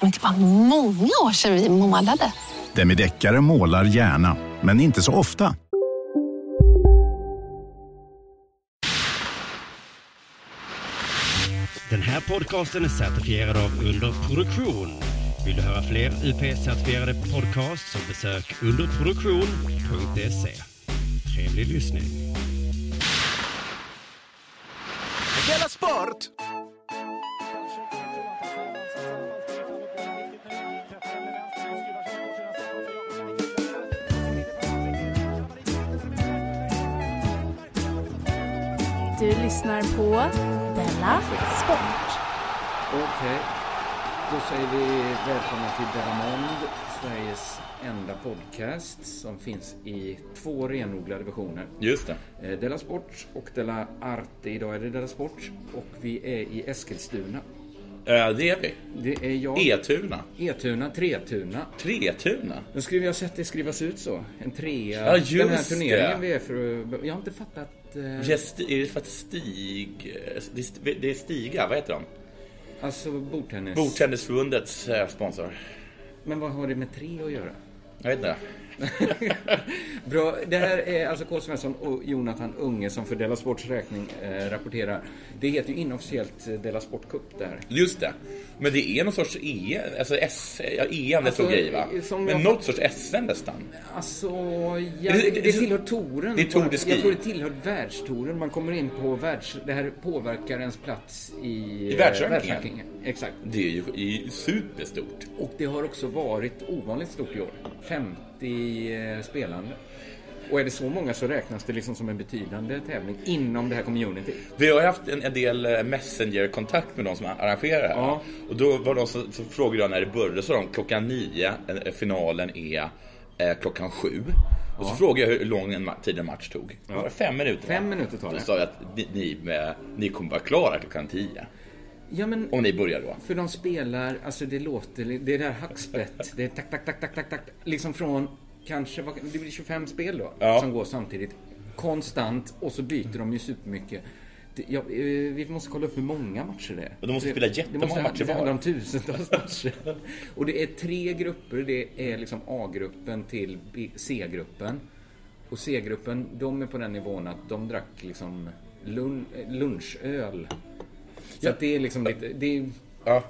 Men det var många år sedan vi målade. Demideckare målar gärna, men inte så ofta. Den här podcasten är certifierad av Underproduktion. Vill du höra fler UP-certifierade podcasts så besök underproduktion.se. Trevlig lyssning. Du lyssnar på Della Sport. Okej, då säger vi välkomna till Deramond, Sveriges enda podcast som finns i två renodlade versioner. Just det. Eh, Della Sport och Della Arte. Idag är det Della Sport och vi är i Eskilstuna. Eh, det är vi. Det är jag, E- Etuna. Etuna, Tretuna. Tretuna. Nu skulle vi ha sett det skrivas ut så. En trea. Ja, just Den här turneringen det. vi är för att- Jag har inte fattat. Eh, Gest, är det för att Stig... det är st- Det är Stiga, vad heter de? Alltså bordtennis. Bordtennisförbundets eh, sponsor. Men vad har det med tre att göra? Jag vet inte. Bra. Det här är alltså K. Svensson och Jonathan Unge som för Della Sports räkning eh, rapporterar. Det heter ju inofficiellt eh, Della Sport Cup där. Just det. Men det är någon sorts E... Alltså S... Ja, EM, det Alltså, såg jag i va? som Men jag- något sorts SM nästan. Alltså, ja, Är det- det, är det- det tillhör touren. det är Tour de Ski. Jag tror det tillhör världstouren. Man kommer in på världs... Det här påverkar ens plats i, eh, världsrankingen. Exakt. Det är ju det är ju superstort. Och det har också varit ovanligt stort i år. 50 eh, spelande. Och är det så många så räknas det liksom som en betydande tävling inom det här community. Vi har ju haft en, en del eh, messengerkontakt med de som arrangerar det här. Ja. Och då var de som, som frågade jag när det började, så sa de klockan nio, eh, finalen är eh, klockan sju. Och så frågade jag hur lång en ma- tid en match tog. Det var fem minuter. Fem va? minuter tar Då det. sa jag att ni, ni, med, ni kommer vara klara klockan tio. Ja, men Om ni börjar då. För de spelar, alltså det låter, li- det är det här hackspett, det är tack, tack, tack, tack, tack, tack, liksom från kanske, vad- det blir 25 spel då, Ja. som går samtidigt. Konstant, och så byter de ju supermycket. Det, ja, eh, vi måste kolla upp hur många matcher det är. Och de måste Det- spela det jättemånga måste- matcher Det var. handlar om tusentals matcher. Och det är tre grupper, det är liksom A-gruppen till B- C-gruppen. Och C-gruppen, de är på den nivån att de drack liksom lun- eh, lunchöl. Så att det är liksom lite, det är, Ja.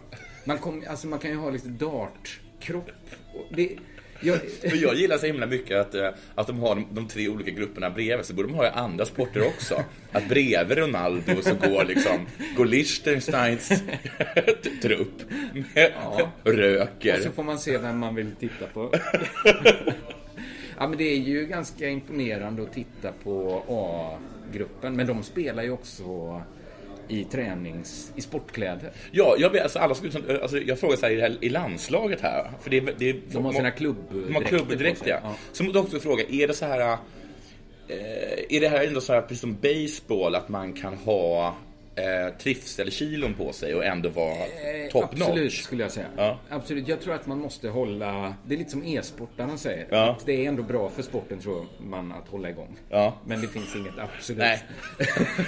man, kom, alltså man kan ju ha lite dartkropp. Och Det, jag, Men jag gillar så himla mycket att, eh, att de har de, de tre olika grupperna bredvid sig. borde de ha i andra sporter också. Att bredvid Ronaldo så går liksom går Liechtensteins trupp. Med, Röker. så får man se vem man vill titta på. ja, men det är ju ganska imponerande att titta på A-gruppen. Men de spelar ju också i tränings... i sportkläder. Ja, jag, vet, alltså, alla skulle, som- alltså, jag frågar så här i, det här i landslaget här. För det, är- det, är- De har sina De har klubbdräkter klubbdräkt, på sig, ja. ja. Så måste jag också fråga, är det så här... Eh, är det här ändå så här, precis som baseball att man kan ha eh, trivselkilon på sig och ändå vara Eh. top Absolut, notch? skulle jag säga. Ja. Absolut. Jag tror att man måste hålla... Det är lite som e-sportarna säger. Ja. Att det är ändå bra för sporten, tror man, att hålla igång. Ja. Men det finns inget absolut. Nej.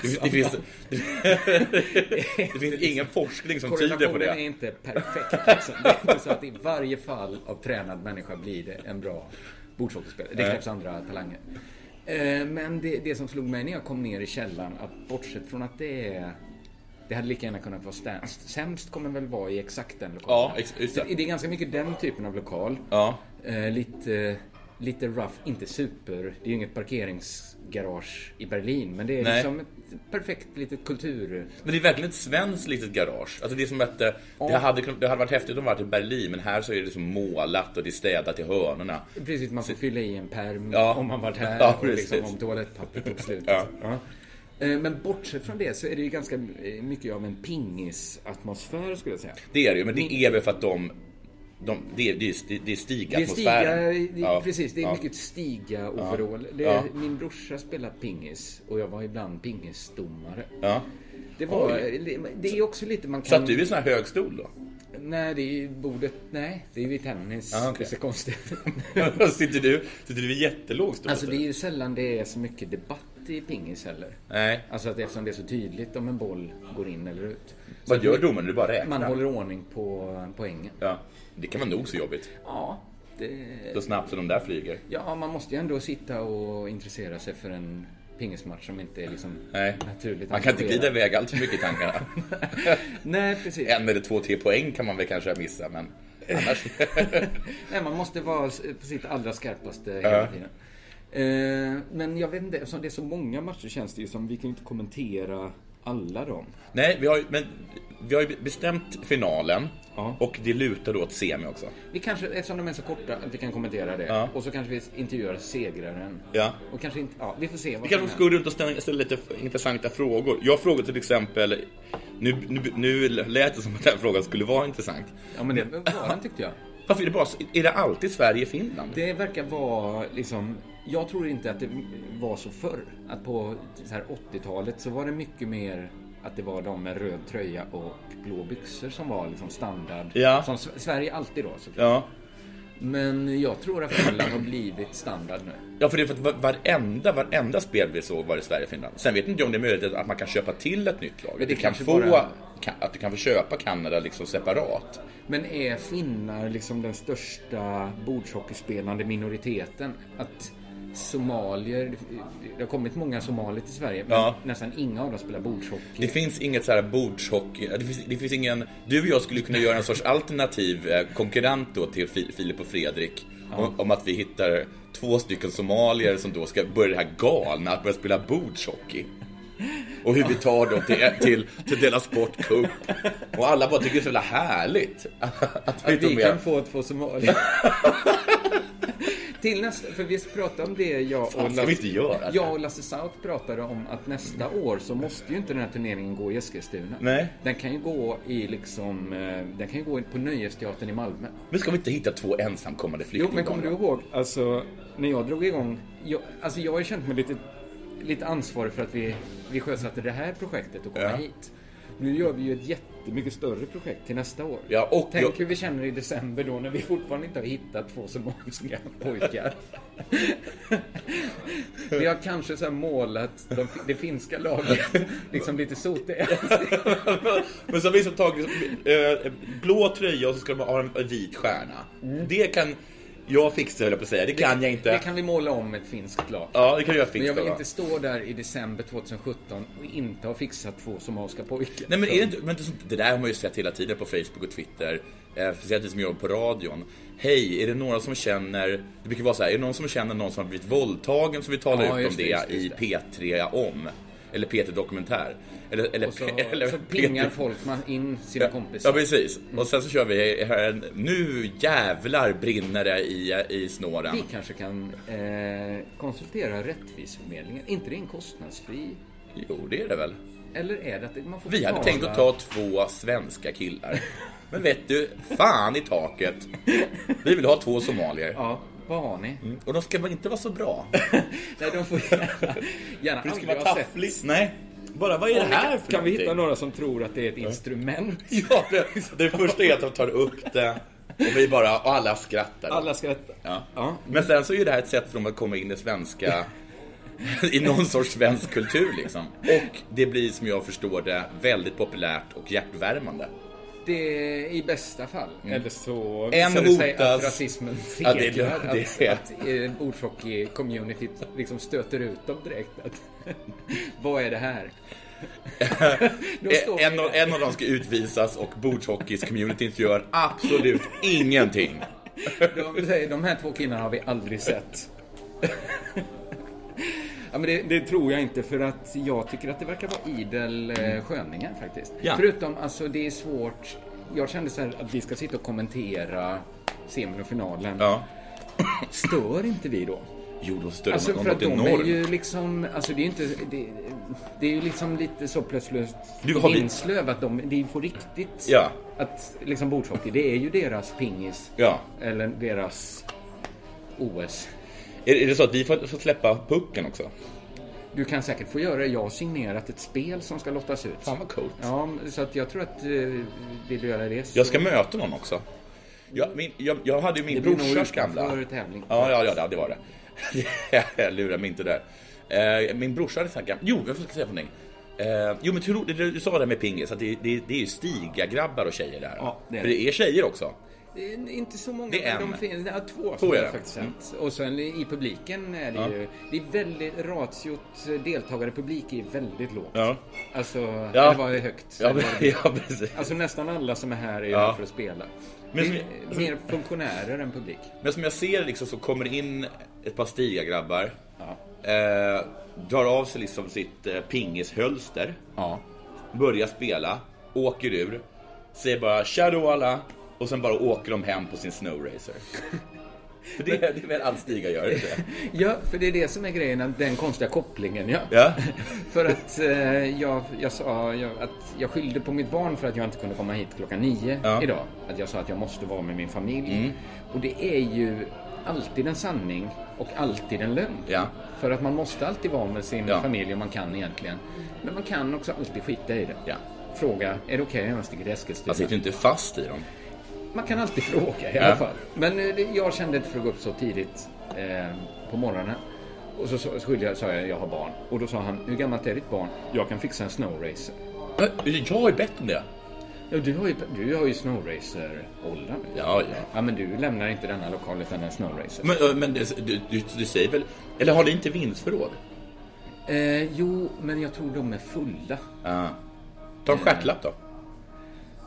Det, det, finns, det, det finns ingen forskning som tyder på Korrelationen är det. inte perfekt. Liksom. Det är inte så att i varje fall av tränad människa blir det en bra bordshockeyspelare. Det krävs andra talanger. Eh, Men det, det som slog mig när jag kom ner i källaren, att bortsett från att det är... Det hade lika gärna kunnat vara sämst. Sämst kommer väl vara i exakt den lokalen. Ja, ex- just Så det. det är ganska mycket den typen av lokal. Ja. Eh, lite, lite rough, inte super. Det är ju inget parkeringsgarage i Berlin, men det är Nej. liksom ett perfekt litet kultur... Men det är verkligen ett svenskt litet garage. Alltså det är som att eh, det, hade, kunnat- det hade varit häftigt om det varit i Berlin, men här så är det liksom målat och det är städat i hörnorna. Precis, man får fylla i en pärm Ja. om man varit här Ja, och liksom precis. om toalettpappret tog slut. Ja. Ja. Eh, Men bortsett från det så är det ju ganska eh, mycket av en pingisatmosfär skulle jag säga. Det är det ju, men det är väl för att de... de det, är, det, är, sti- det är Det är stiga, stigatmosfären. det, Ja, precis, det är ja. mycket stiga overall. Det är, Ja. Min brorsa spelade pingis och jag var ibland pingisdomare. Ja. Det, var, Oj. det är också lite man kan... Satt du i sån här högstol då? Nej, det är ju bordet. Nej, det är vid tennis. Ah, okej. Det är så konstigt. sitter, du, sitter du i jättelåg stol? alltså det är ju sällan det är så mycket debatt i pingis heller. Nej. Alltså att eftersom det är så tydligt om en boll går in eller ut. Vad gör domaren? Du bara räknar? Man håller ordning på poängen. Ja. Det kan vara nog så jobbigt. Ja, det, Så snabbt som de där flyger. ja, man måste ju ändå sitta och intressera sig för en pingismatch som inte är liksom Nej. naturligt Man kan inte glida engagerad. iväg allt för mycket i tankarna. Nej, precis. en eller två, tre poäng kan man väl kanske missa, men annars... Nej, man måste vara s- på sitt allra skarpaste hela tiden. Eh, Men jag vet inte, eftersom det är så många matcher känns det ju som vi kan ju inte kommentera alla dem. Nej, vi har, ju- men, vi har ju bestämt finalen Ja. och det lutar då åt semi också. Vi kanske, eftersom de är så korta, att vi kan kommentera det. Ja. Och så kanske vi intervjuar segraren. Ja. Och kanske inte, ja, vi får se Vi vad kanske ska gå runt och ställa, ställa lite intressanta frågor. Jag frågade till exempel, nu, nu, nu lät det som att den här frågan skulle vara intressant. Ja, men det var den tyckte jag. Varför är det bara så- är det alltid Sverige-Finland? Det verkar vara liksom... Jag tror inte att det var så förr. Att på så här 80-talet så var det mycket mer att det var de med röd tröja och blå byxor som var liksom standard. Ja. Som S- Sverige alltid då. såklart. Ja. Men jag tror att Finland har blivit standard nu. ja, för det är för att var- varenda, varenda spel vi såg var det Sverige-Finland. Sen vet inte jag om det är möjligt att man kan köpa till ett nytt lag. Men det du kan kanske få, bara- kan, att du kan få köpa Kanada liksom separat. Men är finnar liksom den största bordshockeyspelande minoriteten? Att somalier... Det har kommit många somalier till Sverige, men Ja. nästan inga av dem spelar bordshockey. Det finns inget så här bordshockey, det finns, det finns ingen, du och jag skulle kunna göra en sorts alternativ eh, konkurrent då till Fi- Filip och Fredrik. Om, om att vi hittar två stycken somalier som då ska börja det här galna, att börja spela bordshockey. Och hur vi tar dem till, till, till Dela Sport Cup. Och alla bara tycker det är så jävla härligt. Att vi Att vi tog med. kan få två somalier. Till nästa, för vi pratade om det jag och, Fan, ska vi inte göra det? jag och Lasse South pratade om att nästa år så måste ju inte den här turneringen gå i Eskilstuna. Nej. Den kan ju gå i liksom, eh, den kan ju gå in på Nöjesteatern i Malmö. Men ska vi inte hitta två ensamkommande Jo, flyktingar? men kommer du ihåg, alltså när jag drog igång, jag, alltså jag har ju känt mig lite, lite ansvarig för att vi, vi sjösatte det här projektet och komma Ja. hit. Nu gör vi ju ett jättemycket större projekt till nästa år. Ja, och Tänk jag- hur vi känner i december då när vi fortfarande inte har hittat två somaliska pojkar. vi har kanske så här målat de, det finska laget liksom lite sotiga. Men så har vi som tagit eh, blå tröja och så ska de ha en vit stjärna. Det kan jag fixa höll jag på att säga. Det kan jag inte. Det kan vi måla om ett finskt lag. Ja, det kan jag Men fixa. jag vill va? inte stå där i december 2017 och inte ha fixat två somaliska pojkar. Nej men är det inte, men det, det där har man ju sett hela tiden på Facebook och Twitter. Eh, Speciellt vi som jobbar på radion. Hej, är det några som känner, det brukar vara så här, är det någon som känner någon som har blivit våldtagen så vi talar Ja, ut om just det, det, just det, i just P3 om. Eller P3 Dokumentär. Eller, eller, Och så, eller så plingar P3 folk man in sina Ja, kompisar. Mm. precis. Och sen så kör vi här, en- nu jävlar brinner det i, i snåren. Vi kanske kan eh, konsultera Rättviseförmedlingen. inte det en kostnadsfri? Jo, det är det väl. Eller är det att man får Vi hade betala? tänkt att ta två svenska killar. Men vet du, fan i taket. Vi vill ha två somalier. Ja, vad har ni? Och de ska väl inte vara så bra? Nej, de får gärna... gärna För det ska aldrig vara ha sett. taffligt. Nej. Bara, vad är det här för Kan vi hitta någonting? några som tror att det är ett instrument? Ja, det, det första är att de tar upp det och vi bara, och alla skrattar. Alla skrattar. Ja. Ja. Men sen så är ju det här ett sätt för dem att komma in i svenska i någon sorts svensk kultur liksom. Och det blir som jag förstår det väldigt populärt och hjärtvärmande. Mm. Det är i bästa fall. Eller så En visar det sig att hotas. rasismen Ja, det är segrar. det- det är- Att, att eh, bordshockey-communityt liksom stöter ut dem direkt. Att, vad är det här? Då står vi En, där. av- en av dem ska utvisas och bordshockeycommunityn gör absolut ingenting. De säger, de här två killarna har vi aldrig sett. Ja, men det, det tror jag inte för att jag tycker att det verkar vara idel eh, Mm. sköningar faktiskt. Ja. Förutom, alltså det är svårt. Jag kände så här att vi ska sitta och kommentera semin och finalen. Ja. Stör inte vi då? Jo, de störde Alltså något för att de är enormt. ju liksom, alltså det är ju inte, det, det är ju liksom lite så plötsligt Du har vi- Vinslöv att de, det är ju på riktigt. Ja. Att liksom bordshockey, det är ju deras pingis. Ja. Eller deras OS. Är, är det så att vi får, får släppa pucken också? Du kan säkert få göra det. Jag har signerat ett spel som ska lottas ut. Fan vad coolt. Ja, så att jag tror att eh, vill du göra det så... Jag ska möta någon också. Jag, min, jag, jag hade ju min Det blir nog brorsas gamla. utanför tävling. Ja, ja, ja, det var det. jag lurar mig inte där. Eh, min brorsa hade sagt, jo, jag ska säga för dig. Eh, jo, men tror, du, du sa det här med pingis, att det, det, det är ju stiga-grabbar och tjejer där. Ja, det är För det. det är tjejer också. Det är Inte så många, Det är men en. de finns. Ja, två Två som är jag det. Mm. faktiskt sett. Och sen i publiken är det ju... Det är väldigt... Ratiot deltagare-publik är väldigt lågt. Ja. Alltså, ja. det var ju högt. Ja, Det var men- det. ja precis. Alltså nästan alla som är här är ju Ja. här för att spela. Men det är som- mer funktionärer än publik. Men som jag ser liksom så kommer det in ett par stiga-grabbar. Eh, drar av sig liksom sitt eh, pingishölster. Ja. Börjar spela, åker ur. Säger bara "Tja då alla och sen bara åker de hem på sin snowracer. För det, det är väl allt stiga gör, inte det? Ja, för det är det som är grejen, att den konstiga kopplingen. Ja. Ja. För att eh, jag, jag sa jag, att jag skyllde på mitt barn för att jag inte kunde komma hit klockan nio Ja. Mm. idag. Att jag sa att jag måste vara med min familj. Och det är ju alltid en sanning och alltid en lögn. Ja. För att man måste alltid vara med sin Ja. familj om man kan egentligen. Men man kan också alltid skita i det. Ja. Fråga, är det okej om jag sticker till Eskilstuna? Man sitter ju inte fast i dem. Man kan alltid fråga i Ja. alla fall. Men eh, det- jag kände inte för att gå upp så tidigt eh, på morgonen. Och så så skulle jag, sa jag, jag har barn. Och då sa han, hur gammalt är ditt barn? Jag kan fixa en snowracer. Men eh, Jag har ju bett om det. Ja, du har ju, du har ju snowracer-åldern. Ja, ja. Ja, men du lämnar inte denna lokal utan en snowracer. Men, eh, men det- du, du, du säger väl... Eller har ni inte vinstförråd? Eh, jo, men jag tror de är fulla. Eh. Ja. Ta en stjärtlapp då.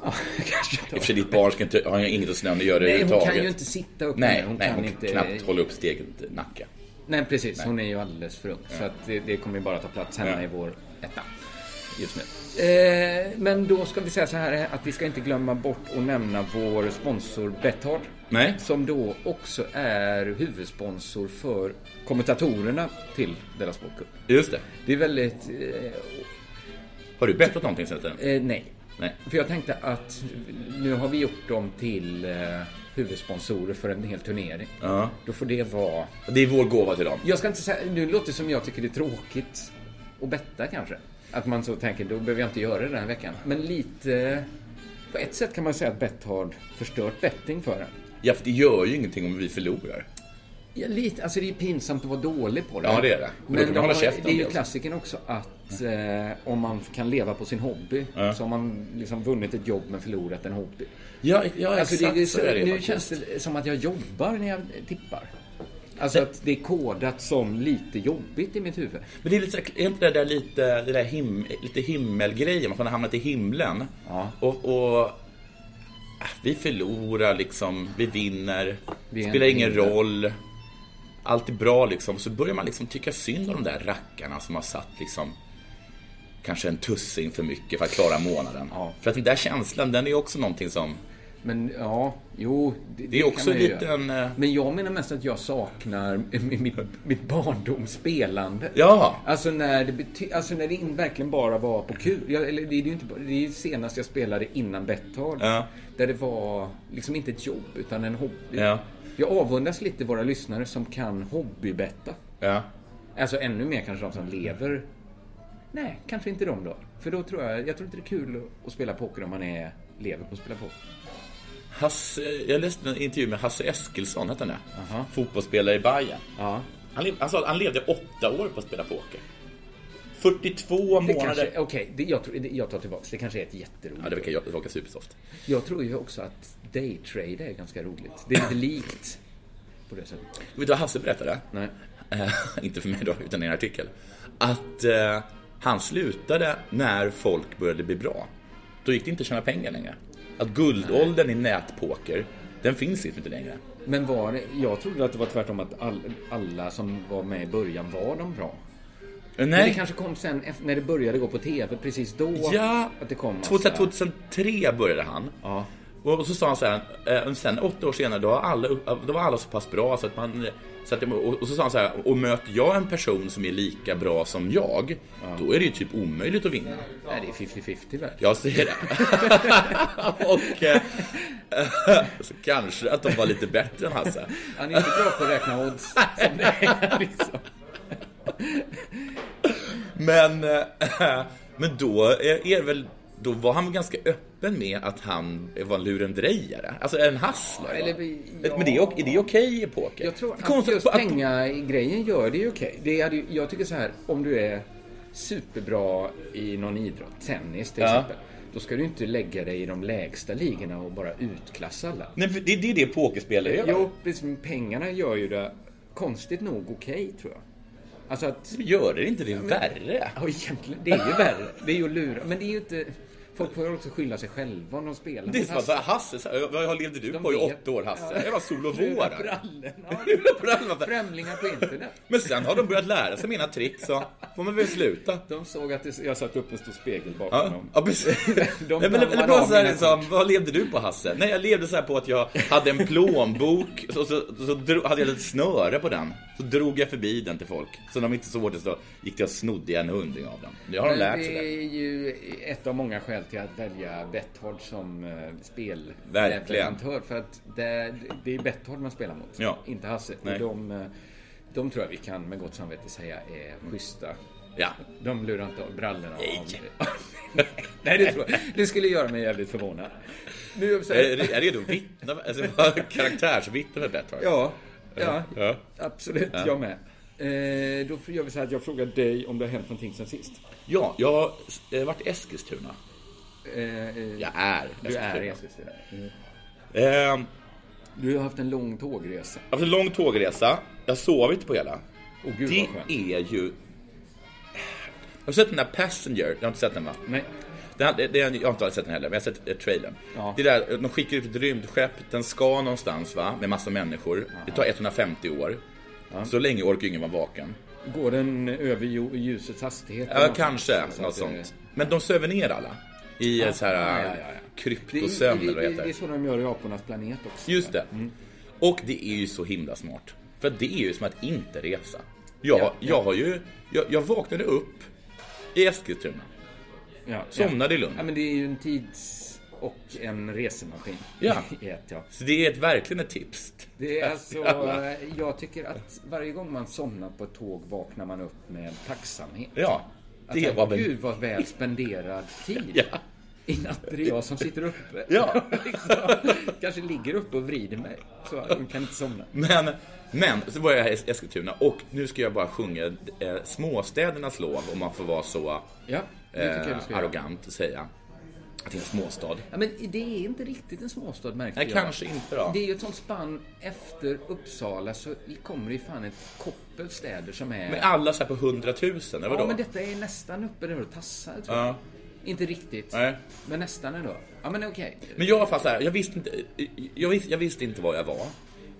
Ja, kanske I och tar- för sig, ditt barn ska inte, har ju inget att snöa göra Nej, hon överhuvudtaget. kan ju inte sitta upp Nej, ner. Hon nej, kan hon kan inte... knappt hålla upp sitt eget nacke. Nej, precis. Hon är ju alldeles för ung. Så att det, det kommer ju bara ta plats hemma Ja. i vår etta just nu. Eh, men då ska vi säga så här att vi ska inte glömma bort att nämna vår sponsor Betthard. Nej. Som då också är huvudsponsor för kommentatorerna till Della Sport Cup. Just det. Det är väldigt... Eh, Har du bettat någonting sen tiden? eh, nej. Nej. För jag tänkte att nu har vi gjort dem till eh, huvudsponsorer för en hel turnering. Ja. Då får det vara Det är vår gåva till dem. Jag ska inte säga, nu låter det som jag tycker det är tråkigt att betta kanske. Att man så tänker, då behöver jag inte göra det den här veckan. Men lite, på ett sätt kan man säga att bett har förstört betting för en. Ja, för det gör ju ingenting om vi förlorar. Ja, lite, alltså det är pinsamt att vara dålig på det. Ja, det är det. Och då Men kan man de hålla har- käften det om är det ju också. klassiken också att eh, om man kan leva på sin hobby Ja. så har man liksom vunnit ett jobb men förlorat en hobby. Ja, ja Alltså, exakt det, det, så är det nu faktiskt. känns det som att jag jobbar när jag tippar. Alltså att det är kodat som lite jobbigt i mitt huvud. Men det är, lite, så här- är inte det där lite, det där him, lite himmelgrejen? Man har hamnat i himlen. Ja. Och, och äh, vi förlorar liksom, vi vinner, Vi är spelar en ingen himmel. roll. Allt är bra liksom. Så börjar man liksom tycka synd om de där rackarna som har satt liksom kanske en tussing för mycket för att klara månaden. Ja. För att den där känslan, den är ju också någonting som, Men ja, jo. Det, det är kan också man ju lite göra. en... eh, Men jag menar mest att jag saknar mi- mitt, mitt barndomsspelande. Ja. Alltså när det, bety- alltså när det in verkligen bara var på kul. Jag, eller det är ju inte, bara- det är ju senast jag spelade innan Betthard. Ja. Där det var liksom inte ett jobb utan en hobby. Ja. Jag avundas lite våra lyssnare som kan hobbybetta. Ja. Alltså ännu mer kanske de som lever. Nej, kanske inte de då. För då tror jag, jag tror inte det är kul att spela poker om man är, lever på att spela poker. Hasse, jag läste en intervju med Hasse Eskilsson, hette han det? Aha. Fotbollsspelare i Bayern. Ja. Han, lev, han sa att han levde åtta år på att spela poker. 42 Det månader. kanske, okej, det- jag, tror- det- jag tar tillbaks. Det kanske är ett jätteroligt Ja, det verkar, jobb. jag- det verkar supersoft. Jag tror ju också att daytrade är ganska roligt. Det är lite likt på det sättet. Vet du vad Hasse berättade? Nej. Eh, inte för mig då, utan i en artikel. Att eh, han slutade när folk började bli bra. Då gick det inte att tjäna pengar längre. Att guldåldern i nätpoker Den finns liksom inte längre. Men var det, jag trodde att det var tvärtom att all, alla som var med i början var de bra. Men det Eh, Nej, kanske kom sen ef- när det började gå på TV precis då. ja, Att det kom massa- 2003 började han. Ja. Och så sa han så här, eh, sen åtta år senare, då var alla, då var alla så pass bra så att man... Så att, det- och och så sa han så här, och möter jag en person som är lika bra som jag, då är det ju typ omöjligt att vinna. Nej, det är 50-50 väl. Jag ser det. och eh, så kanske att de var lite bättre än Hasse. Han är inte bra på att räkna odds. som det är, liksom. Men, eh, men då, är är väl, då var han ganska öppen med att han var en lurendrejare. Alltså en hustler. va? Eller vi- ja. Men det är, ok- är det okej i poker? Jag tror Det är att konstigt just att- att- pengagrejen gör det ju okej. Det hade ju- Jag tycker så här, om du är superbra i någon idrott, tennis till Ja. exempel. Då ska du inte lägga dig i de lägsta ligorna och bara utklassa alla. Nej, för det, det är det pokerspelare gör. Jo, precis, men pengarna gör ju det konstigt nog okej, tror jag. Alltså att... Gör det inte det värre? Ja, egentligen, det är ju värre. Det är ju att lura. Men det är ju inte... Folk får ju också skylla sig själva om de spelar. Det är som att säga, Hasse, så här, vad levde du alltså- De på i vet. åtta år Hasse? Det var sol och vår. Lura brallorna. Lura brallorna. Främlingar på internet. Men sen har de börjat lära sig mina trick så får man väl sluta. De såg att det, jag satte upp en stor spegel bakom Ja, dem. ja precis. De Nej, men, dammar eller bara av så här, mina liksom, vad levde du på Hasse? Nej, jag levde så här på att jag hade en plånbok och så, så, så dro, hade jag ett snöre på den. Så drog jag förbi den till folk. Så när de inte såg det så gick jag och snodde en hundring av dem. Nu har de Men lärt sig det. det är ju ett av många skäl till att välja Betthard som eh, spelleverantör. Verkligen. För att det, det är Betthard man spelar mot, Ja. inte Hasse. Och Nej. de, eh, de tror jag vi kan med gott samvete säga är schyssta. Ja. De lurar inte av brallorna. Nej. Nej, det tror jag. Det skulle göra mig jävligt förvånad. Nu är jag så här- Är, är jag redo att vittna? Alltså, jag karaktärsvittne med Bethard. Ja, ja, Ja. absolut. Jag med. Eh, då gör vi så här att jag frågar dig om det har hänt någonting sen sist. Ja, jag har eh, varit i Eskilstuna. Eh, eh, Jag är du är i Eskilstuna. Eskilstuna. Ehm, Du har haft en lång tågresa. Jag har haft en lång tågresa. Jag har sovit på hela. Åh, gud, det vad skönt. är ju... Har du sett den där Passenger? Jag har inte sett den va? Nej. Den, det, det, jag har inte sett den heller, men jag har sett eh, trailern. Ja. Det där, de skickar ut ett rymdskepp, den ska någonstans va, med massa människor. Det tar 150 år. Så länge orkar ju ingen vara vaken. Går den över ju- ljusets hastighet? Ja, kanske Så något att, eh, sånt. Men de söver ner alla. I ja. så här ja, ja, ja. Det är, kryptosömn det, eller vad det det, det heter. är så de gör i apornas planet också. Just det. Mm. Och det är ju så himla smart. För det är ju som att inte resa. Jag, Ja, ja. jag har ju... Jag, jag vaknade upp i Eskilstuna. Ja, Somnade ja. i Lund. Ja, men det är ju en tids och en resemaskin. Ja. I ett, ja. Så det är ett, verkligen ett tips. Det är alltså, Alla. eh, jag tycker att varje gång man somnar på ett tåg vaknar man upp med tacksamhet. Ja. Att, Det var väl... Gud vad väl spenderad tid. Ja. I natt är det jag som sitter uppe. Ja. liksom, kanske ligger uppe och vrider mig. Så jag kan inte somna. Men, men så var jag här i Eskilstuna och nu ska jag bara sjunga eh, småstädernas lov om man får vara så Ja, det tycker jag du eh, ska göra. arrogant och säga att det är en småstad. Ja, men det är inte riktigt en småstad märkte Nej, jag. kanske inte då. Det är ju ett sånt spann efter Uppsala så kommer det ju fan ett koppel städer som är... Men alla så här på 100 000, eller vadå? ja, men detta är nästan uppe där och tassar tror jag. Ja. Inte riktigt, Nej. men nästan ändå. Ja, men okej. Men jag var fan så här, jag visste inte, jag visste, jag visste inte var jag var.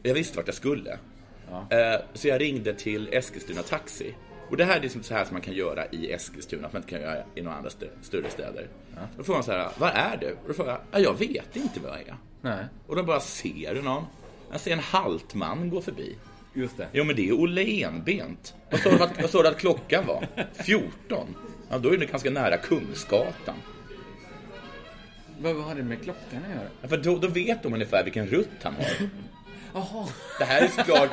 Jag visste vart jag skulle. Eh, Så jag ringde till Eskilstuna Taxi. Och det här är liksom så här som man kan göra i Eskilstuna, som man inte kan göra i några andra stö- större städer. Då frågar man så här, var är du? Och då frågar jag, "Ja, jag vet inte var jag är. Nej, Och då bara ser du någon. Jag ser en halt man gå förbi. just det. Jo men det är Olle Enbent. Vad sa du att, vad sa du att klockan var? 14? Ja, då är det ganska nära Kungsgatan. Vad vad har det med klockan att göra? Ja, för då, då vet de ungefär vilken rutt han har. Jaha, Det här är såklart...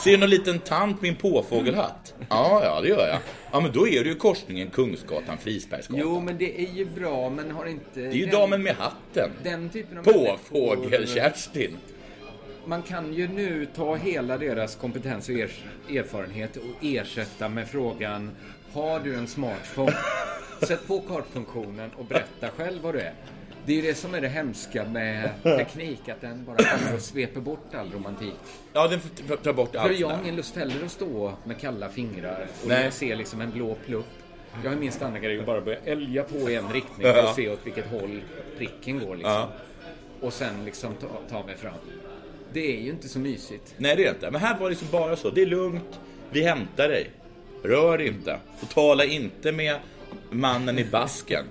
Ser du någon liten tant med en påfågelhatt? Mm. Ja, ja, det gör jag. Ja, men då är det ju korsningen Kungsgatan-Frisbergsgatan. jo men det är ju bra men har inte... Det är ju damen med hatten. Den typen av människor- Påfågel-Kerstin. Man kan ju nu ta hela deras kompetens och er, erfarenhet och ersätta med frågan Har du en smartphone? Sätt på kartfunktionen och berätta själv vad du är. Det är ju det som är det hemska med teknik, att den bara kommer och sveper bort all romantik. Ja, den får- får ta bort För allt. jag har där. ingen lust heller att stå med kalla fingrar och Nej. jag ser liksom en blå plupp Jag har min standardgrej att bara börja älga på i en riktning för att se åt vilket håll pricken går. Liksom. Ja. Och sen liksom ta, ta mig fram. Det är ju inte så mysigt. Nej, det är det inte. Men här var det liksom bara så. Det är lugnt. Vi hämtar dig. Rör inte. Och tala inte med mannen i basken.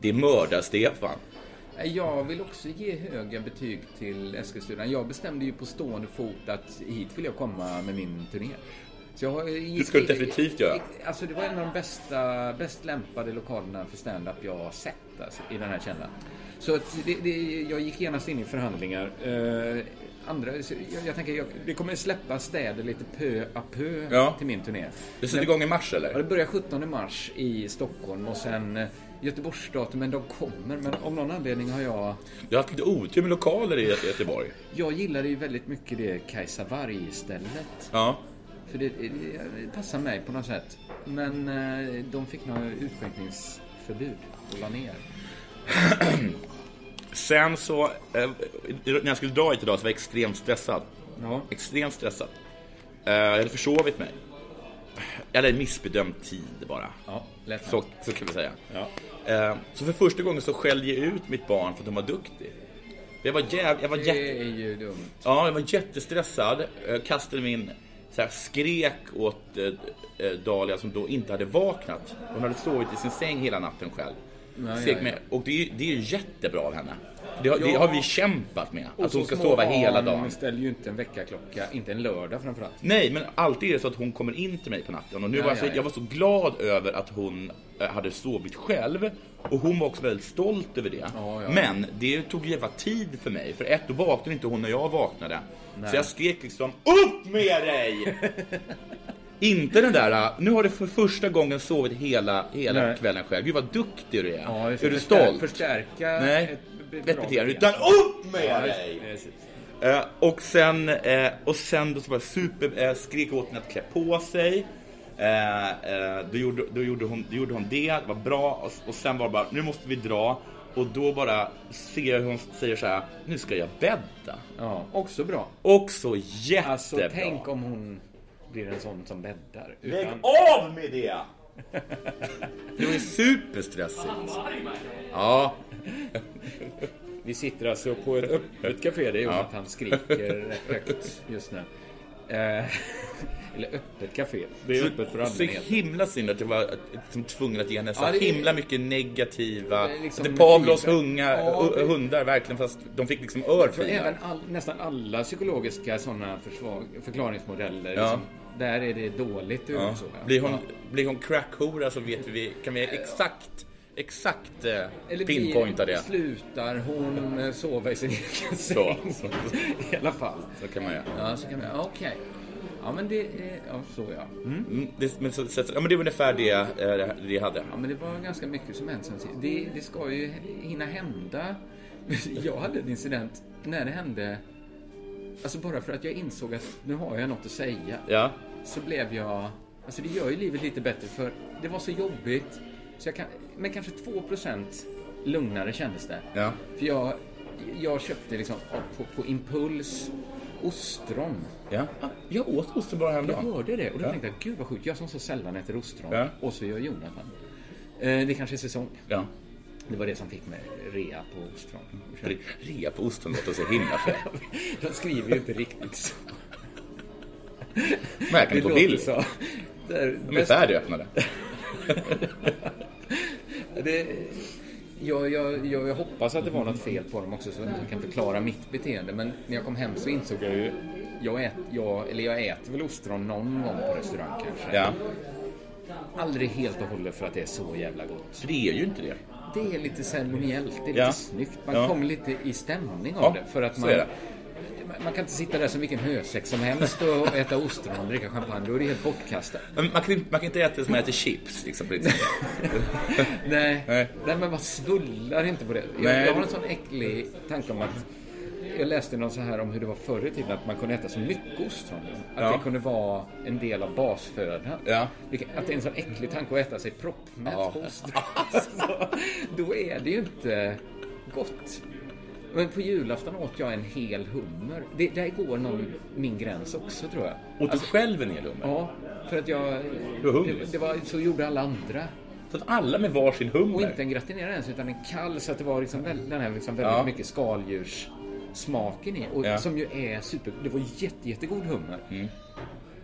Det är mördar-Stefan. Eh, Jag vill också ge höga betyg till Eskilstuna. Jag bestämde ju på stående fot att hit vill jag komma med min turné. Så jag har, Det ska du definitivt göra. Alltså det var en av de bästa, bäst lämpade lokalerna för stand-up jag har sett alltså, i den här källaren. Så att det, det, jag gick genast in i förhandlingar. Eh, andra, så jag, jag tänker, jag, det kommer släppa städer lite pö à pö Ja. till min turné. Det sätter igång i mars, Ja, det eller? börjar 17 mars i Stockholm och sen eh, Göteborgsdatumen, de kommer. Men av någon anledning har jag... Du har haft lite otur med lokaler i Göte- Göteborg. Jag gillade ju väldigt mycket det Kajsa Warg-stället. Ja. För det, det passar mig på något sätt. Men eh, de fick några utskänkningsförbud och la ner. Sen så, eh, när jag skulle dra hit idag så var jag extremt stressad. Ja. Extremt stressad. Eh, jag hade försovit mig. Eller missbedömt tid bara. Ja, lätt Så, hänt. så kan vi säga. Ja. Eh, så för första gången så skällde jag ut mitt barn för att hon var duktig. Jag var, jäv, jag var, jätte, Det är ju dumt. ja, jag var jättestressad. Jag kastade min så här, skrek åt eh, eh, Dahlia som då inte hade vaknat. Hon hade sovit i sin säng hela natten själv. Skrek ja, med- Och det är, ju- det är ju jättebra av henne. Det har, det har vi kämpat med. Och Att hon så ska små sova hela barn dagen. ställer ju inte en väckarklocka, inte en lördag framförallt. Nej, men alltid är det så att hon kommer in till mig på natten. Och nu Ja, var jag, så, ja, ja. jag var så glad över att hon eh, hade sovit själv. Och hon var också väldigt stolt över det. Ja, ja. Men det tog jävla tid för mig. För ett, då vaknade inte hon när jag vaknade. Så jag skrek liksom UPP MED DIG! inte den där, eh, nu har du för första gången sovit hela, hela Nej. kvällen själv. Gud vad duktig du är. Ja, är du stolt? Förstärka Nej, ett, ett bra beteende. Utan UPP MED Ja, DIG! visst, precis. Eh, och sen, eh, och sen då så var jag super, eh, skrek åt henne att klä på sig. Eh, eh, då, gjorde, då, gjorde hon, då gjorde hon det, det var bra. Och, och sen var det bara, nu måste vi dra. Och då bara ser jag hur hon säger så här, nu ska jag bädda. Ja, också bra. Också jättebra. Alltså tänk om hon blir en sån som bäddar. Lägg Utan... av med det! Det var ju superstressigt. Ja, Vi sitter alltså på ett öppet café. Det är ju att han skriker högt just nu. Eh, Eller öppet café. Det är öppet för så allmänheten. himla synd att jag var liksom, tvungen att ge henne så Ja, det- himla mycket negativa... Det är liksom- det Pavlos hunga, Ja, det- hundar verkligen, fast de fick liksom För även örfilar. all, nästan alla psykologiska sådana försvag- förklaringsmodeller. Ja. Liksom, där är det dåligt ur Ja. så. va? Blir hon, blir hon crackhora så vet vi, kan vi exakt, exakt eh, Eller blir- pinpointa det. Slutar hon eh, sova i sin egen Så. säng? I alla fall. Så kan man göra. Ja, så kan man... ja, Okej. Ja, men det är... Ja, så ja. Mm, det, men, så, så, ja, men det är ungefär det, eh, det, det jag hade. Ja, men det var ganska mycket som hände sen sist. Det, det ska ju hinna hända. Jag hade en incident när det hände. Alltså bara för att jag insåg att nu har jag något att säga. Ja. Så blev jag... Alltså det gör ju livet lite bättre för det var så jobbigt. Så jag kan, men kanske 2% lugnare kändes det. Ja. För jag, jag köpte liksom på, på impuls ostron. Ja. Ah, Jag åt osten bara Jag häromdagen. hörde det och då Ja. tänkte jag, gud vad sjukt. Jag som så sällan äter ostron Ja. och så gör Jonathan. Eh, det kanske är säsong. Ja. Det var det som fick mig rea på ostron. Re- Rea på osten låter så himla fel. Jag skriver ju inte riktigt så. Märkligt på bild. så. Det är De är bäst- färdigöppnade. det, jag, jag, jag, jag hoppas att det var något fel på dem också så att jag kan förklara mitt beteende. Men när jag kom hem så insåg jag ju... Jag, ät, jag, eller jag äter väl ostron någon gång på restaurang kanske. Ja. Aldrig helt och hållet för att det är så jävla gott. För det är ju inte det. Det är lite ceremoniellt, det är lite Ja. snyggt. Man Ja. kommer lite i stämning av Ja, det. För att så man, är det. man- man kan inte sitta där som vilken hösäck som helst och äta ostron och dricka champagne. Då är det helt bortkastat. Men man, kan, inte- man kan inte äta det som man äter chips. Liksom, på det sättet. Nej. Nej. Nej. men man svullar inte på det. Jag, Nej. jag har en sån äcklig tanke om att jag läste någon så här om hur det var förr i tiden att man kunde äta så mycket ostron. Att Ja. det kunde vara en del av basfödan. Ja. Vilket- Att det är en sån äcklig tanke att äta sig proppmätt Ja. på ostron. Alltså, då är det ju inte gott. Men på julafton åt jag en hel hummer. Det, där går någon, min gräns också tror jag. Och du själv en hel hummer? Ja, För att jag... Du var hungrig. det, det var, så gjorde alla andra. Så att alla med varsin hummer. Och inte en gratinerad ens, utan en kall. Så att det var liksom väl, den här liksom väldigt Ja. mycket skaldjurssmaken i. Och Ja. Mm. som ju är super... Det var jätte, jättegod hummer.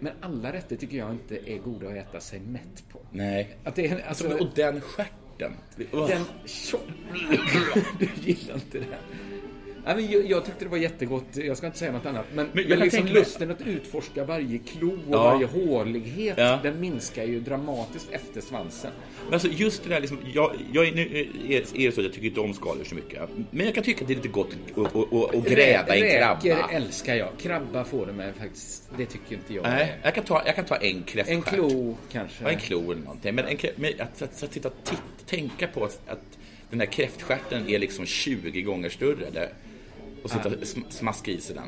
Men alla rätter tycker jag inte är goda att äta sig mätt på. Nej. Att det är, alltså, Alltså, och den stjärten. Det- Ugh. den tjock... du gillar inte det. Nej, men jag, jag tyckte det var jättegott, jag ska inte säga något annat. Men, jag men, kan liksom tänka mig- lusten att utforska varje klo och Ja. varje hålighet, Ja. den minskar ju dramatiskt efter svansen. Men alltså just det där liksom, jag, jag är, nu är är det så att jag tycker inte om skaldjur så mycket. Men jag kan tycka att det är lite gott att- att- att att gräva i en Räkor krabba. älskar jag. Krabba får du med faktiskt. Det tycker inte jag. Nej, jag kan ta, jag kan ta en kräftstjärt. En klo kanske. Ja, en klo eller någonting. Men, en, krä- men att, att, att titta, titt, tänka på att, att den där kräftstjärten är liksom 20 gånger större. Där, och sitta och sm- smaska i sig den.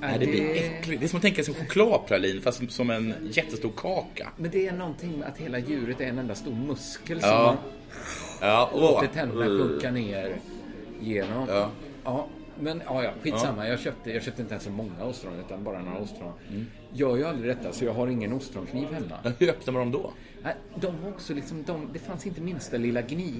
Nej, det Eh. blir äckligt. Det är som att tänka sig en chokladpralin fast som, som en jättestor kaka. Men det är någonting med att hela djuret är en enda stor muskel som Ja. man Ja, åh. Mm. låter tänderna sjunka ner genom. Ja. Ja, men ja, ja, skitsamma. Jag, köpte, jag köpte inte ens så många ostron utan bara Mm. några ostron. Jag gör ju aldrig detta så jag har ingen ostronkniv hemma. Hur öppnar man dem då? Nej, De var också liksom, de, det fanns inte minsta lilla gni.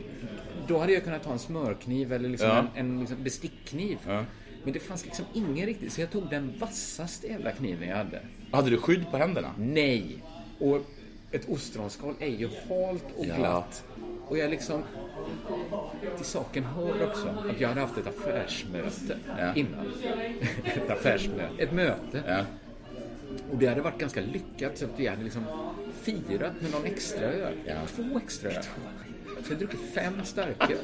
Då hade jag kunnat ta en smörkniv eller liksom Ja. en, en liksom bestickkniv. Ja. Men det fanns liksom ingen riktigt, så jag tog den vassaste jävla kniven jag hade. Hade du skydd på händerna? Nej! Och ett ostronskal är ju halt och Ja. glatt. Och jag liksom... Till saken hör också att jag hade haft ett affärsmöte Ja. innan. ett affärsmöte. Ett möte. Ja. Och det hade varit ganska lyckat så att vi hade liksom firat med någon extra öl. Ja. Två extra öl. Så jag druckit fem starköl.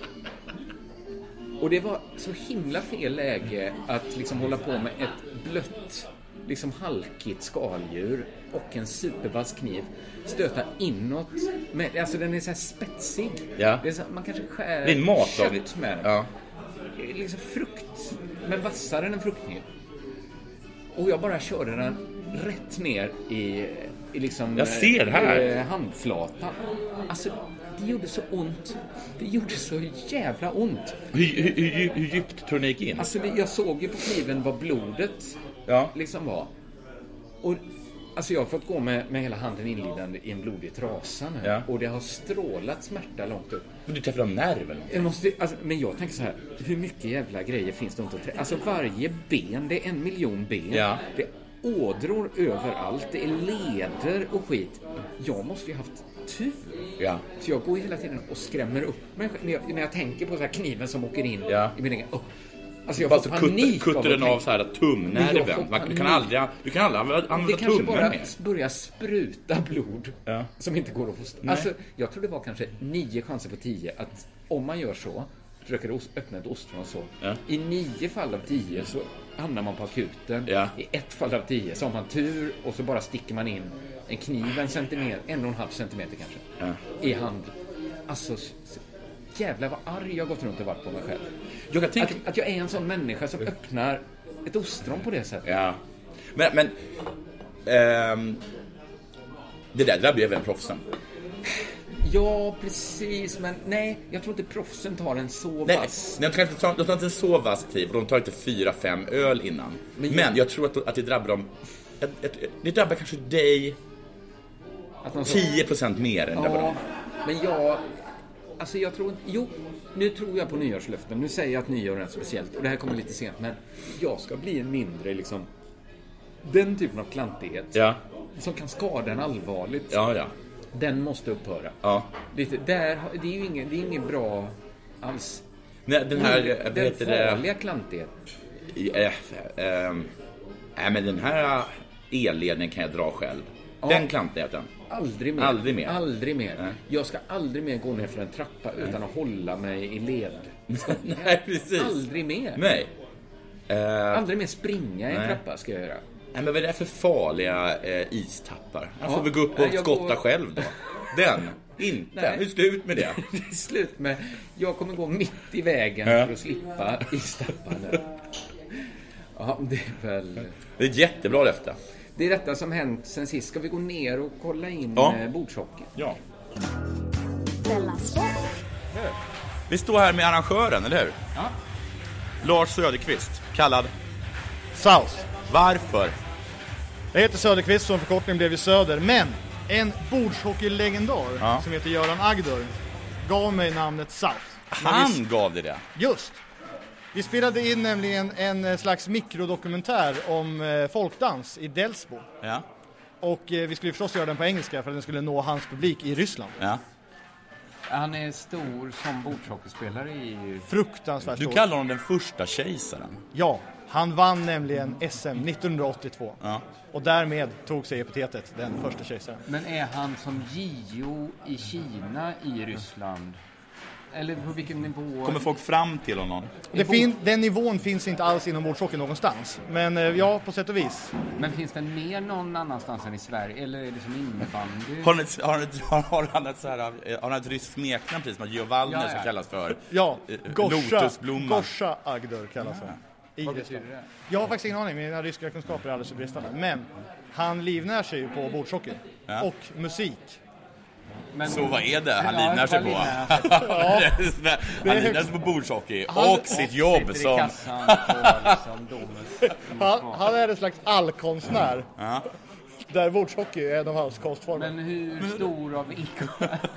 Och det var så himla fel läge att liksom hålla på med ett blött, liksom halkigt skaldjur och en supervass kniv. Stöta inåt. Med, alltså den är så här spetsig. Ja. Det är så här, man kanske skär Det är en matlagning. kött med den. Ja. Det är Liksom frukt, men vassare än en fruktkniv. Och jag bara körde den rätt ner i, i liksom... Jag ser här. eh, handflatan. Alltså, det gjorde så ont. Det gjorde så jävla ont. Hur, hur, hur, djup- hur djupt tror ni gick in? Alltså, det, jag såg ju på kniven vad blodet Ja. liksom var. Och, alltså, jag har fått gå med, med hela handen inlindad i en blodig trasa nu. Ja. Och det har strålat smärta långt upp. Du träffade en nerv eller något? Jag måste, alltså, men jag tänker så här, hur mycket jävla grejer finns det inte att trä- Alltså varje ben, det är en miljon ben. Ja. Det är ådror överallt, det är leder och skit. Jag måste ju haft tur. Ja. Så jag går ju hela tiden och skrämmer upp mig själv. när jag, när jag tänker på så här kniven som åker in Ja. i min egen... Oh. Alltså jag Bara får så kutter, panik kutter av att den av tänka- så här Men jag får tumnerven. Man- Du kan panik. aldrig, du kan aldrig använda, Det använda kanske tummen bara mer. börjar spruta blod Ja. som inte går att få stopp Alltså, jag tror det var kanske nio chanser på tio att om man gör så, försöker os- öppna ett ostron och så, Ja. i nio fall av tio så hamnar man på akuten. Ja. I ett fall av tio så har man tur och så bara sticker man in en kniv en centimeter, en och en halv centimeter kanske, i hand. Alltså, s- s- jävlar vad arg jag gått runt och varit på mig själv. Jag kan tänka, Att, att jag är en sån människa som öppnar ett ostron på det sättet. Ja. Men, men ehm, det där drabbar ju även proffsen. Ja, precis. Men nej, jag tror inte proffsen tar en så Nej, vass. nej, de, kanske tar, de tar inte en så vass kniv och de tar inte fyra, fem öl innan. Men, jag tror att, att det drabbar dem... Ett, ett, det drabbar kanske dig Att man så- 10% mer än drabbar Ja, dem. men jag... Alltså jag tror inte... Jo, nu tror jag på nyårslöften. Nu säger jag att nyår är något speciellt och det här kommer lite sent. Men jag ska bli en mindre liksom... Den typen av klantighet Ja, som kan skada en allvarligt, ja, ja. den måste upphöra. ja. Lite, där, har- det är ju inget, det är inget bra alls. Nej, den här... eh, Vad Mm. den heter det? farliga klantigheten. Eh, eh, nej, men den här elledningen kan jag dra själv. Den klantigheten. Aldrig mer. Aldrig mer. Aldrig mer. Nej. Jag ska aldrig mer gå ner för en trappa utan att hålla mig i led. nej, precis. Aldrig mer. Nej. Eh, Aldrig mer springa i en Nej. trappa ska jag göra. Nej, men vad är det för farliga eh, istappar? Han Ja. får väl gå upp och Nej, jag skotta går- själv då. Den, inte. Nej. Nu är det slut med det. Det är slut med... Jag kommer gå mitt i vägen Ja. för att slippa i stappan nu. Ja, det är väl... Det är ett jättebra löfte. Det är detta som hänt sen sist. Ska vi gå ner och kolla in eh, Ja. ja. bordshockeyn? Ja. Della Sport. Vi står här med arrangören, eller hur? Ja. Lars Söderqvist, kallad South. Varför? Jag heter Söderqvist som förkortning blev ju Söder, men En bordshockeylegendar Ja. som heter Göran Agdor gav mig namnet South. Han gav dig det. Just! Vi spelade in nämligen en eh, slags mikrodokumentär om eh, folkdans i Delsbo. Ja. Och eh, vi skulle förstås göra den på engelska för att den skulle nå hans publik i Ryssland. Ja. Han är stor som bordshockeyspelare i... Fruktansvärt Du stor. kallar honom den första kejsaren. Ja, han vann nämligen SM 1982. Ja. Och därmed tog sig epitetet den första kejsaren. Men är han som JO i Kina i Ryssland? Eller på vilken nivå? Kommer folk fram till honom? Det fin- den nivån finns inte alls inom bordshockey någonstans. Men eh, ja, på sätt och vis. Men finns den mer någon annanstans än i Sverige? Eller är det som innebandy? Har han ett, har han ett, har han ett, så här, eh, har han ett ryskt smeknamn precis som att Giovanni Ja, ja. som kallas för Ja, eh, Gosha, Lotusblomman? Gosha Agdor kallas han. I Vad Ryssland. betyder det? Jag har faktiskt ingen aning, mina ryska kunskaper är alldeles för bristande. Men han livnär sig ju på bordshockey. Ja. Och musik. Men, Så vad är det han Ja, livnär sig vad på? livnär Han livnär sig på bordshockey och sitt jobb Sitter i som... kassan på liksom Domus. Han, han är en slags allkonstnär. Där bordshockey är en av hans konstformer. Men hur stor av inkomsten...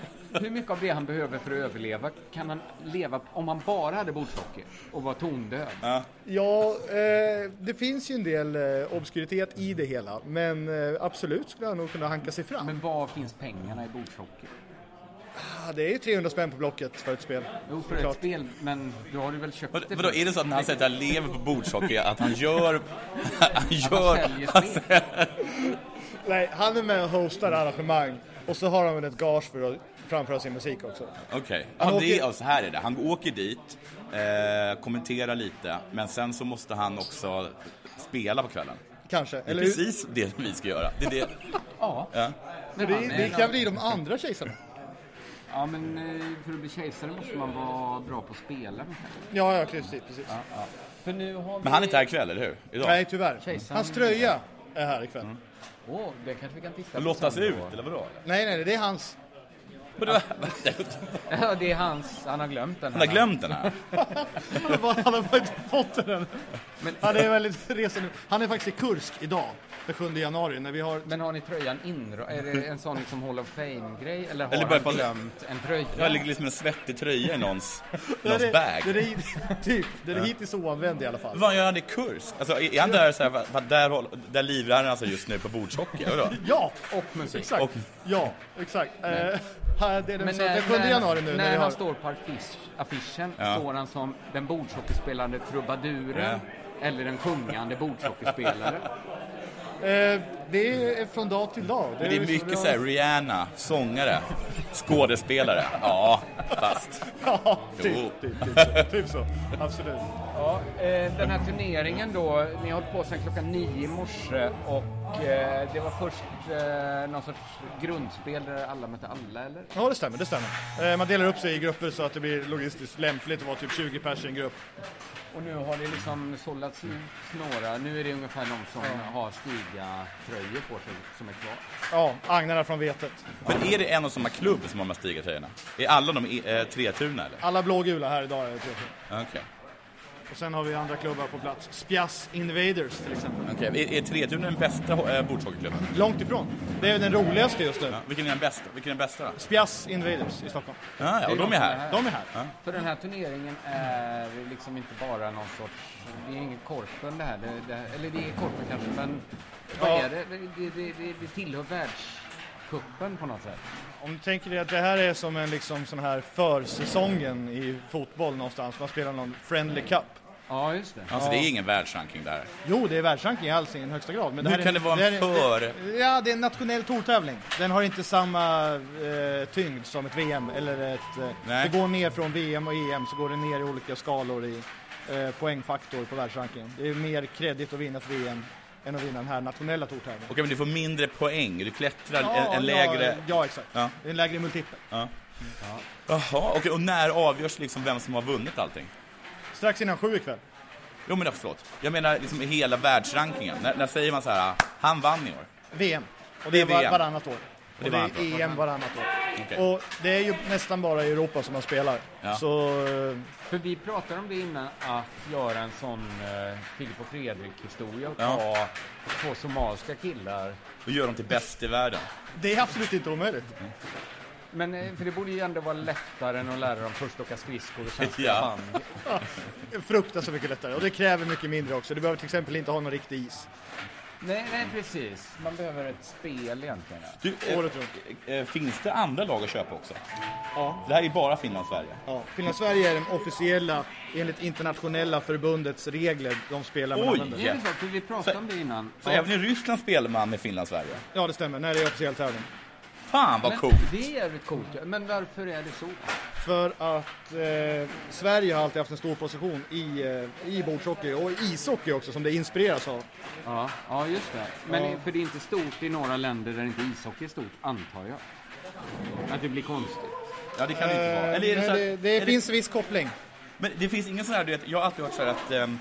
Hur mycket av det han behöver för att överleva kan han leva om han bara hade bordshockey och var tondöv? Ja, eh, det finns ju en del eh, obskuritet i det hela. Men eh, absolut skulle han nog kunna hanka sig fram. Men var finns pengarna i bordshockey? Ah, det är ju 300 spänn på Blocket för ett spel. Jo, för ett Klart. spel, men då har du väl köpt Vad- det Vadå, först? är det så att när han säger att han lever på bordshockey, att han gör... Han han gör... säljer han spel? säljer- Nej, han är med och hostar arrangemang. Och så har han väl ett gage för att framföra sin musik också. Okej, Han ja, det åker- är, ja, så här är det. Han åker dit, eh, kommenterar lite, men sen så måste han också spela på kvällen. Kanske. Det är Eller hur? precis det vi ska göra. Det är det. Ja. Ja. Men han Det, är det en kan bli de andra kejsarna. Ja, men eh, för att bli kejsare måste man vara bra på att spela. Ja, ja, precis. precis. För nu har vi... Men han är inte här ikväll, eller hur? Idag. Nej, tyvärr. Kejsaren- Hans tröja är här ikväll. Mm. Åh, det kanske vi kan titta på. Han lottas sen ut, då. eller vadå? Nej, nej, det är hans. Ja, det är hans. Han har glömt den. Han har glömt den här. Han har bara inte fått den än. Men, Han är väldigt resande. Han är faktiskt i Kursk idag, den 7 januari, när vi har... men har ni tröjan inra... Är det en sån liksom Hall of Fame-grej? Eller har Eller bara han på- glömt en tröja? Jag ligger liksom en svettig tröja i någons, Det är någons det- bag. det är det- Typ, det är det hittills oanvänd i alla fall. Vad gör han i kurs? Alltså, är är han där så här, för att där, håll- där livrar han alltså just nu på bordshockey? eller vadå? Ja, Och musik. exakt. Och- Ja, exakt. Eh, här, det är den, Men så, den 7 januari nu när, när, vi han har... står på affisch, affischen Ja. står han som den bordshockeyspelande trubaduren eller den sjungande bordshockeyspelaren. Eh, det är från dag till dag. Men det är mycket så här, Rihanna, sångare, skådespelare. Ja, fast. Ja, Jo. typ, typ, typ, så. typ så. Absolut. Ja, eh, den här turneringen då, ni har hållit på sedan klockan nio i morse och eh, det var först eh, någon sorts grundspel där alla mötte alla eller? Ja, det stämmer. Det stämmer. Eh, man delar upp sig i grupper så att det blir logistiskt lämpligt att vara typ 20 pers i en grupp. Och nu har det liksom sållats ut några, nu är det ungefär de som har Stiga-tröjor på sig som är kvar. Ja, agnarna från vetet. Men är det en och samma klubb som har de här stigartröjorna? Är alla de i- eh, Tretuna eller? Alla blågula här idag är det trevligt. Okej. Och sen har vi andra klubbar på plats. Spjass Invaders till exempel. Okej, Är, är Tretuna den bästa eh, bordshockeyklubben? Långt ifrån. Det är den roligaste just nu. Ja. Vilken är den bästa? Vilken är den bästa då? Spjass Invaders i Stockholm. Ja, ja, och de är här. De är här. För den här turneringen är liksom inte bara någon sorts, det är ingen korpen det här, det, det, eller det är korpen kanske men vad Ja. är det? Det, det, det, det tillhör världscupen på något sätt. Om du tänker dig att det här är som en liksom sån här försäsongen i fotboll någonstans. Man spelar någon Friendly Cup. Ja, just det. Alltså det är ingen världsranking där. Jo, det är världsranking i all sin högsta grad. Men det Hur här kan är, det vara en här för- det- ja, det är en nationell tourtävling. Den har inte samma eh, tyngd som ett VM eller ett... Eh, Nej. det går ner från VM och EM så går det ner i olika skalor i eh, poängfaktor på världsrankingen. Det är mer kredit att vinna ett VM än att vinna den här nationella tourtävlingen. Okej, men du får mindre poäng. Du klättrar Ja, en, en Ja, lägre... ja exakt. Ja. Det är en lägre multipel. Jaha, okej. Och när avgörs liksom vem som har vunnit allting? Strax innan sju ikväll. Jo, men jag förlåt. Jag menar liksom hela världsrankingen. När, när säger man så här, "Ah, han vann i år? VM. Och Det det är är var, VM. varannat år. Och är det är varannat år. EM varannat år. Och det är ju nästan bara i Europa som man spelar. Ja. Så... För vi pratade om det innan, att göra en sån eh, Filip och Fredrik-historia och Ja. ta två somaliska killar. Och gör dem till bäst i världen. Det är absolut inte omöjligt. Men eh, för det borde ju ändå vara lättare än att lära dem först åka skridskor och sen spela Ja. band. Fruktansvärt mycket lättare. Och det kräver mycket mindre också. Du behöver till exempel inte ha någon riktig is. Nej, nej, precis. Man behöver ett spel egentligen. ja. Du, eh, eh, finns det andra lag att köpa också? Det här är ju bara Finland-Sverige. Ja, Finland-Sverige är den officiella, enligt internationella förbundets regler, de spelar man Oj! använder. Det är väl så, för vi pratade om det innan. Så även i Ryssland spelar man med Finland-Sverige? Ja, det stämmer. När det är officiell tävling. Fan vad Men coolt! Det är jävligt coolt. ja. Men varför är det så? För att eh, Sverige har alltid haft en stor position i, eh, i bordshockey och i ishockey också, som det inspireras av. Ja, ja just det. Men Ja. det- för det är inte stort i några länder där inte ishockey är stort, antar jag. Att det blir konstigt. Ja, det kan det inte vara. Eller är det, men eh, så här, det, det är finns viss koppling. Men det finns ingen sån här, du vet, jag har alltid hört så här att ehm,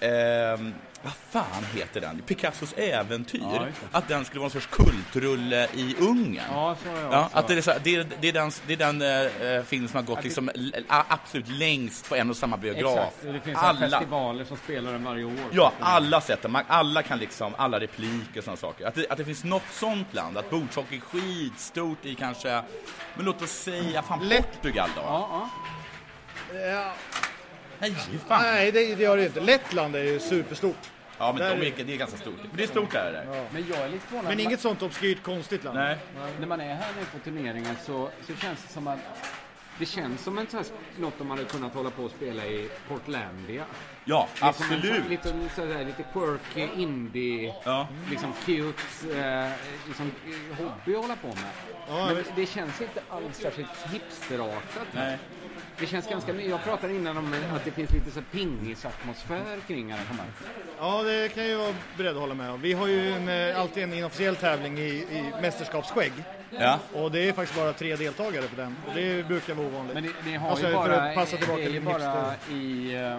ehm, vad fan heter den? Picassos äventyr. Ja, just att den skulle vara en sorts kultrulle i Ungern. Ja, så har jag Ja, också. att det, är så här, det, är, det är den, det är den eh, film som har gått Att det- liksom, l- l- absolut längst på en och samma biograf. Exakt. och Det finns alla. alla, festivaler som spelar den varje år. ja, alla sätt. Man, alla kan liksom, alla repliker och sådana saker. Att det, att det finns något sånt land, att bordshockey är skitstort i kanske, men låt oss säga fan Portugal då. Ja. Nej, Nej, det, det gör det inte. Lettland är ju superstort. Ja, men Där de är- är, det är ganska stort. Men det är stort där. där. Men jag är lite förvånad. Men inget sånt obskyrt konstigt land. Nej. När man är här nu på turneringen så, så känns det som att det känns som en sån här, något de hade kunnat hålla på och spela i Portlandia. Ja, Det är som en sån- absolut. Lite, så här, lite quirky, indie, liksom cute, eh, liksom, eh, hobby att hålla på med. Ja, Men visst. det känns inte alls särskilt hipsterartat. Nej. Det känns ganska mycket. Jag pratade innan om att det finns lite så här pingisatmosfär kring arrangemanget. Ja, det kan jag ju vara beredd att hålla med om. Vi har ju en, eh, alltid en inofficiell tävling i, i mästerskapsskägg. Ja. Och det är faktiskt bara tre deltagare på den. Och det brukar vara ovanligt. Men ni, ni har Alltså, ju för bara, att passa tillbaka det är ju till bara hipster. i... eh,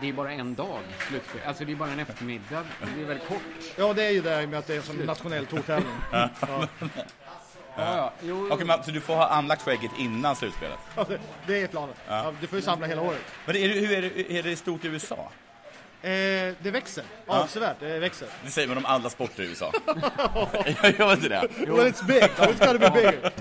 Det är bara en dag slutspel. Alltså det är bara en eftermiddag. Det är väldigt kort. Ja, det är ju det här med att det är som nationell tourtävling. Ja. Ja. ja. Jo, Okej, men, så du får ha anlagt skägget innan slutspelet? Ja, det- det är planen. Ja. Ja, du får ju samla hela året. Men är det, hur är det, är det stort i USA? Eh, det växer avsevärt. Det växer. Det säger man om alla sporter i USA. jag gör inte det. Well, it's big. It's gotta be bigger.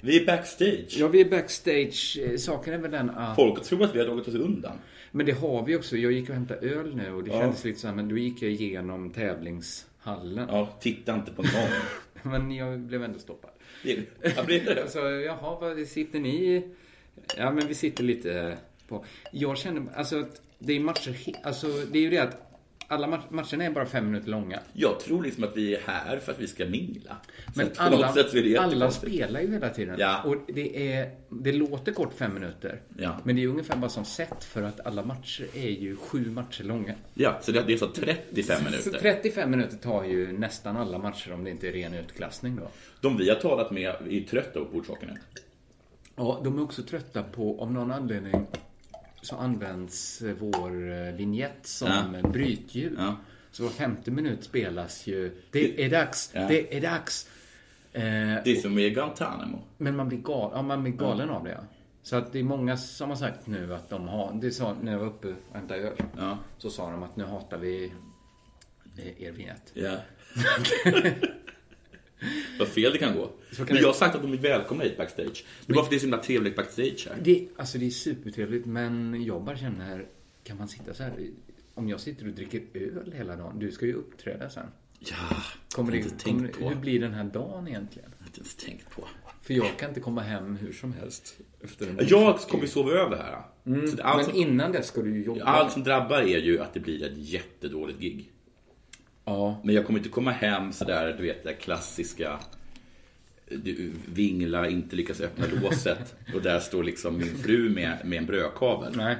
Vi är backstage. Ja, vi är backstage. Eh, Saken är väl den att... Folk tror att vi har dragit oss undan. Men det har vi också. Jag gick och hämtade öl nu och det Ja. kändes lite så här, men då gick jag igenom tävlingshallen. Ja, titta inte på någon. men jag blev ändå stoppad. Jag blir det. alltså, jaha, vad sitter ni i? Ja, men vi sitter lite på... Jag känner, alltså, att det är matcher... he- Alltså, det är ju det att alla ma- matcherna är bara fem minuter långa. Jag tror liksom att vi är här för att vi ska mingla. Men alla, alla spelar ju hela tiden. Ja. Och det, är, det låter kort fem minuter. Ja. Men det är ungefär bara som sett för att alla matcher är ju sju matcher långa. Ja, så det, det är så 35 Så minuter. 35 minuter tar ju nästan alla matcher om det inte är ren utklassning då. De vi har talat med är trötta på bordshockey nu. Ja, de är också trötta på, om någon anledning, så används eh, vår eh, vignett som ja. brytljud. Så var femte minut spelas ju, det är dags, Ja. det är dags. Eh, Det är som i Guantanamo. Men man blir, gal, ja, man blir galen av det. Ja. Så att det är många som har sagt nu att de har... Det sa, när jag var uppe och hämtade öl. Så sa de att nu hatar vi eh, er vignett. Ja. Vad fel det kan gå. Så kan Men det- jag har sagt att de är välkomna hit backstage. Det är bara för att det är så himla trevligt backstage här. Det, alltså det är supertrevligt men jag bara känner, kan man sitta så här? Om jag sitter och dricker öl hela dagen, du ska ju uppträda sen. Ja, kommer jag har det, inte tänkt kommer, på. Hur blir den här dagen egentligen? Jag har inte ens tänkt på. För jag kan inte komma hem hur som helst. Efter en Jag kommer ju sova över här. Mm, Så alltså allt men som- innan det ska du ju jobba. Allt som drabbar är ju att det blir ett jättedåligt gig. Ja. Men jag kommer inte komma hem sådär, du vet, det där klassiska du, vingla, inte lyckas öppna låset och där står liksom min fru med, med en brödkavel. Nej.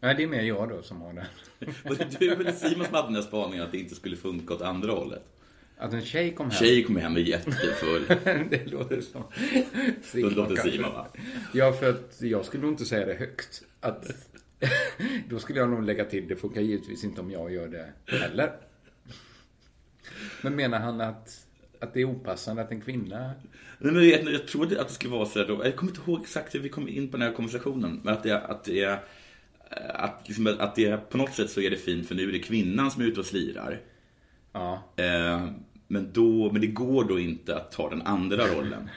Nej, det är mer jag då som har den. Var det du eller Simon som hade den här spaningen att det inte skulle funka åt andra hållet? Att en tjej kom hem. Tjej kom hem och är jättefull. det låter som... Det låter Simon va? Ja, för att jag skulle nog inte säga det högt. Att... Då skulle jag nog lägga till, det funkar givetvis inte om jag gör det heller. Men menar han att att det är opassande att en kvinna... Nej, men jag, jag trodde att det skulle vara så här då. Jag kommer inte ihåg exakt hur vi kom in på den här konversationen. Men att det, att det, att, liksom, att det på något sätt så är det fint för nu är det kvinnan som är ute och slirar. Ja. Eh, men, då, men det går då inte att ta den andra rollen.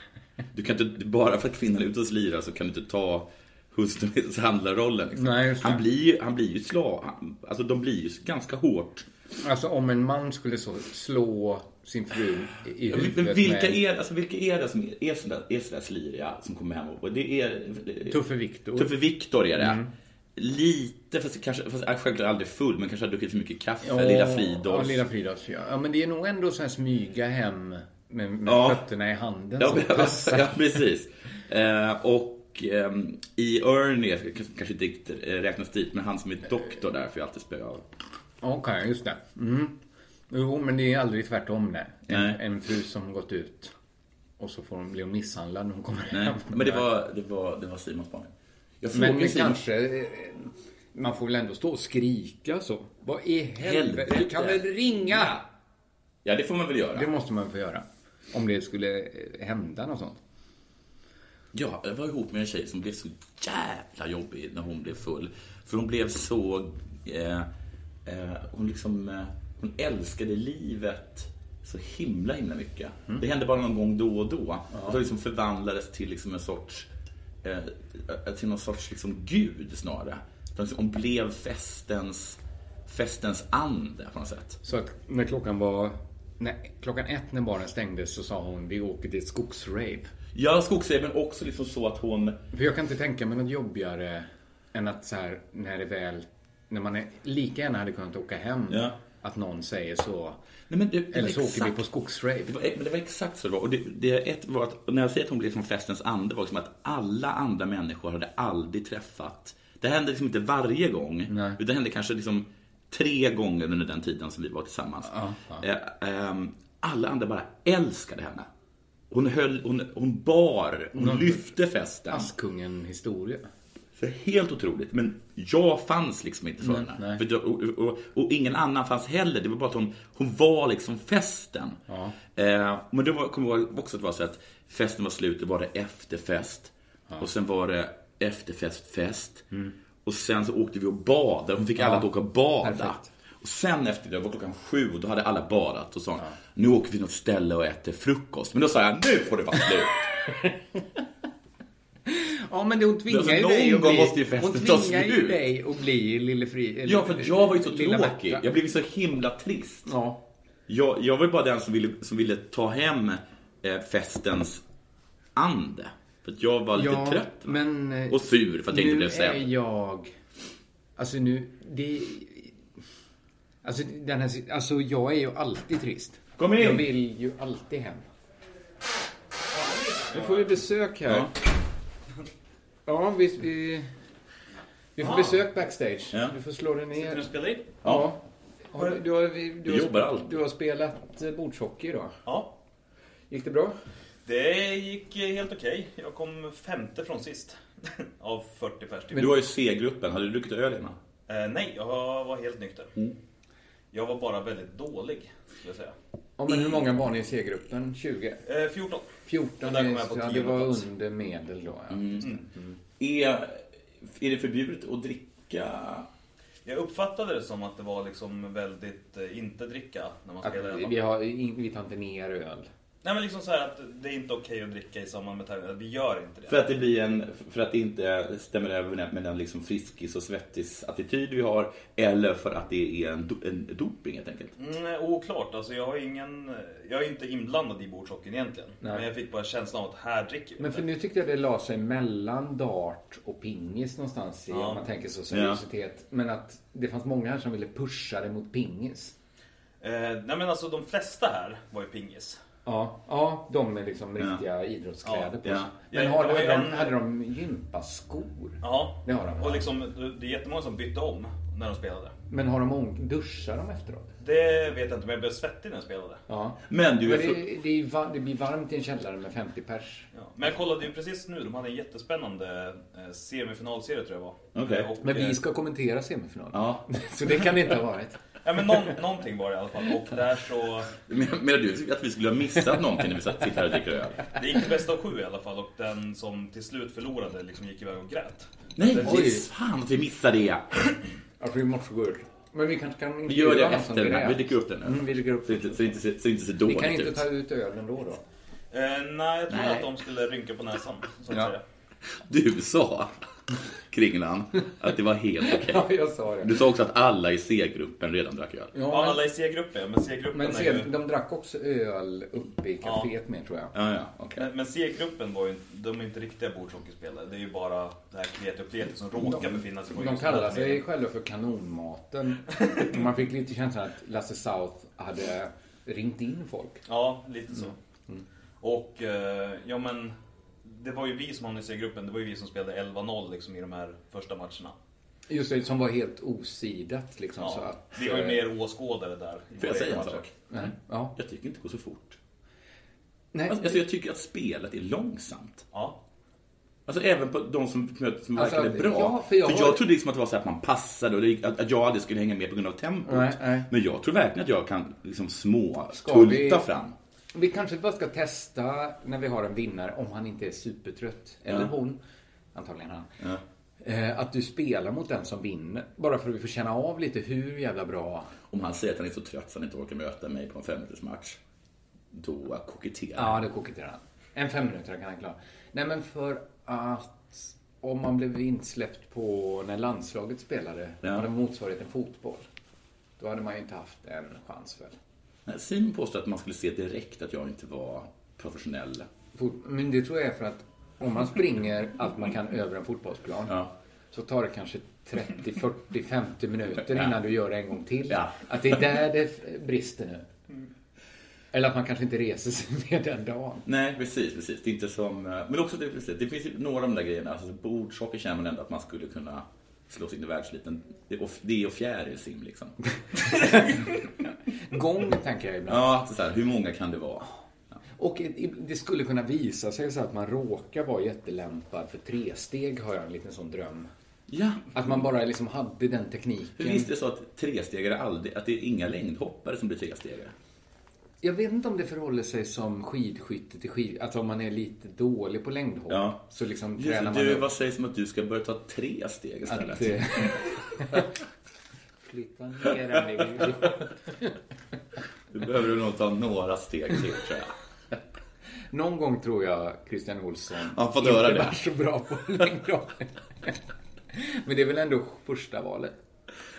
Du kan inte, bara för att kvinnan är ute och slirar så kan du inte ta hustruns handlarrollen. Liksom. Nej, just det. han, blir, ju- han blir ju slav. han- Alltså de blir ju ganska hårt. Alltså om en man skulle så slå sin fru i i Ja, men- huvudet Men vilka med... är, alltså, vilka är det som är, är sådär, är sådär sliriga som kommer hem och det är... Tuffe Viktor. Tuffe Viktor är det. Mm. Lite, fast, kanske, fast är självklart aldrig full, men kanske har druckit för mycket kaffe. Ja, Lilla Fridolf. Ja, Lilla Fridolfs, ja. ja, men det är nog ändå så här smyga hem med, med Ja. fötterna i handen Ja, som men- passar. ja precis. Eh, och ehm, i Ernie, k- kanske inte riktigt eh, räknas dit, men han som är doktor där får jag alltid spöa av. Okej, just det. Mm. Jo, men det är aldrig tvärtom nej. En, Nej. en fru som gått ut och så får hon, blir hon misshandlad när hon kommer Nej, hem. men det var, det var, det var Simons barn. Jag frågar Men Simon- kanske... eh, Man får väl ändå stå och skrika så. Vad i helvete? Helvete. Du kan väl ringa? Ja, det får man väl göra. Det måste man få göra. Om det skulle eh, hända något sånt. Ja, jag var ihop med en tjej som blev så jävla jobbig när hon blev full. För hon blev så... Eh, eh, hon liksom... Eh, hon älskade livet så himla, himla mycket. Det hände bara någon gång då och då. Och så liksom förvandlades till liksom en sorts... Eh, till någon sorts liksom gud snarare. Så liksom, Hon blev festens, festens ande på något sätt. Så att när klockan var... När, klockan ett när baren stängdes så sa hon vi åker till ett skogsrave. Ja, skogsrave, men också liksom så att hon... För jag kan inte tänka mig något jobbigare än att så här när det väl... När man är, lika gärna hade kunnat åka hem. Ja. Att någon säger så. Nej, men det- det var eller så åker vi exakt- på skogsrave. Det var, men det var exakt så det var. Och det, det ett var att, och när jag säger att hon blev som festens ande var liksom att alla andra människor hade aldrig träffat. Det hände liksom inte varje gång. Utan det hände kanske liksom tre gånger under den tiden som vi var tillsammans. Eh, ehm, alla andra bara älskade henne. Hon, höll, hon, hon bar, hon Någon lyfte festen. Askungen-historia. Så helt otroligt. Men jag fanns liksom inte för Nej, henne. nej. För då- och, och, och ingen annan fanns heller. Det var bara att hon, hon var liksom festen. Ja. Eh, men det var, kommer jag ihåg också att det var så att festen var slut, då var det efterfest. Och sen var det efterfest, fest. Mm. Och sen så åkte vi och badade. Hon fick alla att åka och bada. Och sen efter det, det var klockan sju och då hade alla badat och sa hon, nu åker vi till något ställe och äter frukost. Men då sa jag, nu får det vara slut. Ja, men det, hon tvingar Alltså, ju någon dig att gång bli... måste ju festen hon ta tvingar ju slut. dig att bli Lille Fri... Ja, för jag var ju så Lilla tråkig. Märta. Jag blev så himla trist. Ja. Jag, jag var ju bara den som ville, som ville ta hem eh, festens ande. För att jag var lite Ja, trött. va? men, eh, och sur för att jag inte nu blev är sedd. jag... Alltså nu, det... Alltså, den här, alltså jag är ju alltid trist. Kom in! Jag vill ju alltid hem. Nu får vi besök Eh, här. Ja, vi... vi... Vi får besök backstage. Ja. Du får slå dig ner. Sitter du och spelar in? Ja. Har du, du, har, vi- du, Vi jobbar har, alltid. du har spelat eh, bordshockey idag. Ja. Gick det bra? Det gick eh, helt okej. Jag kom femte från sist. Av 40 pers. typ. Du var ju C-gruppen. Hade du druckit öl innan? Eh, nej, jag var helt nykter. Mm. Jag var bara väldigt dålig, skulle jag säga. Ja, men hur många var ni i C-gruppen? 20? Eh, 14. 14 Och där kom jag på så det tionde var plats. Mm, under medel då. Ja. Är, är det förbjudet att dricka... Jag uppfattade det som att det var liksom väldigt eh, inte dricka när man Att spelar i alla vi, fall. har, in- vi tar inte ner öl. Nej men liksom så här att det är inte okej att dricka i samband med tävlingar. Vi gör inte det. För att det blir en... För att det inte stämmer överens med den liksom friskis och svettis-attityd vi har. Eller för att det är en, do- en doping helt enkelt. Mm, oklart. Alltså jag har ingen... Jag är inte inblandad i bordshockeyn egentligen. Nej. Men jag fick bara känslan av att här dricker vi Men inte. för nu tyckte jag det la sig mellan dart och pingis någonstans i, Ja. om man tänker så seriositet. Men att det fanns många här som ville pusha det mot pingis. Eh, nej men alltså de flesta här var ju pingis. Ja, ja de med liksom riktiga idrottskläder Ja, på ja. sig. Men Ja, har, det var hade, ju de, en- hade de gympaskor? Ja, Det har de. och liksom, det är jättemånga som bytte om när de spelade. Men har de on- duschar de efteråt? Det vet jag inte, men jag blev svettig när jag spelade. Ja. Men du är det, för- det, är ju va- det blir varmt i en källare med 50 pers. Ja. Men jag kollade ju precis nu, de hade en jättespännande eh, semifinalserie tror jag det var. Okej. Och, Men vi eh, ska kommentera semifinalen. Ja. Så det kan det inte ha varit. Ja, men någon, någonting var det i alla fall. Och där så... Men- Menar du att vi skulle ha missat någonting när vi satt sitter här och dricker öl? Det gick bäst av sju i alla fall och den som till slut förlorade liksom gick iväg och grät. Nej, Den- oj, fan att vi missade det. Jag tror vi måste gå ut. Men vi kanske kan Vi gör det intervjua någon som efter den här. grät. Vi dricker upp den nu. Mm, vi dricker upp så, inte, så, inte, så, inte ser Vi dåligt kan inte ut. ta ut ölen då då. Eh, nej, jag tror Nej. att de skulle rynka på näsan. Så att Ja. säga. Du sa, Kringlan, att det var helt okej. Ja, jag sa det. Du sa också att alla i C-gruppen redan drack öl. Ja, alla i C-gruppen, ja, men C-gruppen Men är se, ju... de drack också öl uppe i Ja. kaféet med tror jag. Ja, ja. Men, men C-gruppen var ju, de är inte riktiga bordshockeyspelare. Det är ju bara det här kreti och pleti som råkar befinna sig på De just kallar den sig turneringen. själva för kanonmaten. Man fick lite känslan att Lasse South hade ringt in folk. Ja, lite så. Mm. Mm. Och, eh, ja men, det var ju vi som hamnade i C-gruppen. Det var ju vi som spelade 11-0 liksom i de här första matcherna. Just det, som var helt osidat liksom. Ja, så att, vi var ju eh, mer åskådare där. i Alltså Får jag våra säga en matcher. sak? Nej. Ja. Jag tycker inte det går så fort. Nej. Alltså, jag tycker att spelet är långsamt. Ja. Alltså även på de som, som Alltså, verkade bra. ja, för för jag, jag- trodde liksom att det var så här att man passade och det, gick- att, att jag aldrig skulle hänga med på grund av tempot. Nej, nej. Men jag tror verkligen att jag kan liksom små Ska tulta vi- fram. Vi kanske bara ska testa när vi har en vinnare, om han inte är supertrött, eller Ja. hon, antagligen han. Ja. Eh, Att du spelar mot den som vinner, bara för att vi får känna av lite hur jävla bra... Om han säger att han är så trött så han inte orkar möta mig på en femminutersmatch. Då koketterar Ja, det koketterar han. En fem minuter kan han klara. Nej, men för att om man blev insläppt på när landslaget spelade, Ja. hade motsvarigheten fotboll, då hade man ju inte haft en chans väl. Nej, Simon påstår att man skulle se direkt att jag inte var professionell. Fot- Men det tror jag är för att om man springer allt man kan över en fotbollsplan så tar det kanske 30, 40, 50 minuter Ja. innan du gör det en gång till. Att det är där det f- brister nu. Eller att man kanske inte reser sig mer den dagen. Nej, precis, precis. Det är inte som... eh, Men också det, precis, det finns ju några av de där grejerna. Alltså, bordshockey känner man ändå att man skulle kunna slå sig in i världsliten. Det är och- Det är och fjärilsim liksom. Gång tänker jag ibland. Ja, så här, hur många kan det vara? Och i- i- det skulle kunna visa sig så att man råkar vara jättelämpad för tresteg har jag en liten sån dröm. Ja. Att man bara liksom hade den För tekniken. visst är det så att trestegare aldrig, att det är inga längdhoppare som blir trestegare? Jag vet inte om det förhåller sig som skidskytte till skid... Alltså om man är lite dålig på längdhopp Ja. så liksom Just, tränar man du, upp vad sägs om att du ska börja ta tre steg istället? att... eh, Flytta ner den i- Du behöver du nog ta några steg till tror jag. Eh. Någon gång tror jag Christian Olsson Ja, fått inte höra det. var så bra på längdhopp. Men det är väl ändå första valet.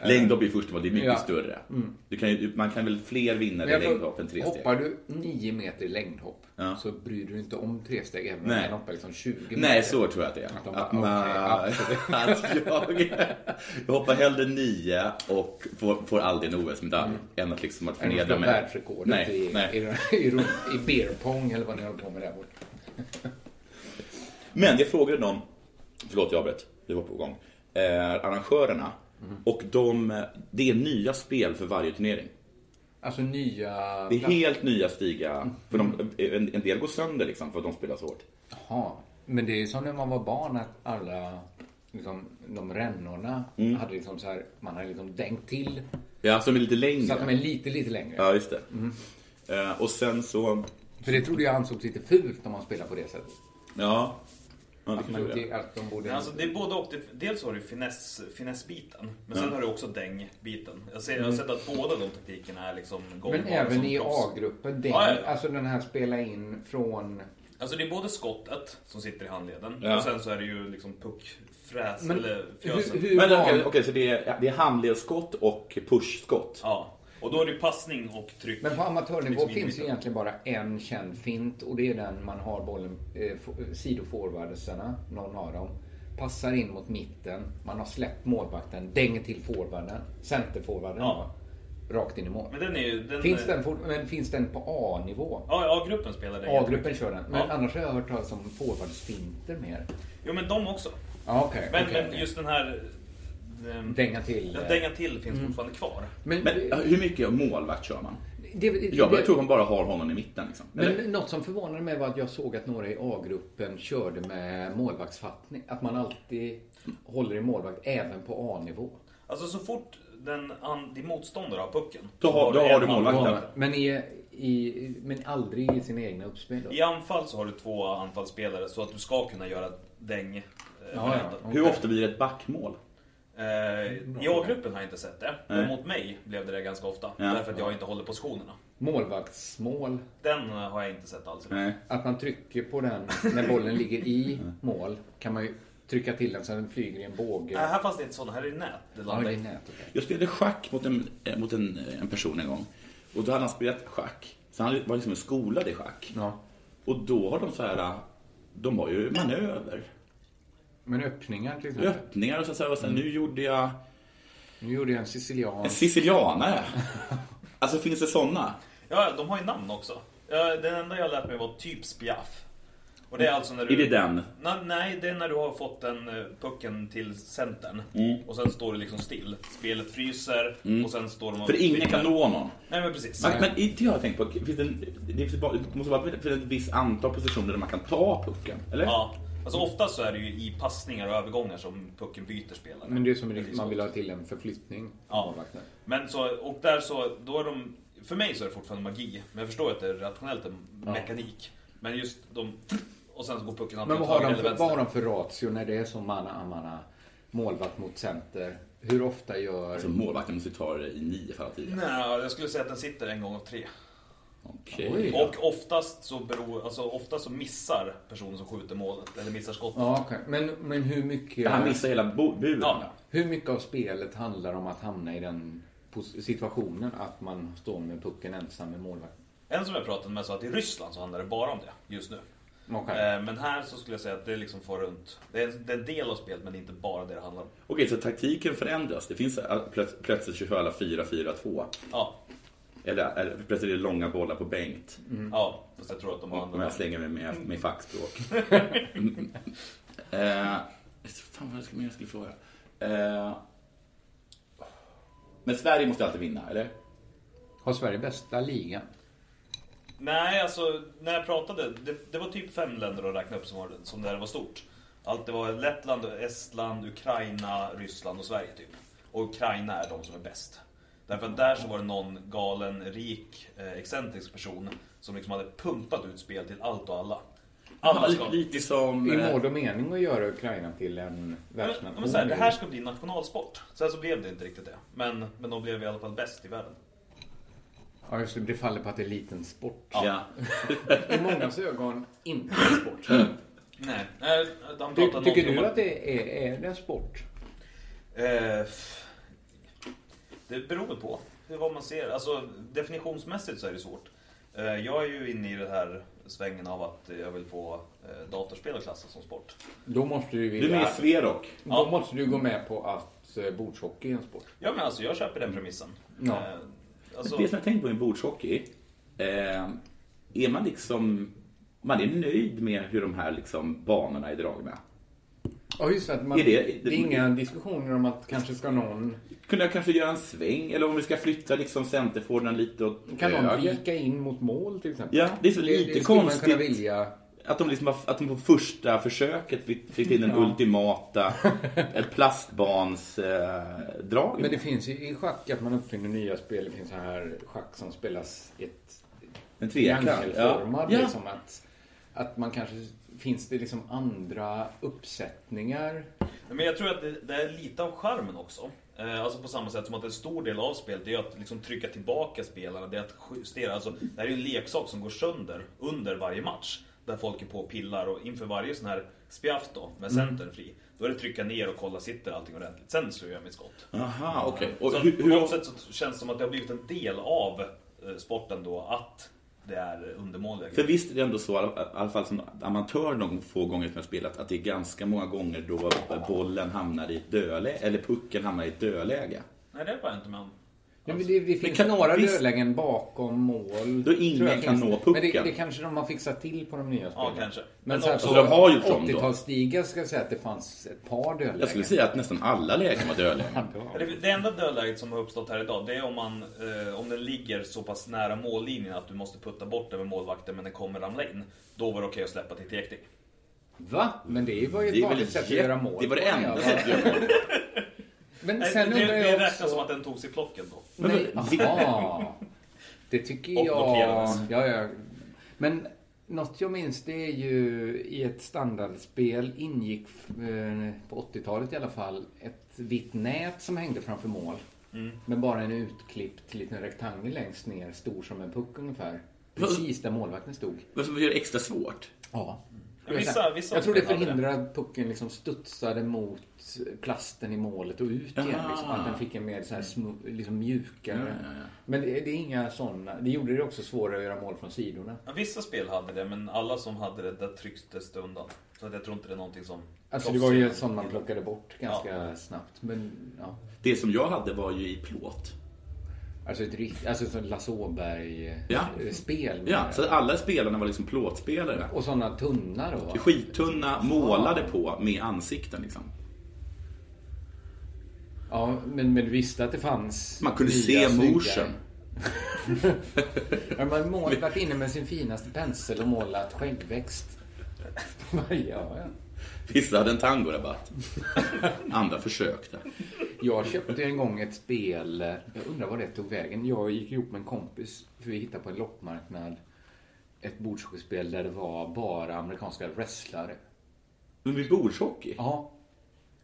Längdhopp är först av allt, det är mycket Ja. större. Mm. Du kan, ju- man kan väl fler vinnare Men i jag tror- längdhopp än tresteg? Hoppar du 9 meter längdhopp Ja. så bryr du dig inte om tresteg även om Nej. man hoppar liksom 20 meter. Nej, så tror jag att det är. Att de bara, Att man, okej, absolut. att jag, jag hoppar hellre nio och får, får aldrig en OS-medalj än att liksom att Mm. Än att förnedra slå mig. världsrekordet Nej, i, nej. i, i, i beerpong eller vad ni håller på med där borta. Men jag frågade dem, förlåt jag avbröt, det var på gång, eh, arrangörerna Mm. och de, det är nya spel för varje turnering. Alltså nya... Det är helt nya stiga, för Mm. de, en, en del går sönder liksom för att de spelar så hårt. Jaha. Men det är ju som när man var barn att alla liksom, de rännorna Mm. hade liksom så här, man hade liksom dängt till Ja, så de är lite längre. så att de är Mm. lite, lite längre. Ja, just det. Eh, och sen så... För det trodde jag ansågs lite fult om man spelar på det sättet. Ja. ja det Att kanske man det är. inte, att de borde... Men alltså, det är både och. Det- Dels har du finess, finessbiten, men Ja. sen har du också dängbiten. Jag, ser, jag har Mm. sett att båda de taktikerna är liksom gångbara Men även som i proffs. A-gruppen, den, Ja, ja, ja. alltså den här spela in från... Alltså det är både skottet som sitter i handleden Ja. och sen så är det ju liksom puckfräs Men eller hur- fjösen. Men, okej, okej, så det är, det är handledsskott och pushskott? Ja, och då är det ju passning och tryck. Men på amatörnivå Liksom finns ju inbiten. egentligen bara en känd fint och det är den man har bollen, eh, f- sidoforwardsarna, någon av dem, passar in mot mitten, man har släppt målvakten, dänger till forwarden, centerforwarden Ja. då, rakt in i mål. Men den är ju... Den finns, är- den for, men finns den på A-nivå? Ja, i A-gruppen spelar det. A-gruppen kör den, men Ja. annars har jag hört talas om forwardsfinter mer. Jo, men de också. Ja, okej, men, okej, men okej. just den här... ehm, Dänga till, Ja, eh, dänga till finns mm. fortfarande kvar. Men, Men- hur mycket målvakt kör man? Det- det- jag det- tror man bara har honom i mitten. Liksom. Men Eller? något som förvånade mig var att jag såg att några i A-gruppen körde med målvaktsfattning. Att man alltid håller i målvakt även på A-nivå. Alltså så fort den, an, din motståndare har pucken. Då har- då en har du anfall. målvakten. Men, i, i, men aldrig i sina egna uppspel då? I anfall så har du två anfallsspelare så att du ska kunna göra däng. eh, ja. varenda. Hur ofta blir det ett backmål? Eh, I A-gruppen har jag inte sett det, men Nej. mot mig blev det det ganska ofta. Ja. Därför att jag inte håller positionerna. Målvaktsmål. Den eh, har jag inte sett alls. Att man trycker på den när bollen ligger i mål kan man ju trycka till den så den flyger i en båge. Nej, här fanns det inte sådana, här är det nät. Det Ja, det landar är i. nät. Jag spelade schack mot en, eh, mot en, eh, en person en gång. Och då hade han spelat schack. Så han var liksom skolad i schack. Och då har de så här, eh, de har ju manöver. Men öppningar till exempel. Öppningar och så, så, här, och sen, nu gjorde jag Nu gjorde jag en sicilian. en sicilianare. alltså finns det sådana? Ja, de har ju namn också. Ja, Den enda jag lärt mig var typ spiaff. Och det är alltså när du... Är det den? Na, nej, det är när du har fått den eh, pucken till centern. Mm. Och sen står det liksom still. Spelet fryser Mm. och sen står de och... För ingen kan nå någon. Nej, men precis. Men, men inte jag har tänkt på, finns det, en, det, finns bara, det måste vara för ett visst antal positioner där man kan ta pucken, eller? Ja. Alltså oftast så är det ju i passningar och övergångar som pucken byter spelare. Men det är som Det det, finns man också. vill ha till en förflyttning. Ja. Men så, och där så, då är de, för mig så är det fortfarande magi. Men jag förstår att det är rationellt, en Ja. mekanik. Men just de, och sen så går pucken Men antingen vad har, höger de eller för, vänster. vad har de för ratio när det är som manna amana målvakt mot center? Hur ofta gör... Alltså målvakten måste ju ta det i nio fall av tio. Nej, jag skulle säga att den sitter en gång av tre. Okej. Och oftast så, beror, alltså oftast så missar personen som skjuter målet, eller missar skottet. Ja, okej. men, men hur mycket... Han missar hela buren. Ja. Hur mycket av spelet handlar om att hamna i den pos- situationen att man står med pucken ensam med målvakten? En som jag pratade med sa att i Ryssland så handlar det bara om det just nu. Okej. Eh, Men här så skulle jag säga att det liksom får runt. Det är, det är en del av spelet men det är inte bara det det handlar om. Okej, så taktiken förändras. Det finns äh, plöts- plötsligt 24 4-4-2. Ja. Eller, eller äh, plötsligt är det långa bollar på Bengt. Ja, fast jag tror att de har Mm. Om andra jag slänger mig med, med fackspråk. Mm. eh, fan vad skulle jag skulle fråga. Eh, men Sverige måste alltid vinna, eller? Har Sverige bästa ligan? Nej, alltså när jag pratade, det, det var typ fem länder att räkna upp som, var, som det här var stort. Allt det var Lettland, Estland, Ukraina, Ryssland och Sverige typ. Och Ukraina är de som är bäst. Därför att där så var det någon galen, rik, eh, excentrisk person som liksom hade pumpat ut spel till allt och alla. Alla ska... lite som... I eh, mål och mening att göra Ukraina till en Ja, världsnation. Men, men så här, det här ska bli nationalsport. Sen så blev det inte riktigt det. Men, men de blev i alla fall bäst i världen. Ja, just det. Det faller på att det är liten sport. Ja. I mångas ögon inte en sport. Nej, eh, de Ty, pratade tycker någonting du om- att det är, är det en sport? Eh, f- det beror väl på hur, vad man ser. Alltså, definitionsmässigt så är det svårt. Eh, jag är ju inne i den här svängen av att eh, jag vill få eh, datorspel att klassas som sport. Då måste du vilja... Du är med i Sverok. Då måste du gå med på att eh, bordshockey är en sport. Ja men alltså, jag köper den premissen. Ja. Eh, alltså, Det som jag tänkt på i bordshockey, eh, är man liksom... Man är nöjd med hur de här liksom banorna är dragna. Ja, just det. Att man, Är det, det- är inga diskussioner om att kanske ska någon... Kunde jag kanske göra en sväng? Eller om vi ska flytta liksom centerforwarden lite åt Kan någon höger? vika in mot mål till exempel? Eh, Ja, det är så lite det skulle Man konstigt kunna vilja. att, de liksom, har- att de på första försöket fick fick in den Ja. ultimata ett plastbansdrag. Eh, drag. Men det finns ju i schack att man uppfinner nya spel. Det finns så här schack som spelas i ett En trekant, ja. triangelformad. Ja. Liksom att, att man kanske... Finns det liksom andra uppsättningar? men jag tror att det, det är lite av charmen också. Eh, Alltså på samma sätt som att en stor del av spelet det är att liksom trycka tillbaka spelarna, det är att justera. Alltså, det här är ju en leksak som går sönder under varje match. Där folk är på och pillar och inför varje sån här spiaff då, med Mm. centern fri. Då är det trycka ner och kolla, sitter allting ordentligt? Sen slår jag mitt skott. Aha, okej. Och Så hur- på hur- något sätt så känns det som att det har blivit en del av eh, sporten då, att det är undermåliga För visst är det ändå så, i alla- i alla fall som amatör de få gånger som jag spelat, att det är ganska många gånger då bollen hamnar i ett dödläge, eller pucken hamnar i ett dödläge. Nej, det var jag inte med om. Ja, Alltså. men det, det finns kan- några visst- dödlägen bakom mål. Då ingen tror jag kan finns. nå pucken. Men det, det kanske de har fixat till på de nya spelen. kanske. Men, Men så här, också- på Så de har gjort dem då? 80-talsstigar ska jag säga att det fanns ett par dödlägen. Jag skulle säga att nästan alla lägen var dödlägen. Det, det enda dödläget som har uppstått här idag, det är om, man, eh, om den ligger så pass nära mållinjen att du måste putta bort den med målvakten men den kommer ramla in. Då var det okej att släppa till tekning. Va? Men det var Det ju ett är väl vanligt sätt att jätte- göra mål. det var det på, enda ja. sättet att göra mål. Men Nej, sen Eh, det, undrar det jag räknas också- som att den togs i plocken då. Nej. Aha. Det tycker Och jag. blockerades. Ja, ja. Men något jag minns det är ju i ett standardspel ingick eh, på 80-talet i alla fall ett vitt nät som hängde framför mål. Mm. Med bara en utklippt liten rektangel längst ner, stor som en puck ungefär. Precis där målvakten stod. Varför gör det extra svårt? Ja. Men vissa- vissa jag tror det spel hade förhindrar att pucken liksom studsade mot plasten i målet och ut igen. Aha. Liksom, att den fick en mer så här smu, liksom mjukare. Ja, ja, ja. Men det, det är inga sådana. Det gjorde det också svårare att göra mål från sidorna. Ja, Vissa spel hade det, men alla som hade det, där trycktes det undan. Så att jag tror inte det är någonting som... Alltså det var ju sånt man plockade bort ganska Ja. snabbt. Men, ja. Det som jag hade var ju i plåt. Alltså ett rikt, alltså som Lasse Åberg Ja. eh, spel. Ja, så att alla spelarna var liksom plåtspelare. Och sådana tunna Typ då? Skittunna, målade på med ansikten liksom. Ja, men, men du visste att det fanns Man kunde nya se snyggare. morsen. Ja, man målat varit inne med sin finaste pensel och målat skäggväxt. ja, ja. Vissa hade en tangorabatt. Andra försökte. Jag köpte en gång ett spel, jag undrar vad det tog vägen. Jag gick ihop med en kompis, för vi hittade på en loppmarknad ett bordshockeyspel där det var bara amerikanska wrestlare. Men med bordshockey? Ja.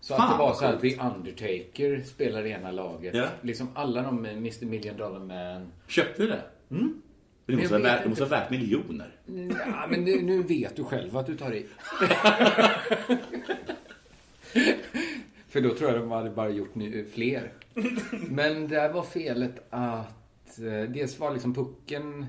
Så Fan, att det var vad så här, coolt. The Undertaker spelade i ena laget. Ja. Liksom alla de med Mr Million Dollar Man. Köpte du det? Mm. Det måste, Men jag ha vet värt, det måste ha inte. värt miljoner. Ja, men nu, nu vet du själv att du tar i. För då tror jag de hade bara gjort nu, fler. Men där var felet att eh, dels var liksom pucken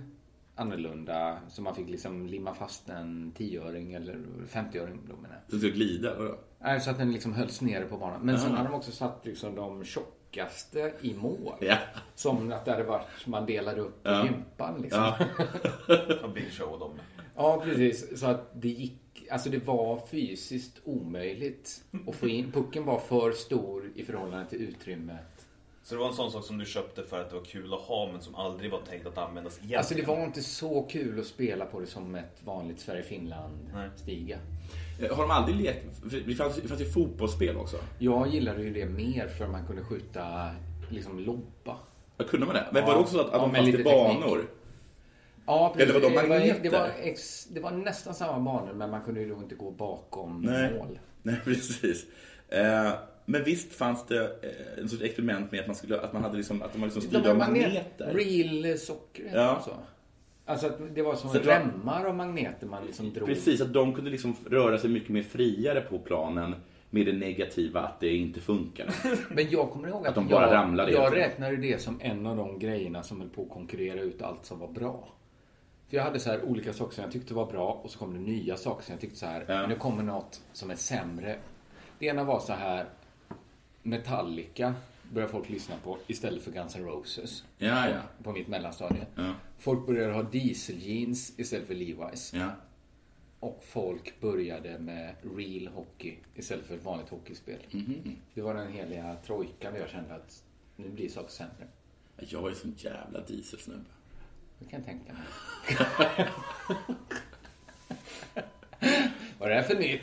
annorlunda. Så man fick liksom limma fast en tioöring eller femtioöring. Då menar jag. Så det glida, vadå? Nej, så att den liksom hölls nere på banan. Men sen Ja. hade de också satt liksom de tjockaste i mål. Ja. Som att det hade varit, man delade upp Ja. gympan liksom. Från Big Show och dem. Ja, precis. Så att det gick... Alltså det var fysiskt omöjligt att få in. Pucken var för stor i förhållande till utrymmet. Så det var en sån sak som du köpte för att det var kul att ha, men som aldrig var tänkt att användas egentligen. Alltså det var inte så kul att spela på det som ett vanligt Sverige-Finland-stiga. Eh, Har de aldrig lekt? för Det fanns, det fanns ju fotbollsspel också. Jag gillade ju det mer för man kunde skjuta liksom lobba. Ja, kunde man det? Men var det också så att- att de med fanns lite det banor? teknik. Ja, precis. Eller var de det, var, det, var magneter? ex, det var nästan samma banor men man kunde ju då inte gå bakom mål. Nej, precis. Eh, men visst fanns det eh, en sorts experiment med att man, skulle, att man hade liksom, att de var liksom styrda av magneter? Real socker heter Ja. det så. Alltså att det var som Så det var- remmar av magneter man liksom drog. Precis, att de kunde liksom röra sig mycket mer friare på planen med det negativa att det inte funkar. Men jag kommer ihåg att, Att de bara jag, ramlade hela jag tiden. räknade det som en av de grejerna som höll på att konkurrera ut allt som var bra. För jag hade så här olika saker som jag tyckte var bra och så kom det nya saker som jag tyckte så här, nu kommer något som är sämre. Det ena var så här, Metallica började folk lyssna på istället för Guns N' Roses. Ja, ja. På mitt mellanstadie. Ja. Folk började ha dieseljeans istället för Levi's. Ja. Och folk började med real hockey istället för ett vanligt hockeyspel. Mm. Mhm. Det var den heliga trojkan där jag kände att nu blir saker sämre. Jag är sån jävla dieselsnubbe. Det kan jag tänka mig. Vad är det här för nytt?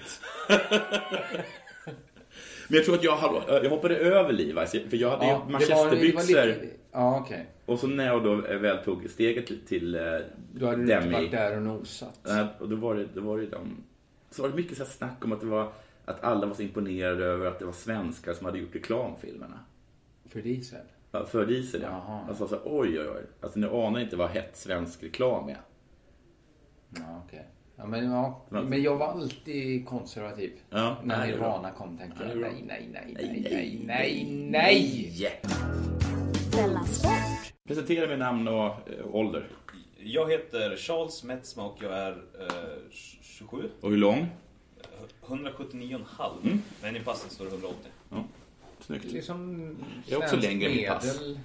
Men jag tror att jag, hade, jag hoppade över Levi's, för jag hade Ja, ju manchesterbyxor. det var lite- Ja, okej. Och så när jag då väl tog steget till eh, Då hade du inte varit där och nosat. Nej, och då var det, då var det de... Så var det mycket så här snack om att det var... Att alla var så imponerade över att det var svenskar som hade gjort reklamfilmerna. För diesel? Ja, för diesel, ja. Alltså så här, oj, oj, oj. Alltså ni anar inte vad hett svensk reklam är. Ja, okej. Ja, men, ja. men jag var alltid konservativ. Ja, När nej, det är Nirvana bra. kom tänkte Ja, det jag är bra. nej, nej, nej, nej, nej, nej, nej. Della Sport. Presentera mig namn och eh, ålder. Jag heter Charles Metzma och jag är eh, 27. Och hur lång? 179,5. Mm. Men i passet står det 180. Ja. Snyggt. Liksom Jag är också svenskt längre än mitt pass. medel.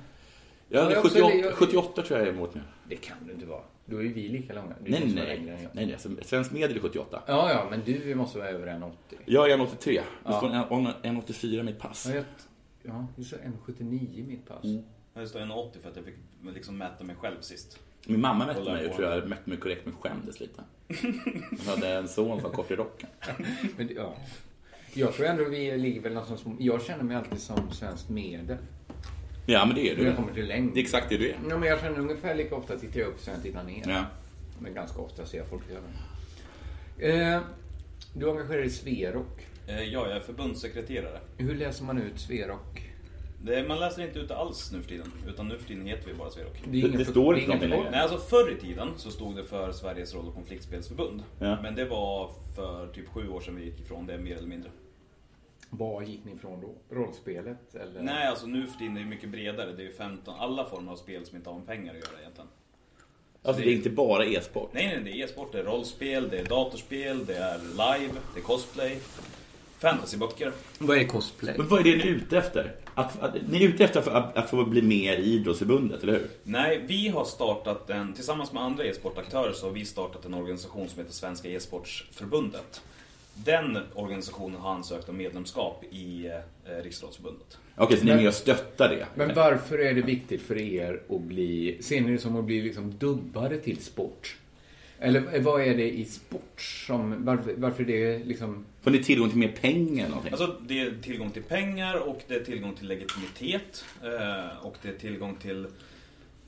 Jag Ja, hade jag också- 78, jag- 78 tror jag är emot nu. Det kan du inte vara. Då är ju vi lika långa. Du Nej, måste vara nej, längre än nej. jag. nej, alltså, Svensk medel är 78. Ja, ja, men du måste vara över 1,80. Jag är 1,83. Det Ja. står 1,84 i mitt pass. Ja, jag, ja, du sa 1,79 i mitt pass. Det står 180 för att jag fick liksom mäta mig själv sist. Min mamma Och mätte mig lära och tror jag mätte mig korrekt men skämdes lite. Hon hade en son som var kort i rocken. Men, det- ja. Jag tror ändå vi ligger väl någonstans... Jag känner mig alltid som svenskt medel. Ja, men det är du. När jag kommer till längd. Det är exakt det du är. Ja, men jag känner ungefär lika ofta tittar jag upp som jag tittar ner. Ja. Men ganska ofta ser jag folk i ögonen. Eh, du engagerar dig i Sverok. Eh, Ja, jag är förbundssekreterare. Hur läser man ut Sverok? Det, man läser inte ut det alls nu för tiden. Utan nu för tiden heter vi bara Sverok. Det är ingen Det- det för- står det är inte ingen någonting förkortning. Nej, alltså förr i tiden så stod det för Sveriges roll och konfliktspelsförbund. Ja. Men det var för typ sju år sedan vi gick ifrån det mer eller mindre. Var gick ni ifrån då? Rollspelet? Eller? Nej, alltså nu för tiden är det mycket bredare. Det är ju 15, alla former av spel som inte har med pengar att göra egentligen. Så Alltså det är inte bara e-sport. Nej, nej, det är e-sport, det är rollspel, det är datorspel, det är live, det är cosplay, fantasyböcker. Vad är cosplay? Men vad är det ni är ute efter? Att, att, ni är ute efter för att, att få bli med i idrottsförbundet, eller hur? Nej, vi har startat en, tillsammans med andra e-sportaktörer så har vi startat en organisation som heter Svenska e-sportsförbundet. Den organisationen har ansökt om medlemskap i eh, Riksidrottsförbundet. Okej, så ni är med och stöttar det? Men varför är det viktigt för er att bli... Ser ni det som att bli liksom dubbade till sport? Eller vad är det i sport som... Varför, varför är det liksom... Får ni tillgång till mer pengar eller någonting? Alltså, det är tillgång till pengar och det är tillgång till legitimitet eh, och det är tillgång till...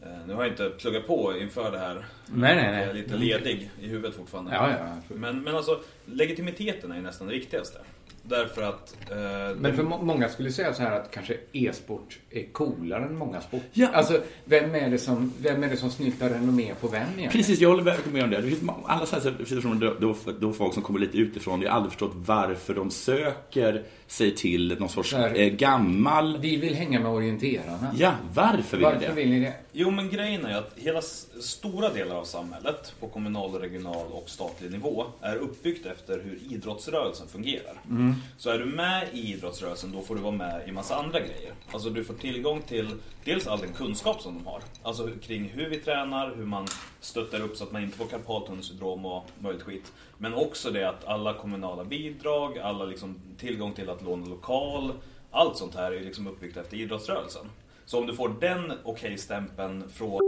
eh, Nu har jag inte pluggat på inför det här. Nej, nej, nej. Jag är lite ledig i huvudet fortfarande. Ja, ja, absolut. men, men alltså, legitimiteten är ju nästan det viktigaste. Därför att... eh, Men för det- må- många skulle säga så här att kanske e-sport är coolare än många sporter. Alltså, vem är det som, vem är det som snyltar renommé på vem egentligen? Precis, jag håller verkligen med om det. Det finns ma- alla sådana här situationer då, då, då folk som kommer lite utifrån, jag har aldrig förstått varför de söker sig till någon sorts Där. eh, gammal... Vi vill hänga med orienterarna. Ja, varför vill ni det? ni det? Jo, men grejen är ju att hela s- stora delar av samhället på kommunal, regional och statlig nivå är uppbyggt efter hur idrottsrörelsen fungerar. Mm. Så är du med i idrottsrörelsen då får du vara med i massa andra grejer. Alltså du får tillgång till dels all den kunskap som de har. Alltså hur- kring hur vi tränar, hur man stöttar upp så att man inte får karpaltunnelsyndrom och möjligt skit. Men också det att alla kommunala bidrag, alla liksom tillgång till att låna lokal. Allt sånt här är ju liksom uppbyggt efter idrottsrörelsen. Så om du får den okej-stämpeln från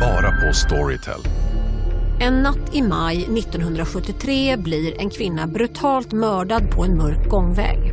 Bara på Storytel. En natt i maj 1973 blir en kvinna brutalt mördad på en mörk gångväg.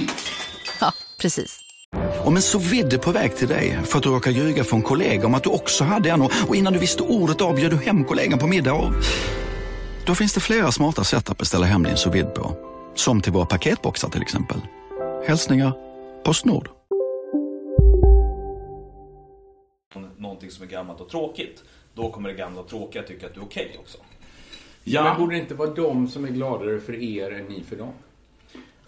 Ja, precis. Om en så vidde på väg till dig för att du råkar ljuga från kollega om att du också hade en och och innan du visste ordet av bjöd du hem kollegan på middag och... Då finns det flera smarta sätt att beställa hem din sous vide på. Som till våra paketboxar till exempel. Hälsningar Postnord. någonting som är gammalt och tråkigt. Då kommer det gamla och tråkiga tycka att du är okej också. Men borde det inte vara de som är gladare för er än ni för dem?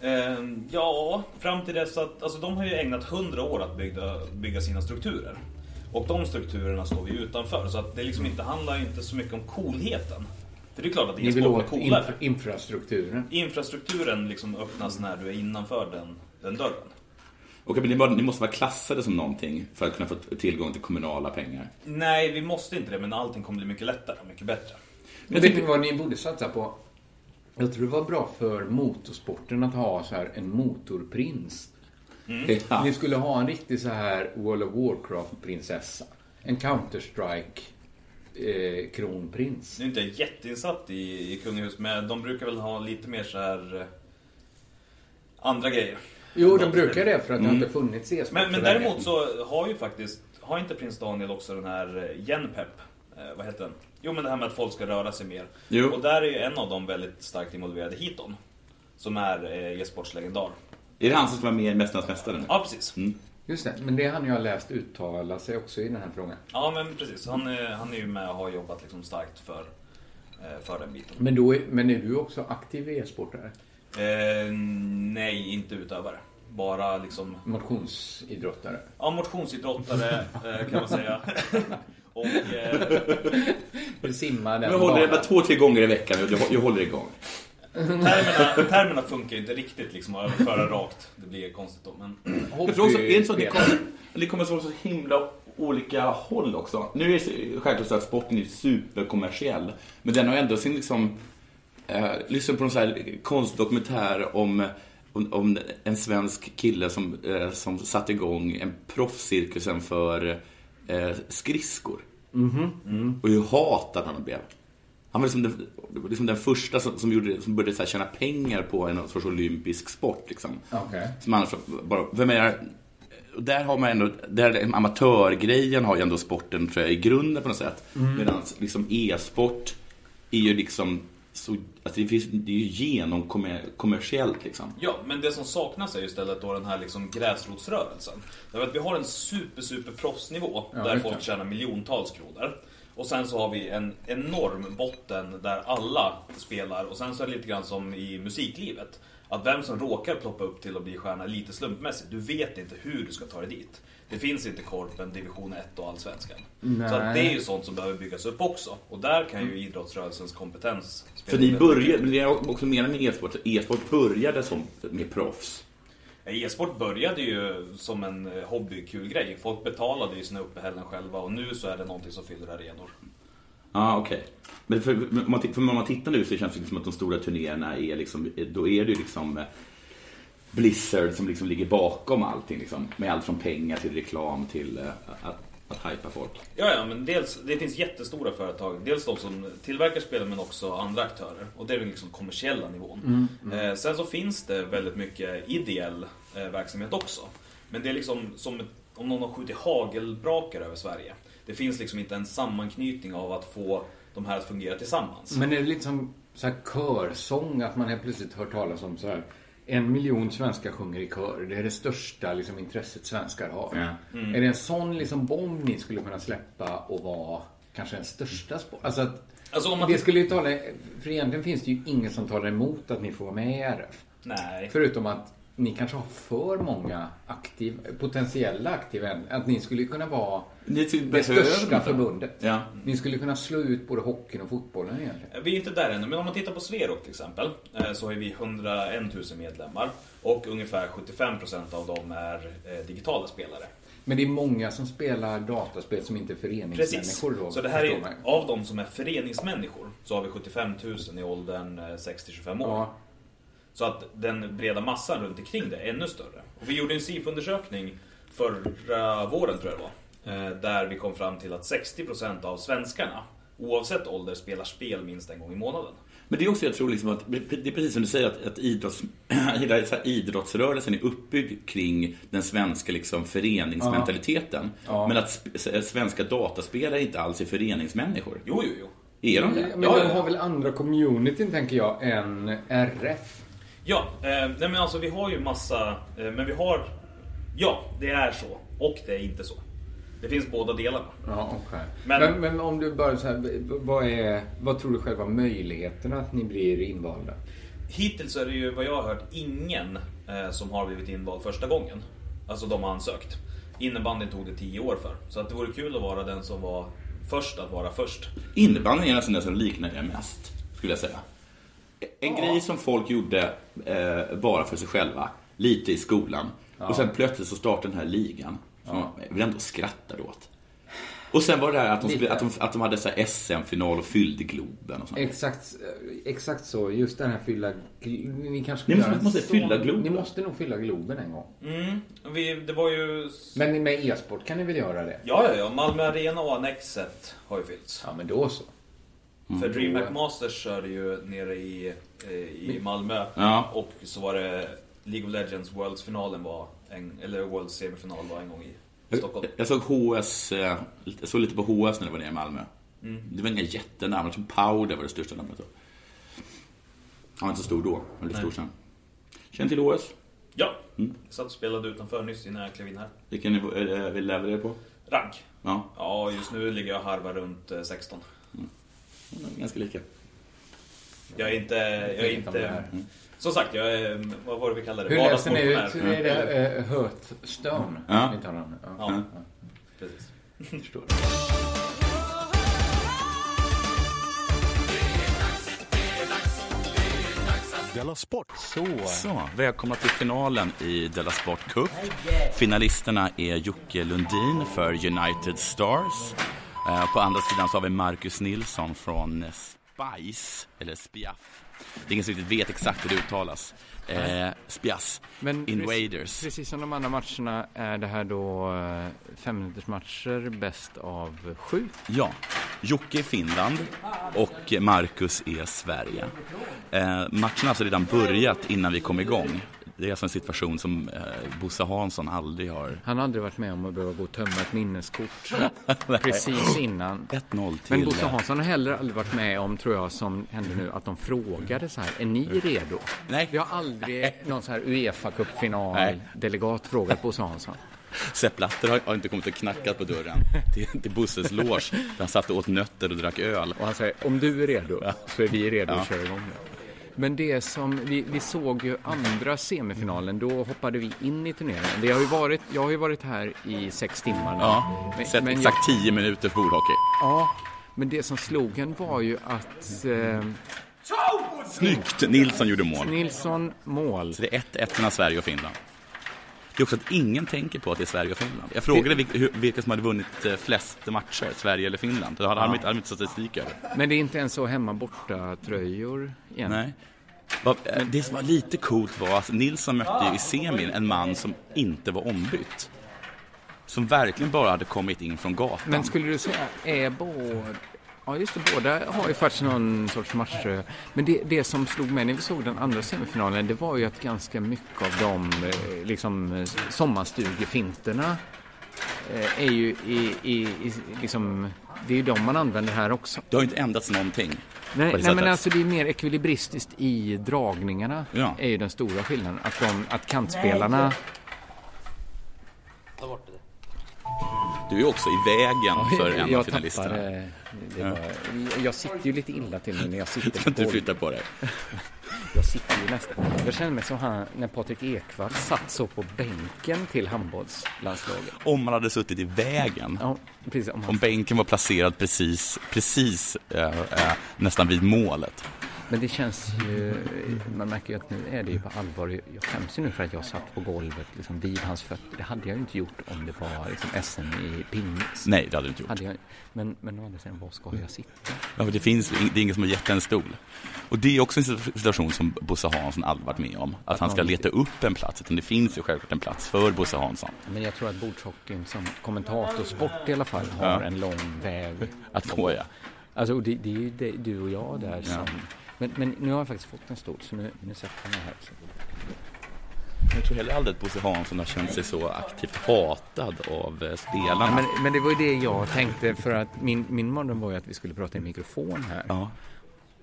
Ehm, ja, fram till dess att... Alltså de har ju ägnat hundra år att bygga, bygga sina strukturer. Och de strukturerna står vi utanför. Så att det liksom inte handlar inte så mycket om coolheten. För det är klart att Ni vill e-sport är åt coolare. infra- infrastrukturen. Infrastrukturen liksom öppnas när du är innanför den, den dörren. Okej, men ni, bara, ni måste vara klassade som någonting för att kunna få t- tillgång till kommunala pengar. Nej, vi måste inte det, men allting kommer bli mycket lättare och mycket bättre. Men vet ni vad ni borde satsa på? Jag tror det var bra för motorsporten att ha så här en motorprins. Mm. Ni skulle ha en riktig så här World of Warcraft-prinsessa. En eh, Counter-Strike-kronprins. Nu är inte jag jätteinsatt i, i kungahus, men de brukar väl ha lite mer så här eh, andra grejer. Jo, de brukar det för att det Mm. har inte funnits e-sport Men, så men länge. däremot så har ju faktiskt, har inte prins Daniel också den här eh, Genpep, eh, vad heter den? Jo men det här med att folk ska röra sig mer. Jo. Och där är ju en av dem väldigt starkt involverade, Hiton. Som är eh, e-sportslegendar. Är det han som ska vara med i Mästarnas Mästare nu? Ja, precis. Just det, men det han jag läst uttala sig också i den här frågan. Ja men precis, han, är- han är ju med och har jobbat liksom starkt för, eh, för den biten. Men, då är, men är du också aktiv e-sportare? Eh, nej, inte utövare. Bara liksom... Motionsidrottare? Ja, motionsidrottare eh, kan man säga. Och... Eh, Du simmar Men den jag håller det banan. bara två, tre gånger i veckan. Jag, jag håller igång. Termerna, termerna funkar ju inte riktigt liksom att överföra rakt. Det blir konstigt då. Men... Jag tror också, är det så att ni kommer, ni kommer från så himla olika håll också? Nu är det självklart så att sporten är superkommersiell, men den har ändå sin liksom... Eh, lyssna på någon sån här konstdokumentär om, om, om en svensk kille som, eh, som satte igång en proffscirkusen för eh, skridskor. Mhm. Och hur hatad han blev. Han var liksom den, liksom den första som, som, gjorde, som började så här tjäna pengar på en sorts olympisk sport. Liksom. Okej. Som annars bara, vem är, och där har man ändå, där amatörgrejen har ju ändå sporten tror jag, i grunden på något sätt. Mm. Medan liksom e-sport är ju liksom så, alltså det, finns, det är ju genomkommersiellt liksom. Ja, men det som saknas är ju istället då den här liksom gräsrotsrörelsen. Därför att vi har en super, super proffsnivå Ja, där verkligen. folk tjänar miljontals kronor. Och sen så har vi en enorm botten där alla spelar och sen så är det lite grann som i musiklivet. Att vem som råkar ploppa upp till att bli stjärna lite slumpmässigt, du vet inte hur du ska ta dig dit. Det finns inte korpen, division 1 och allsvenskan. Så att Nej. Mm. det är ju sånt som behöver byggas upp också. Och där kan ju idrottsrörelsens kompetens För spela ni väldigt började, men det är också menar med e-sport, e-sport började som med proffs. Ja, Eh, E-sport började ju som en eh, hobbykul grej. Folk betalade ju sina uppehällen själva och nu så är det någonting som fyller arenor. Ja, ah, okej. Men för, men om man, ti- för om man tittar nu så känns det liksom som att de stora turnéerna är liksom, då är det ju liksom eh, Blizzard som liksom ligger bakom allting liksom. Med allt från pengar till reklam till eh, att, att hypa folk. Ja, ja, men dels, det finns jättestora företag. Dels de som tillverkar spelen men också andra aktörer. Och det är den liksom kommersiella nivån. Mm, Eh, sen så finns det väldigt mycket ideell eh, verksamhet också. Men det är liksom som ett, om någon har skjutit hagelbrakar över Sverige. Det finns liksom inte en sammanknytning av att få de här att fungera Mm. tillsammans. Men är det lite som så här körsång, att man helt plötsligt hör talas om så här en miljon svenskar sjunger i kör. Det är det största liksom, intresset svenskar har. Ja. Mm. Är det en sån liksom, bomb ni skulle kunna släppa och vara kanske den största sport? Alltså, att, Alltså, om man- Det skulle ju tala... För egentligen finns det ju ingen som talar emot att ni får vara med i RF. Nej. Förutom att ni kanske har för många aktiv, potentiella aktiva än- Att ni skulle kunna vara typ det behöver största inte. förbundet. Ja. Ni skulle kunna slå ut både hockeyn och fotbollen egentligen. Vi är inte där ännu, men om man tittar på Sverok till exempel eh, så har vi 101 000 medlemmar och ungefär 75% av dem är eh, digitala spelare. Men det är många som spelar dataspel som inte är Precis. föreningsmänniskor då. Så det här förstår man är, ju. av de som är föreningsmänniskor så har vi 75 000 i åldern eh, 6-25 år. Ja. Så att den breda massan runt omkring det är ännu större. Och vi gjorde en SIFO-undersökning förra våren tror jag det var. eh, Där vi kom fram till att 60% av svenskarna oavsett ålder spelar spel minst en gång i månaden. Men det är också, jag tror liksom att, det är precis som du säger att, att idrotts, hela så här idrottsrörelsen är uppbyggd kring den svenska liksom föreningsmentaliteten. Ja. Ja. Men att sp- s- svenska dataspelare inte alls är föreningsmänniskor. Jo, jo, jo. Är de det? Mm, Men de har väl andra communityn tänker jag än RF. Ja, eh, nej men alltså vi har ju massa, eh, men vi har, ja det är så och det är inte så. Det finns båda delarna. Ja, okay. Men- men, men, om du bara så här, v- vad, är, vad tror du själva möjligheterna att ni blir invalda? Hittills är det ju vad jag har hört ingen eh, som har blivit invald första gången. Alltså de har ansökt. Innebandyn tog det 10 år för. Så att det vore kul att vara den som var först att vara först. Innebandyn är nästan den som liknar det mest, skulle jag säga. En grej som folk gjorde eh, bara för sig själva, lite i skolan. Och sen plötsligt så startade den här ligan, som Ja. man väl ändå skrattar åt. Och sen var det här att de, skulle, Lite. att de, att de hade så här SM-final och fyllde Globen och sånt. Exakt, exakt så, just den här fylla... gl- Ni kanske Ni skulle göra en måste fylla Globen. Ni måste nog fylla Globen en gång. Mm, vi, det var ju... Men med e-sport kan ni väl göra det? Ja, ja, ja. Malmö Arena och Annexet har ju fyllts. Ja, men då så. Mm. För DreamHack Masters körde ju nere i, eh, i Malmö. Ja. Och så var det League of Legends Worlds-finalen var, en, eller Worlds semifinal var en gång i Stockholm. Jag, jag såg HS, eh, lite- jag såg lite på HS när det var nere i Malmö. Mm. Det var inga jättenamn, jag tror Powder var det största namnet då. Han var inte så stor då, men lite Nej. stor sen. Känner till HS? Ja, Mm. jag satt och spelade utanför nyss innan jag klev in här. Vilken nivå eh, vill leverera på? Rank? Ja. Ja, just nu ligger jag och harvar runt eh, 16. Ganska lika. Jag är inte... Mm. Jag är tänker om det inte här. som sagt, jag är... Vad var det vi kallade det? Hur läser ni ut? Vardagsmotionär. Är det uh, Hearthstone? Ja. Ni talar om det? Ja. Ja. Ja. Mm. Precis. Det är dags, det är dags, Della Sport. Så. Så, välkomna till finalen i Della Sport Cup. Finalisterna är Jocke Lundin för United Stars. Eh, På andra sidan så har vi Marcus Nilsson från Spice, eller Spiaff. Det är ingen som riktigt vet exakt hur det uttalas. Eh, Spias, Men Invaders. Precis, precis som de andra matcherna är det här då eh, femminutersmatcher bäst av sju. Ja, Jocke är Finland och Marcus är Sverige. Eh, matchen har alltså redan börjat innan vi kom igång. Det är alltså en situation som eh, Bosse Hansson aldrig har... Han har aldrig varit med om att behöva gå och tömma ett minneskort precis innan. 1-0 till... Men Bosse Hansson har heller aldrig varit med om, tror jag, som hände nu, att de frågade så här, är ni redo? Nej. Vi har aldrig någon så här Uefa Cup-final-delegat frågat Bosse Hansson. Eh, Sepp Blatter har, har inte kommit och knackat på dörren till, till Bosses loge där han satt och åt nötter och drack öl. Och han säger, om du är redo så är vi redo Ja. att köra igång nu. Men det som, vi, vi såg ju andra semifinalen, då hoppade vi in i turneringen. Det har ju varit, jag har ju varit här i sex timmar nu. Ja, Men- sett men exakt jag- 10 minuter för bordhockey. Ja, men det som slog en var ju att eh, Snyggt! Nilsson gjorde mål. Nilsson mål. Så det är 1-1 mellan Sverige och Finland. Det är också att ingen tänker på att det är Sverige och Finland. Jag frågade vil- hur- vilka som hade vunnit eh, flest matcher, Sverige eller Finland. Det hade Ja. de inte, hade de inte statistik över. men det är inte ens så hemma borta tröjor igen. Nej. Vad- eh, Det som var lite coolt var att Nilsson mötte ju i semin en man som inte var ombytt. Som verkligen bara hade kommit in från gatan. Men skulle du säga, är båda... Ja, just det, båda har ju faktiskt någon sorts matcher. Men det, det som slog mig när vi såg den andra semifinalen, det var ju att ganska mycket av de eh, liksom, eh, sommarstugefinterna eh, är ju i, i, i liksom... Det är ju de man använder här också. Det har ju inte ändrats någonting. på Nej, det nej sättet. men alltså det är mer ekvilibristiskt i dragningarna. Ja. är ju den stora skillnaden. Att, de, att kantspelarna... Ta bort det. Du är ju också i vägen för en av jag eh, finalisterna. tappade- det var- Jag sitter ju lite illa till mig när jag sitter på Du golvet. flyttar på dig. Jag sitter ju nästan... Jag känner mig som han när Patrik Ekwall satt så på bänken till handbollslandslaget. Om man hade suttit i vägen. Ja, precis, om, Om bänken var placerad precis, precis eh, eh, nästan vid målet. Men det känns ju... Man märker ju att nu är det ju på allvar. Jag skäms ju nu för att jag satt på golvet liksom vid hans fötter. Det hade jag ju inte gjort om det var liksom SM i pingis. Nej, det hade du inte gjort. Hade jag, men, men å andra sidan, var ska jag sitta? Ja, för det, finns, det är ingen som har gett en stol. Och det är också en situation som Bosse Hansson aldrig varit med om. Att han ska leta upp en plats. Utan det finns ju självklart en plats för Bosse Hansson. Men jag tror att bordshockeyn som kommentatorsport i alla fall har Ja. en lång väg Att gå, ja. Alltså och det, det är ju det, du och jag där Ja. som... Men, men nu har jag faktiskt fått en stol så nu, nu sätter jag mig här. Jag tror heller aldrig att Bosse Hansson har känt sig så aktivt hatad av eh, spelarna. Ja, men, men det var ju det jag tänkte för att min, min mardröm var ju att vi skulle prata i mikrofon här.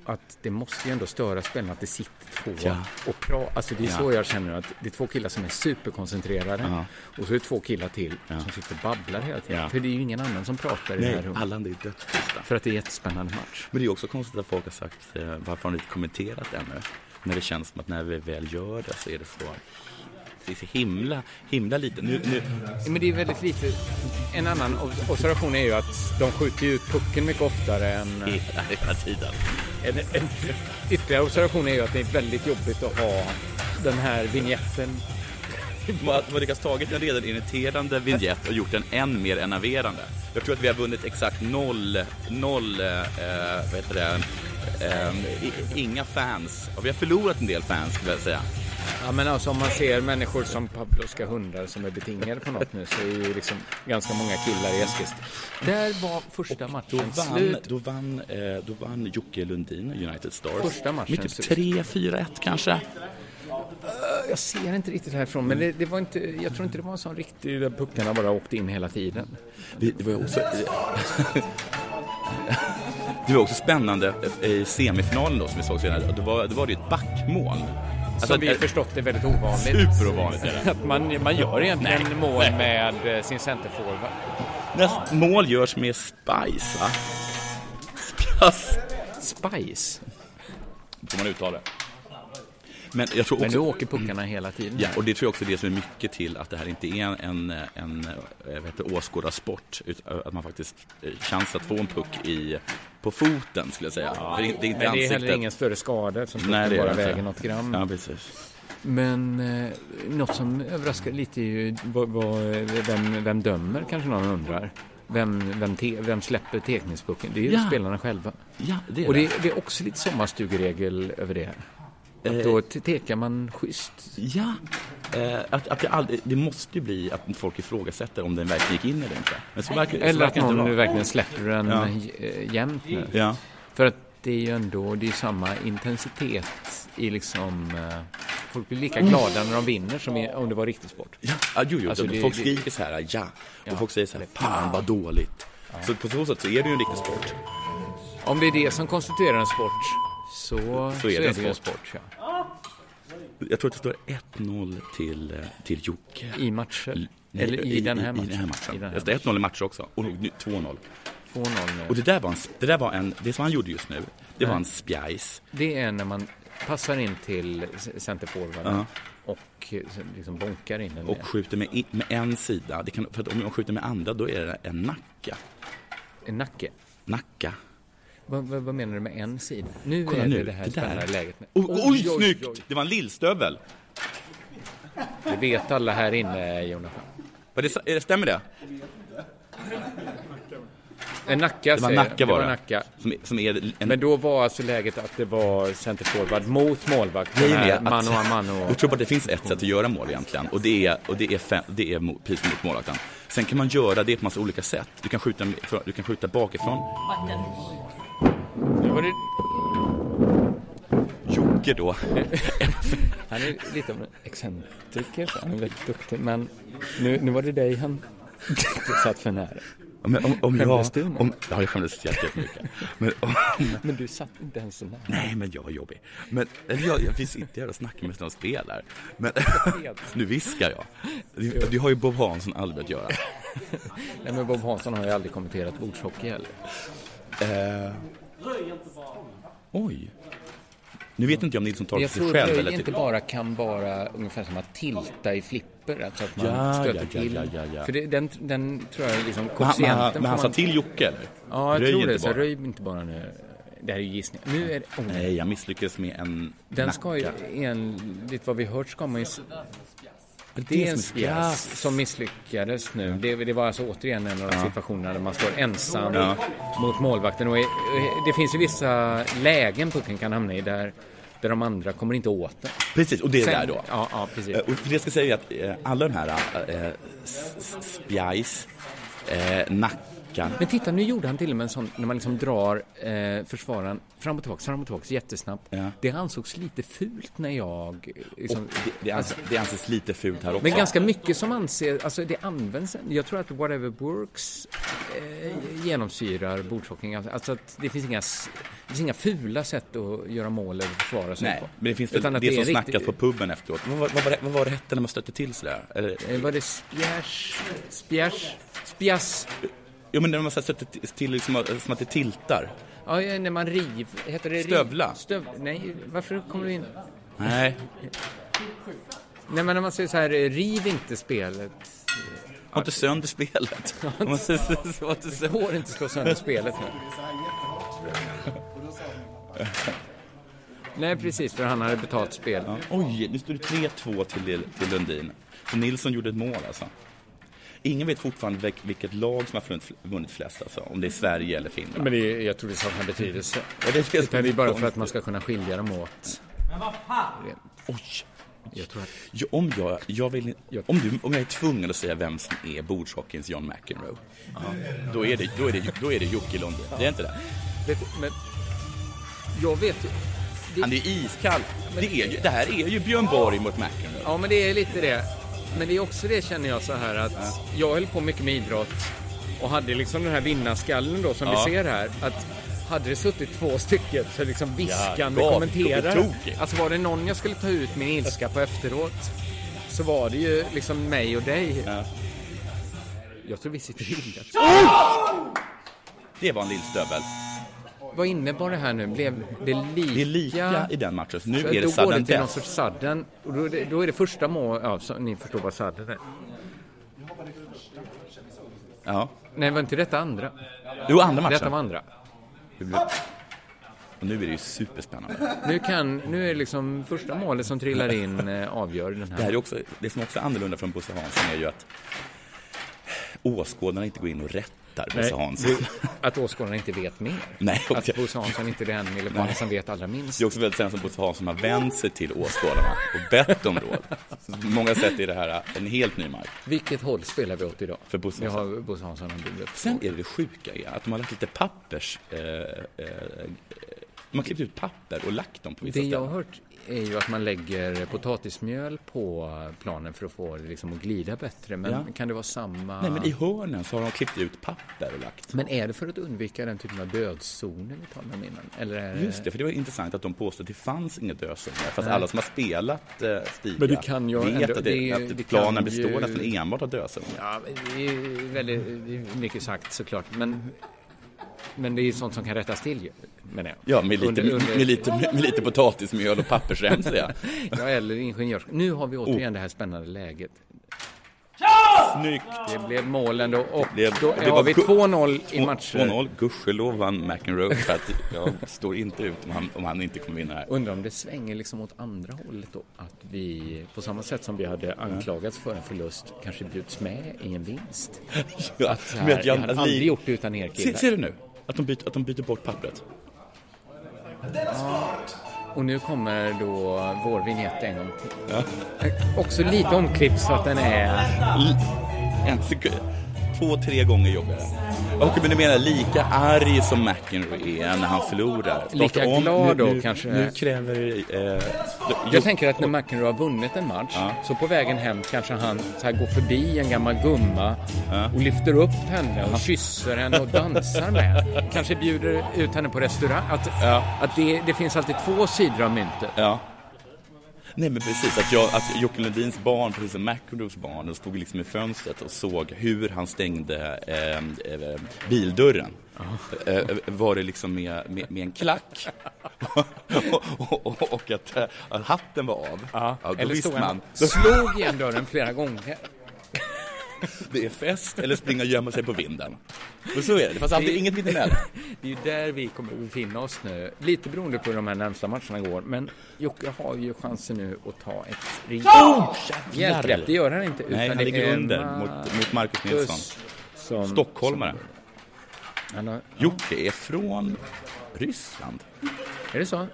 Att det måste ju ändå störa spelarna att det sitter två Ja. och pratar. Alltså det är Ja. så jag känner att det är två killar som är superkoncentrerade Ja. och så är det två killar till som sitter och babblar hela tiden. Ja. För det är ju ingen annan som pratar i det här Nej, rummet. alla är dödstysta. För att det är jättespännande match. Men det är också konstigt att folk har sagt eh, varför har ni inte kommenterat ännu? När det känns som att när vi väl gör det så är det så, det är så himla, himla lite. Nu, nu. Men det är väldigt lite. En annan ob- observation är ju att de skjuter ju ut pucken mycket oftare än... Hela, hela tiden. En, en, ytterligare observation är ju att det är väldigt jobbigt att ha den här vignetten. Man man lyckas tagit en redan irriterande vignett och gjort den än mer enerverande. Jag tror att vi har vunnit exakt noll, noll, eh, eh, vad heter det, eh, i- inga fans. Och vi har förlorat en del fans skulle jag säga. Ja men alltså om man ser människor som Pavlovska hundar som är betingade på något nu så är ju liksom ganska många killar i Eskilstuna. Där var första Då matchen vann, slut. då, vann, eh, då vann Jocke Lundin, United Stars. Första matchen Med typ slut. 3-4-1 kanske. Jag ser inte riktigt härifrån men det, det var inte, jag tror inte det var en sån riktig där puckarna bara åkte in hela tiden. Det, var ju också... Det var också spännande i semifinalen då som vi såg senare. Då var, då var det ju ett backmål. Alltså, eh, Som vi har förstått är väldigt ovanligt. Superovanligt är det. Att man, man gör egentligen Nej, mål nej. med eh, sin centerforward. Näst mål görs med spice, va? Spice. Spice? Får man uttala det. Men jag tror också... Men nu åker puckarna hela tiden. Ja, och det tror jag också är det som är mycket till att det här inte är en, en, en eh, vad heter, det, åskådarsport. Utan att man faktiskt eh, chans att få en puck i på foten skulle jag säga. För det, det är inte Men det är ansiktet. heller ingen större skada som Nej, det är bara det inte. väger något gram. Ja, precis. Men eh, något som överraskar lite är ju vad, vad, vem, vem dömer kanske någon undrar. Vem, vem, te, vem släpper teckningsboken? Det är ju Ja. spelarna själva. Ja, det är Och det, det. det är också lite sommarstugregel över det. Att Eh, då te- tekar man schysst. Ja. Eh, att, att det, aldrig, det måste ju bli att folk ifrågasätter om den verkligen gick in eller inte. Men så verkar, så Eller att verkar det inte någon vara. nu verkligen släpper den Ja. eh, jämnt nu. Ja. För att det är ju ändå, det är ju samma intensitet i liksom... eh, Folk blir lika Mm. glada när de vinner som i- om det var riktig sport. Ja, ah, jo, jo. Alltså, de- det- folk det- skriker så här, ja. Ja. Och folk säger så här, fan vad dåligt. Så på så sätt så är det ju en riktig sport. Om det är det som konstituerar en sport så, så, det en är det sport. ju en sport. Ja. Jag tror att det står 1-0 till, eh, till Jocke. I matcher? Eller i den här I den här matchen. matchen. I den här det är 1-0 i matcher också. Och nu 2-0. 2-0 nu. Och det där var en, det där var en, det som han gjorde just nu, det var Nej. en spjajs. Det är när man passar in till c- centerforwarden Ja. och eh, liksom bonkar in den. Och skjuter med, i- med en sida. Det kan, för att om jag skjuter med andra då är det en nacka. En nacke? Nacka. Vad, vad, vad menar du med en sida? Nu Kolla är nu, det det här det där. spännande läget. Oj, oj, snyggt! Det var en lillstövel. Det vet alla här inne, Jonathan. Var det, sa- är det- stämmer det? En nacka Det var säger jag. Nacka var det. det. Var nacka. Som, som är en, Men då var alltså läget att det var centerforward mot målvakt. Den Grejen är här att- Mano a mano. Jag tror bara att det finns ett sätt att göra mål egentligen och det är, och det är, fem, det är mo- precis mot målvakten. Sen kan man göra det på massa olika sätt. Du kan skjuta, med- för- du kan skjuta bakifrån. Nu var det... Jocke då. Han är lite av en excentriker, så han är väldigt duktig. Men nu, nu var det dig han satt för nära. Men om, om jag, Skämdes du nu? om, ja, jag skämdes jättemycket. Men, om, Men du satt inte ens så nära. nej, men jag är jobbig. Men, eller jag, jag vill sitta här och snacka med någon spelar. Men nu viskar jag. Du, du har ju Bob Hansson aldrig att göra. Nej, men Bob Hansson har ju aldrig kommenterat bordshockey heller. Eh, oj. Nu vet inte jag om Nilsson tar det Jag till sig tror själv röj eller typ. inte till... bara kan vara ungefär som att tilta i flipper, alltså att man Ja, stöter ja, ja, till. ja, ja, ja. För det, den, den tror jag är liksom Men han, men koefficienten. han, men får han sa man- till Jocke eller? Ja, jag Röj tror inte det. Så bara. röj inte bara nu. Det här är ju gissning. Nu är det... Oh, Nej, jag misslyckades med en Den ska ju nacka. enligt vad vi hört ska man ju... det Det är är en som spjäs spjäs. som misslyckades nu. Det, det var alltså återigen en av de Ja. situationerna där man står ensam Ja. mot målvakten. Och eh, det finns ju vissa lägen pucken kan hamna i där, där de andra kommer inte åt den. Precis, och det är Sen- där då. Ja, ja precis. Eh, Och det jag ska säga är att eh, alla de här eh, s- s- spjajs, eh, nackan, Men titta, nu gjorde han till och med en sån när man liksom drar eh, försvararen fram och tillbaka, fram och tillbaka jättesnabbt. Det ansågs lite fult när jag... eh, Liksom, det, det, anses, det anses lite fult här också. Men ganska mycket som anses, alltså det används, jag tror att whatever works eh, genomsyrar bordshockeying. Alltså att det finns, inga, s- det finns inga fula sätt att göra mål eller försvara sig Nej, på. men det finns väl det, Utan att det som är snackas riktigt- på puben efteråt. Vad, vad, vad, var det- vad var det hette när man stötte till sådär? Eller, eh, var det spjärs, spjärs, spjass? Jo, men när man så här stötte till, till liksom, eh, som att det tiltar. Ja, eh, när man riv, heter det riv? Stövla. Stöv, nej, varför kommer du in? Nej. Nej, men när man säger så här, eh, riv inte spelet. Har inte sönder spelet. Man säger så- så att Det går inte att slå sönder spelet nu. Nej, precis, för han hade betalt spel. Oj, nu står det 3-2 till, till Lundin. Så Nilsson gjorde ett mål alltså. Ingen vet fortfarande vilk- vilket lag som har vunnit- vunnit flest alltså, om det är Sverige eller Finland. Men det, jag tror det saknar betydelse. Ja, det känns Utan det är bara för konstigt. att man ska kunna skilja dem åt. Men vad fan! Oj! Jag tror att... Ja, om, jag, jag vill, om, du, om jag är tvungen att säga vem som är bordshockeyns John McEnroe, då, är det, då, är det, då är det Jocke Lundin. Det är inte det? Vet, du, men, jag vet ju... Han är iskall. Det, är ju, det här är ju Björn Borg mot McEnroe. Ja, men det är lite det. Men det är också det känner jag så här att jag höll på mycket med idrott och hade liksom den här vinnarskallen då som Ja. vi ser här. Att hade det suttit två stycken så liksom viskande Ja, kommenterare. tokigt. Alltså var det någon jag skulle ta ut min ilska på efteråt så var det ju liksom mig och dig. Jag tror vi sitter illa till. Det var en lillstövel. Vad innebar det här nu? Blev det lika? Det är lika i den matchen, så nu Så är det då går sudden det till någon death. sorts sudden. Och då, är det, då är det första mål... Ja, så, ni förstår vad sudden är. Ja. Nej, var inte detta andra? Jo, andra matchen. Detta var andra. Och nu är det ju superspännande. Nu, kan, nu är liksom första målet som trillar in eh, avgör den här. Det, här är också, det som också är annorlunda från Bosse Hansson är ju att åskådarna inte går in och rättar Bosse Nej, Hansson. det- Att åskådarna inte vet mer. Nej, okej. Att Bosse Hansson inte är den Nej. millebanden som vet allra minst. Det är också väldigt sällan som Bosse Hansson har vänt sig till åskådarna och bett om råd. Så på många sätt är det här en helt ny mark. Vilket håll spelar vi åt idag? För Bosse Vi Hansson. har Bosse Hansson och Bubblet. Sen är det det sjuka är att de har lagt lite pappers... Eh, eh, de har klippt ut papper och lagt dem på vissa Det jag ställen. har hört är ju att man lägger potatismjöl på planen för att få det liksom att glida bättre. Men Ja. kan det vara samma... Nej, men i hörnen så har de klippt ut papper och lagt. Men är det för att undvika den typen av dödszoner vi talade om innan? Eller är Just det, för det var intressant att de påstod att det fanns inga dödszoner. Fast Nej. alla som har spelat eh, Stiga Men det kan ju vet ändå- att, det, det- att det planen kan består ju- nästan enbart av dödszoner. Ja, det är ju väldigt det är mycket sagt såklart. Men, men det är ju sånt som kan rättas till ju, menar jag. Ja, med lite, Under- under- Med, lite, med, lite potatismjöl och pappersremsor, ja. ja, eller ingenjörs... Nu har vi återigen Oh. det här spännande läget. Snyggt! Det blev mål ändå och blev- då det var har vi gu- 2-0 i Två- matcher. 2-0, gudskelov vann McEnroe för att jag står inte ut om han, om han inte kommer vinna det här. Undrar om det svänger liksom åt andra hållet då? Att vi, på samma sätt som vi hade anklagats för en förlust, kanske bjuds med i en vinst? Ja, att så men här, att jag jag- hade att vi- aldrig gjort det utan er killar. Se- ser du nu? Att de byter, att de byter bort pappret. Och nu kommer då vår vignett en gång till. Också lite omklippt så att den är... En sekund. Två, tre gånger jobbigare. Okej, men du menar lika arg som McEnroe är när han förlorar? Starta Lika om. glad nu, då, nu, kanske. Nu kräver... Eh, Jag tänker att när McEnroe har vunnit en match så på vägen hem kanske han så här går förbi en gammal gumma och lyfter upp henne och kysser henne och dansar med henne. Kanske bjuder ut henne på restaurang. Att, att det, det finns alltid två sidor av myntet. Ja. Nej men precis, att, jag, att Jocke Lundins barn, precis som McEnroes barn, de stod liksom i fönstret och såg hur han stängde eh, eh, bildörren. Eh, eh, var det liksom med, med, med en klack och, och, och, och att, eh, att hatten var av. Ja, då Eller stod visste man. han slog igen dörren flera gånger. Det är fest eller springa och gömma sig på vinden. Och så är det, det fanns alltid Det- inget mittemellan. Det är ju där vi kommer att befinna oss nu. Lite beroende på hur de här närmsta matcherna går. Men Jocke har ju chansen nu att ta ett Ja! rejält hjälpgrepp. Det gör han inte. Nej, han det ligger är eh, under mot, mot Marcus Marcus Nilsson. som- Stockholmare. Han har, Jocke är från Ryssland. Är det så?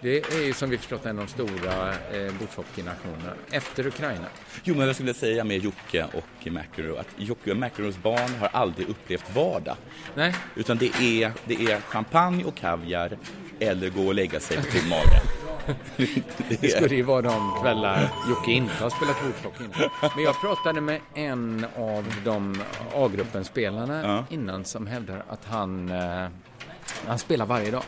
Det är ju som vi förstått en av de stora eh, bordshockeynationerna efter Ukraina. Jo, men jag skulle säga med Jocke och McEnroe att Jocke och McEnroes barn har aldrig upplevt vardag. Nej. Utan det är, det är champagne och kaviar eller gå och lägga sig på tom mage. Det skulle ju vara de kvällar Jocke inte har spelat bordshockey innan. Men jag pratade med en av de A-gruppen-spelarna innan som hävdar att han, eh, han spelar varje dag.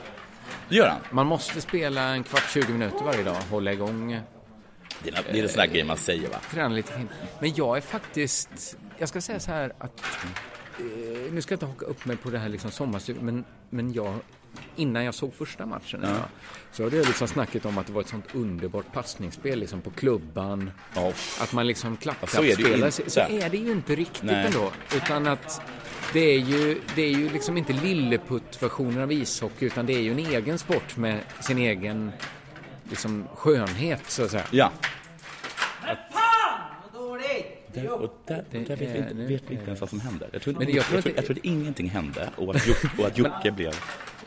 Det gör han? Man måste spela en kvart, 20 minuter varje dag, hålla igång. Det är, det är en sån där grej man säger, va? Träna lite fint. Men jag är faktiskt, jag ska säga så här att, eh, nu ska jag inte haka upp mig på det här liksom sommarstugan, men, men jag, innan jag såg första matchen, Ja. ja. så hade jag liksom snacket om att det var ett sånt underbart passningsspel liksom på klubban. Att man liksom klapp, Ja, klapp, så är det ju spelar inte. sig. Så är det ju inte riktigt Nej. ändå. Utan att det är ju, det är ju liksom inte lilleputt-versionen av ishockey, utan det är ju en egen sport med sin egen liksom skönhet, så att säga. Ja. Där, och där, Det där vet vi är- inte, nu vet vi är inte ens vad som händer. Jag Men trodde, jag jag, jag, tror att trodde, det- jag trodde ingenting hände och att Jocke, och att Jocke Men- blev...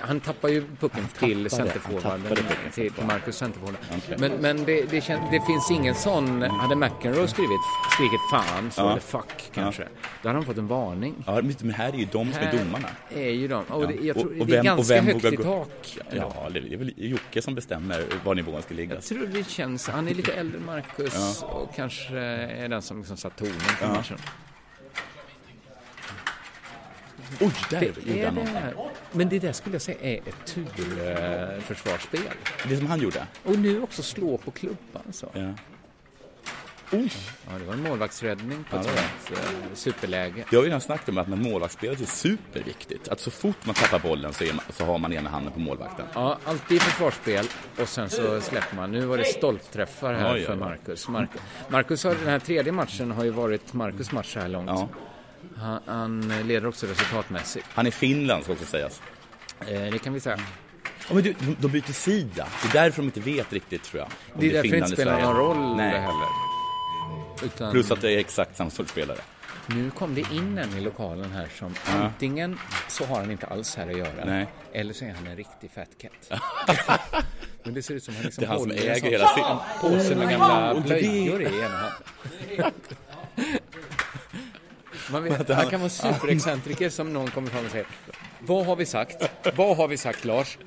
Han tappar ju pucken till tappade- han centerforwarden, tappade pucken. till, till Marcus centerforwarden. Okej. Men, men det, det, kän, det finns ingen sån, hade McEnroe skrivit, skrikit fan, så Ja. eller fuck kanske, då hade han fått en varning. Ja, men men här är ju de som är Här domarna. är ju de. Och det, jag Ja. tror, det är ganska högt i gå- tak. Ja, det är väl Jocke som bestämmer var nivån ska ligga. Jag tror det känns, han är lite äldre än Marcus Ja. och kanske är den som liksom satt tonen för Ja. matchen. Oj, där Det gjorde är han det. någonting. Men det där skulle jag säga är ett turförsvarsspel. Det som han gjorde? Och nu också slå på klubban så. Ja. Ja, det var en målvaktsräddning på ett Ja, det sånt eh, superläge. Jag har ju redan snackat om att med målvaktsspelet är superviktigt. Att så fort man tappar bollen så, är man, så har man ena handen på målvakten. Ja, alltid försvarsspel och sen så släpper man. Nu var det stolpträffar här Oj, oj, för oj. Marcus. Marcus, Marcus har, den här tredje matchen har ju varit Marcus match så här långt. Han, han leder också resultatmässigt. Han är Finland, ska också sägas. Eh, det kan vi säga. Ja, men du, de, de byter sida. Det är därför de inte vet riktigt, tror jag. om Det är därför det Finland inte spelar eller någon Sverige. roll Nej. heller. Utan- Plus att det är exakt samma sorts spelare. Nu kom det in en i lokalen här som Ja. antingen så har han inte alls här att göra Nej. eller så är han en riktig fat cat. Men det ser ut som han liksom Det är han som håller en äger sån hela sin- påse med Och gamla det- blöjor i ena handen. Man vet, han kan vara superexcentriker som någon kommer fram och säger Vad har vi sagt? Vad har vi sagt Lars?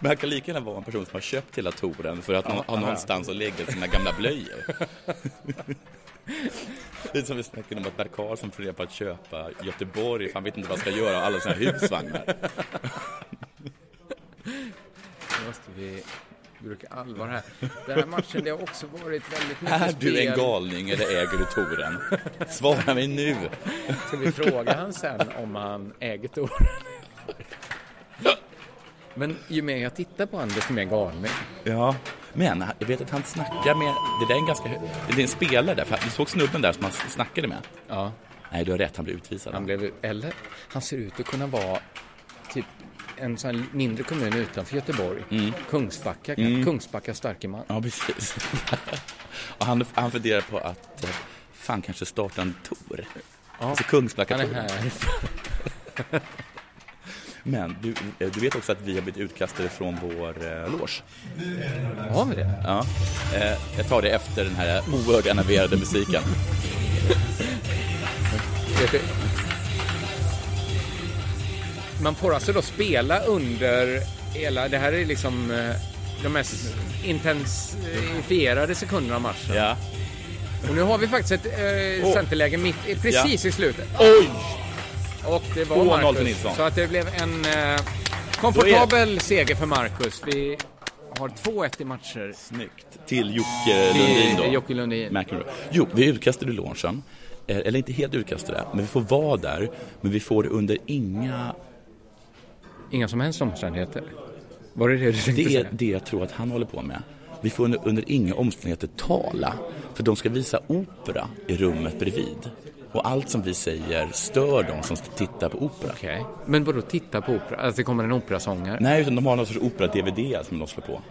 Men han kan lika gärna vara en person som har köpt hela touren för att Ja, nå- ha ja. någonstans att lägga sina gamla blöjor. Det är som vi snackade om att Per Karlsson funderar på att köpa Göteborg, för han vet inte vad han ska göra av alla sina husvagnar. Nu måste vi bruka allvar här. Den här matchen det har också varit väldigt mycket Är du en spel. galning eller äger du touren? Svara mig nu! Ska vi fråga han sen om han äger touren? Men ju mer jag tittar på honom, desto mer galning. Ja, men jag vet att han snackar med... Det där är en ganska... hö- Det är en spelare där, för du såg snubben där som han snackade med? Ja. Nej, du har rätt, han blev utvisad. Han blev... Eller, han ser ut att kunna vara typ en sån här mindre kommun utanför Göteborg. Kungsbacka, Mm. Kungsbacka Starkeman. Ja, precis. och han, han funderar på att eh, fan kanske starta en tour. Alltså han är Kungsbacka-touren. här. Men du, eh, du vet också att vi har blivit utkastade från vår eh, loge. Har vi det? Ja. Eh, jag tar det efter den här oerhört enerverade musiken. Vet du- Man får alltså då spela under hela... Det här är liksom eh, de mest intensifierade sekunderna av matchen. Ja. Och nu har vi faktiskt ett eh, Åh. centerläge mitt, eh, precis i slutet. Oj! Och det var 2-0 till Marcus. Nilsson. Så att det blev en eh, komfortabel seger för Marcus. Vi har 2-1 i matcher. Snyggt. Till Jocke Lundin då. Till Jocke Lundin. McEnroe. Jo, vi är utkastade ur loungen. Eh, Eller inte helt utkastade, men vi får vara där. Men vi får det under inga... Inga som helst omständigheter? Var det det du tänkte Det säga? är det jag tror att han håller på med. Vi får under, under inga omständigheter tala, för de ska visa opera i rummet bredvid. Och allt som vi säger stör de som tittar på opera. Okej. Men vadå titta på opera? Alltså det kommer en operasångare? Nej, utan de har någon sorts opera-DVD som de slår på.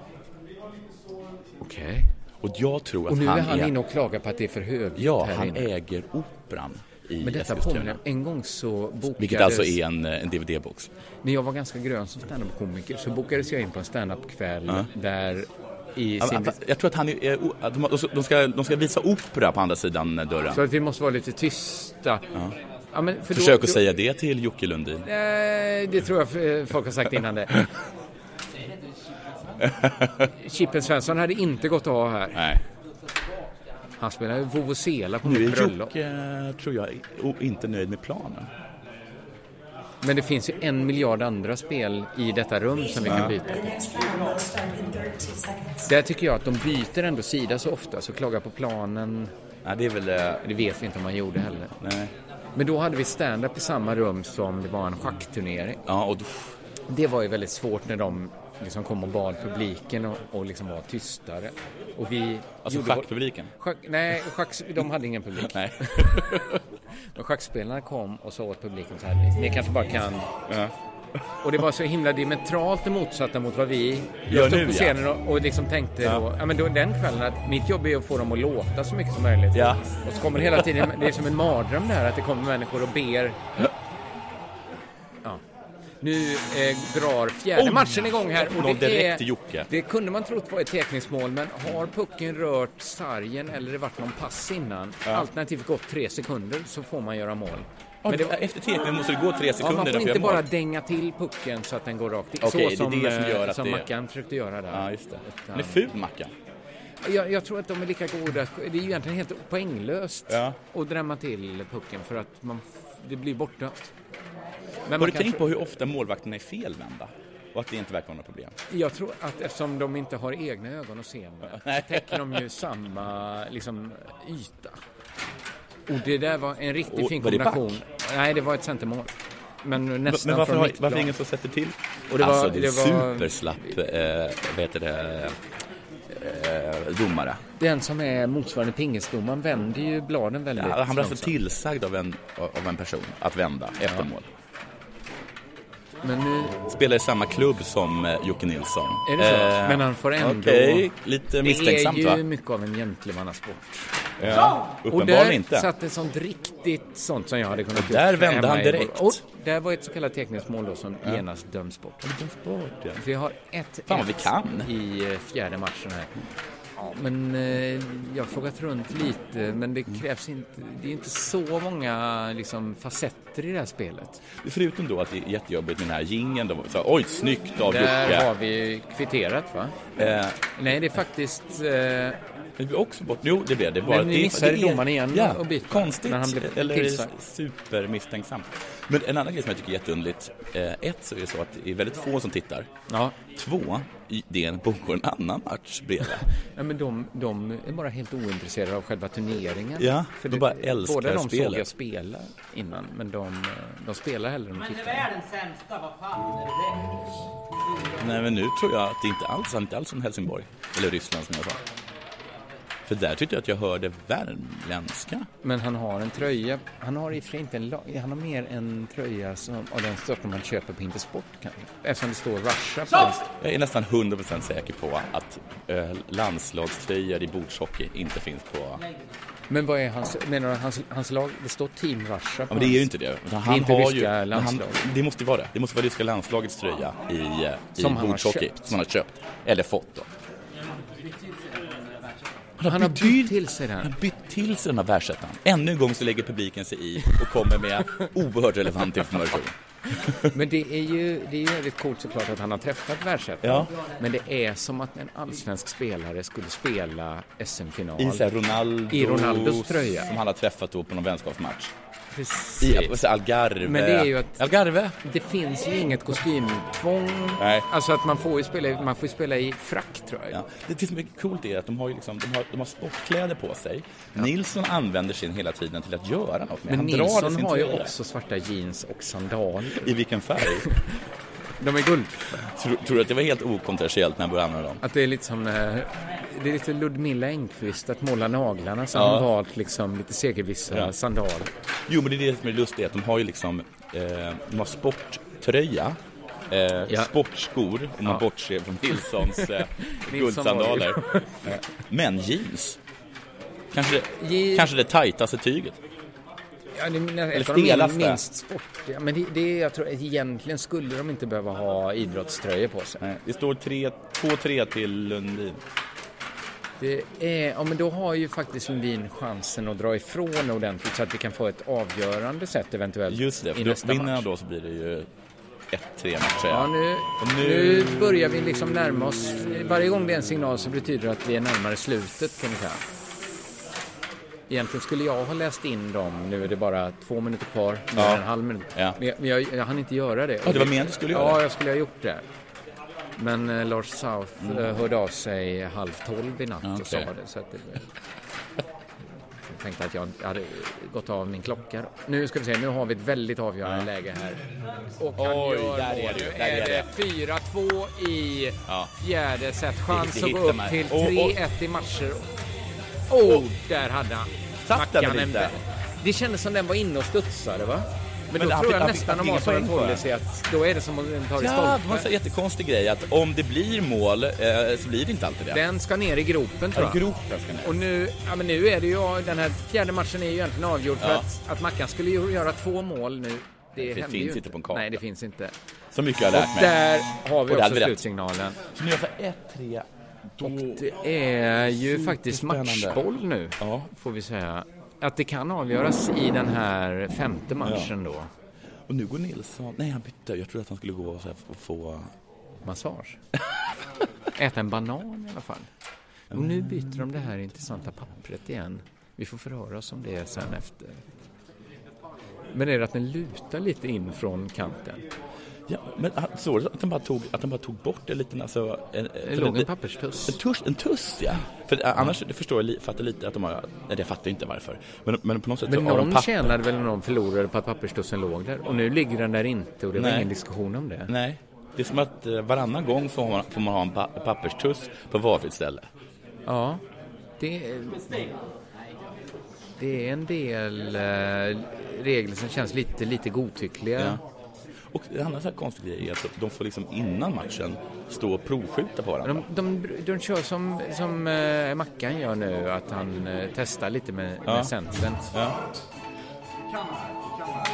Okej. Och jag tror att Och nu han är han inne och klagar på att det är för högt Ja, här han inne. äger operan i Men detta Eskilstuna. påminner, en gång så bokades... Vilket alltså är en, eh, en DVD-box. När jag var ganska grön som standup-komiker så bokades jag in på en standup-kväll Ja. där i Ja, sin... men Jag tror att han är, eh, o- att de, de ska- de, ska, de ska visa opera på andra sidan eh, dörren. Så att vi måste vara lite tysta. Ja. Ja, men för då- Försök då- att säga det till Jocke Lundin. Nej, det tror jag eh, folk har sagt innan det. Chippen Svensson hade inte gått av här. Nej. Han spelar ju vuvuzela på Nu mitt är bröllop. eh, Jocke, tror jag, i- o- inte nöjd med planen. Men det finns ju en miljard andra spel i detta rum som vi kan byta. Där tycker jag att de byter ändå sida så ofta, så klagar på planen. Nej, det är väl... Det vet vi inte om man gjorde heller. Nej. Men då hade vi stand-up i samma rum som det var en schackturnering. Ja, och då... Det var ju väldigt svårt när de liksom kom och bad publiken och, och liksom var tystare. Och vi Alltså gjorde vår- schackpubliken? Schack, nej, schacks, de hade ingen publik. Nej. Men schackspelarna kom och sa åt publiken så här, ni kanske bara kan... Och det var så himla diametralt det motsatta mot vad vi Gör jag stod nu, på ja. scenen och, och liksom tänkte Ja. Då, ja, men då, den kvällen att mitt jobb är att få dem att låta så mycket som möjligt. Ja. Och så kommer det hela tiden, det är som en mardröm det här att det kommer människor och ber. Ja. Nu eh, drar fjärde Oj! matchen igång här. Och Oh! Någon det direkt är, till Jocke. Det kunde man trott var ett teckningsmål, men har pucken rört sargen eller det varit någon pass innan, alternativt gått tre sekunder, så får man göra mål. Ja, efter teckningen måste det gå tre sekunder Ja, man innan får vi gör inte mål. bara dänga till pucken så att den går rakt in. Okej, det så är som, det som eh, gör att som det- Mackan försökte göra där. Ja, just det. Utan- Han är ful, Mackan. jag, jag tror att de är lika goda. Det är ju egentligen helt poänglöst Ja. att drämma till pucken för att man, f- det blir bortdömt. Har man du tänkt kanske- på hur ofta målvakterna är felvända? Och att det inte verkar vara något problem? Jag tror att eftersom de inte har egna ögon att se med så täcker de ju samma liksom, yta. Och det där var en riktigt Och fin var det back? kombination. Nej, det var ett centermål. Men nästan Men varför, från har, mittplan. varför är ingen som sätter till? Och det var- alltså, det är det var- superslapp, eh, vad heter det, eh, domare. Den som är motsvarande pingisdomaren vänder ju bladen väldigt Ja, han blev alltså långsamt. tillsagd av en, av en person att vända efter mål. Men nu... Spelar i samma klubb som eh, Jocke Nilsson. Är det så? Eh, Men han får ändå... Okej, lite misstänksamt Det va? är ju mycket av en gentlemannasport. Ja, Och uppenbarligen där inte. satt det sånt riktigt sånt som jag hade kunnat Och där gjort vände hemma han i- direkt. Och där var ett så kallat tekniskt mål då som Ja. genast döms bort. Döms bort, ja. Vi har ett Fan, vad vi kan. i eh, fjärde matchen här. Ja, men eh, jag har frågat runt lite, men det Mm. krävs inte, det är inte så många liksom, facetter i det här spelet. Förutom då att det är jättejobbigt med den här jingeln. då. Så, Oj, snyggt av Där Jocke. Eh, har vi kvitterat va? Nej, det är faktiskt... Eh... Det blir också bort. Jo, det blev det. Bara Men det- vi missade det är- domaren igen ja, och bytte. Konstigt. När han blev Eller tillsagd. supermisstänksam. Men en annan grej som jag tycker är jätteunderligt. Eh, ett så är det så att det är väldigt få som tittar. Två, i- det är en pågår en annan match bredvid. Ja, men de, de är bara helt ointresserade av själva turneringen. Ja, För de det- bara älskar Båda de såg spelet. jag spela innan, men de, eh, de spelar hellre än de tittar. världens sämsta, vad fan är det? Nej, men nu tror jag att det inte alls handlar inte alls om Helsingborg. Eller Ryssland som jag sa. För där tyckte jag att jag hörde värmländska. Men han har en tröja, han har i och för sig inte en lag, han har mer en tröja som, av den sorten man köper på Intersport kanske. Eftersom det står Russia på den. Jag är nästan 100% säker på att eh, landslagströjor i bordshockey inte finns på... Men vad är hans, menar du hans, hans lag, det står Team Russia Ja, men det är ju inte det. Utan det är inte har ju- ryska men landslag. Han, det måste ju vara det. Det måste vara ryska landslagets tröja i, eh, i Som han har bordshockey. köpt. Som han har köpt. Eller fått då. Han har bytt till sig den. Han har bytt till sig den här världsettan. Ännu en gång så lägger publiken sig i och kommer med oerhört relevant information. Men det är ju, det är ju väldigt coolt såklart att han har träffat världsettan. Ja. Men det är som att en allsvensk spelare skulle spela SM-final. I så här Ronaldos, I Ronaldos tröja. Som han har träffat då på någon vänskapsmatch. Precis. I så här Algarve. Men det är ju att... Algarve? Det finns ju inget kostymtvång. Nej. Alltså att man får ju spela, i- man får ju spela i frack tror jag. Ja. Det, det som är coolt är att de har, ju liksom, de har, de har sportkläder på sig. Nilsson använder sin hela tiden till att göra något med. Men Han drar i Nilsson sin har ju tröja. också svarta jeans och sandaler. I vilken färg? de är guld. Tror, tror du att det var helt okontroversiellt när han började använda dem? Att det är lite som när, det är lite Ludmilla Engqvist att måla naglarna så Ja. har han valt liksom lite segervissa Ja. sandaler. Jo, men det är det som är lustigt, att de har ju liksom, eh, de har sporttröja, eh, sportskor, om man Ja. bortser från Nilssons eh, Nilsson guldsandaler. var ju- Eh, men jeans. Kanske, Je- kanske det tajtaste tyget. Ja, det är mina- Eller ett av de min, stelaste. minst sportiga. Men det, det, jag tror, egentligen skulle de inte behöva ha idrottströjor på sig. Det står 2-3 till Lundin. Det är, ja, men då har ju faktiskt Lundin chansen att dra ifrån ordentligt så att vi kan få ett avgörande sätt eventuellt Just det, i för då nästa vinner match. han då så blir det ju 1-3 matcher. Ja, nu, Och nu... nu- börjar vi liksom närma oss. Varje gång det är en signal så betyder det att vi är närmare slutet kan vi säga. Egentligen skulle jag ha läst in dem. Nu är det bara två minuter kvar. Nu är Ja. det en halv minut. Men jag, men jag, jag hann inte göra det. Ja, det var meningen att du skulle göra Ja, det. jag skulle ha gjort det. Men eh, Lars South eh, hörde av sig halv tolv i natt och sa okej. det. Så att det jag tänkte att jag hade gått av min klocka. då. Nu ska vi se, nu har vi ett väldigt avgörande läge här. Och han Oj, gör där mål. är det ju, Nu där är är det 4-2 i fjärde set. Chans Det- det att gå hittar upp man. till Och- och- 3-1 i matcher. Oh, där hade han. Satt den Mackan väl en inte? vä- Det kändes som den var inne och studsade, va? Men, Men då han tror fick- jag han fick- nästan han de fick har ingen som en poäng för det. policy att då är det som om den tar i Ja, det var en sån stolpen. jättekonstig grej att om det blir mål eh, så blir det inte alltid det. Den ska ner i gropen, tror Ja, jag. gropen ska ner. Och nu, ja, men nu är det ju, den här fjärde matchen är ju egentligen avgjord för Ja. att, att Mackan skulle ju göra två mål nu. Det, Det händer finns ju inte på en karta. Nej, det finns inte. Så mycket har jag lärt och mig. där har vi Och det också hade vi rätt. slutsignalen. Så nu är jag 1-3. Och Det är ju faktiskt matchboll nu, får vi säga. Att det kan avgöras i den här femte matchen då. Och nu går Nilsson... Nej, han bytte. Jag trodde att han skulle gå så här och få... Massage? Äta en banan i alla fall. Och nu byter de det här intressanta pappret igen. Vi får förhöra oss om det sen efter. Men är det att den lutar lite in från kanten? Ja, men han- såg du att han bara tog, att han bara tog bort en liten... Alltså, en, Det låg en papperstuss. En tuss, en tuss ja. För eh, annars det förstår jag li- fattar lite att de har... Nej, jag fattar inte varför. Men, men på något sätt Men så har de någon papper. tjänade väl när någon förlorade på att papperstussen låg där? Och nu ligger den där inte och det var Nej. ingen diskussion om det. Nej. Det är som att eh, varannan gång får man, får man ha en pa- papperstuss på varsitt ställe. Ja, det, det är en del eh, regler som känns lite, lite godtyckliga. Ja. Och en annan så här konstig grej är att de får liksom innan matchen stå och provskjuta på varandra. De, de, de kör som, som eh, Mackan gör nu, att han eh, testar lite med, Ja. med sensen. Kanada.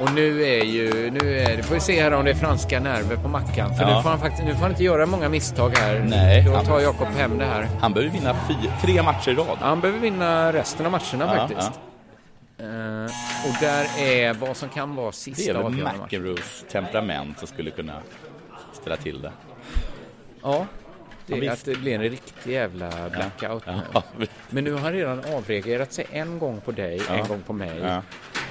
Och nu är ju, nu är det, får vi se här om det är franska nerver på Mackan. För Ja. nu, får han faktiskt, nu får han inte göra många misstag här. Nej. Då tar Jakob hem det här. Han behöver vinna fy- tre matcher i rad. Han behöver vinna resten av matcherna Ja, faktiskt. Eh, och där är vad som kan vara sista Det är väl avgörande matchen. McEnroes temperament som skulle kunna ställa till det. Ja, det Ja, är visst. att det blir en riktig jävla blackout. Ja. nu. Men nu har han redan avreagerat sig en gång på dig, Ja. en gång på mig. Ja.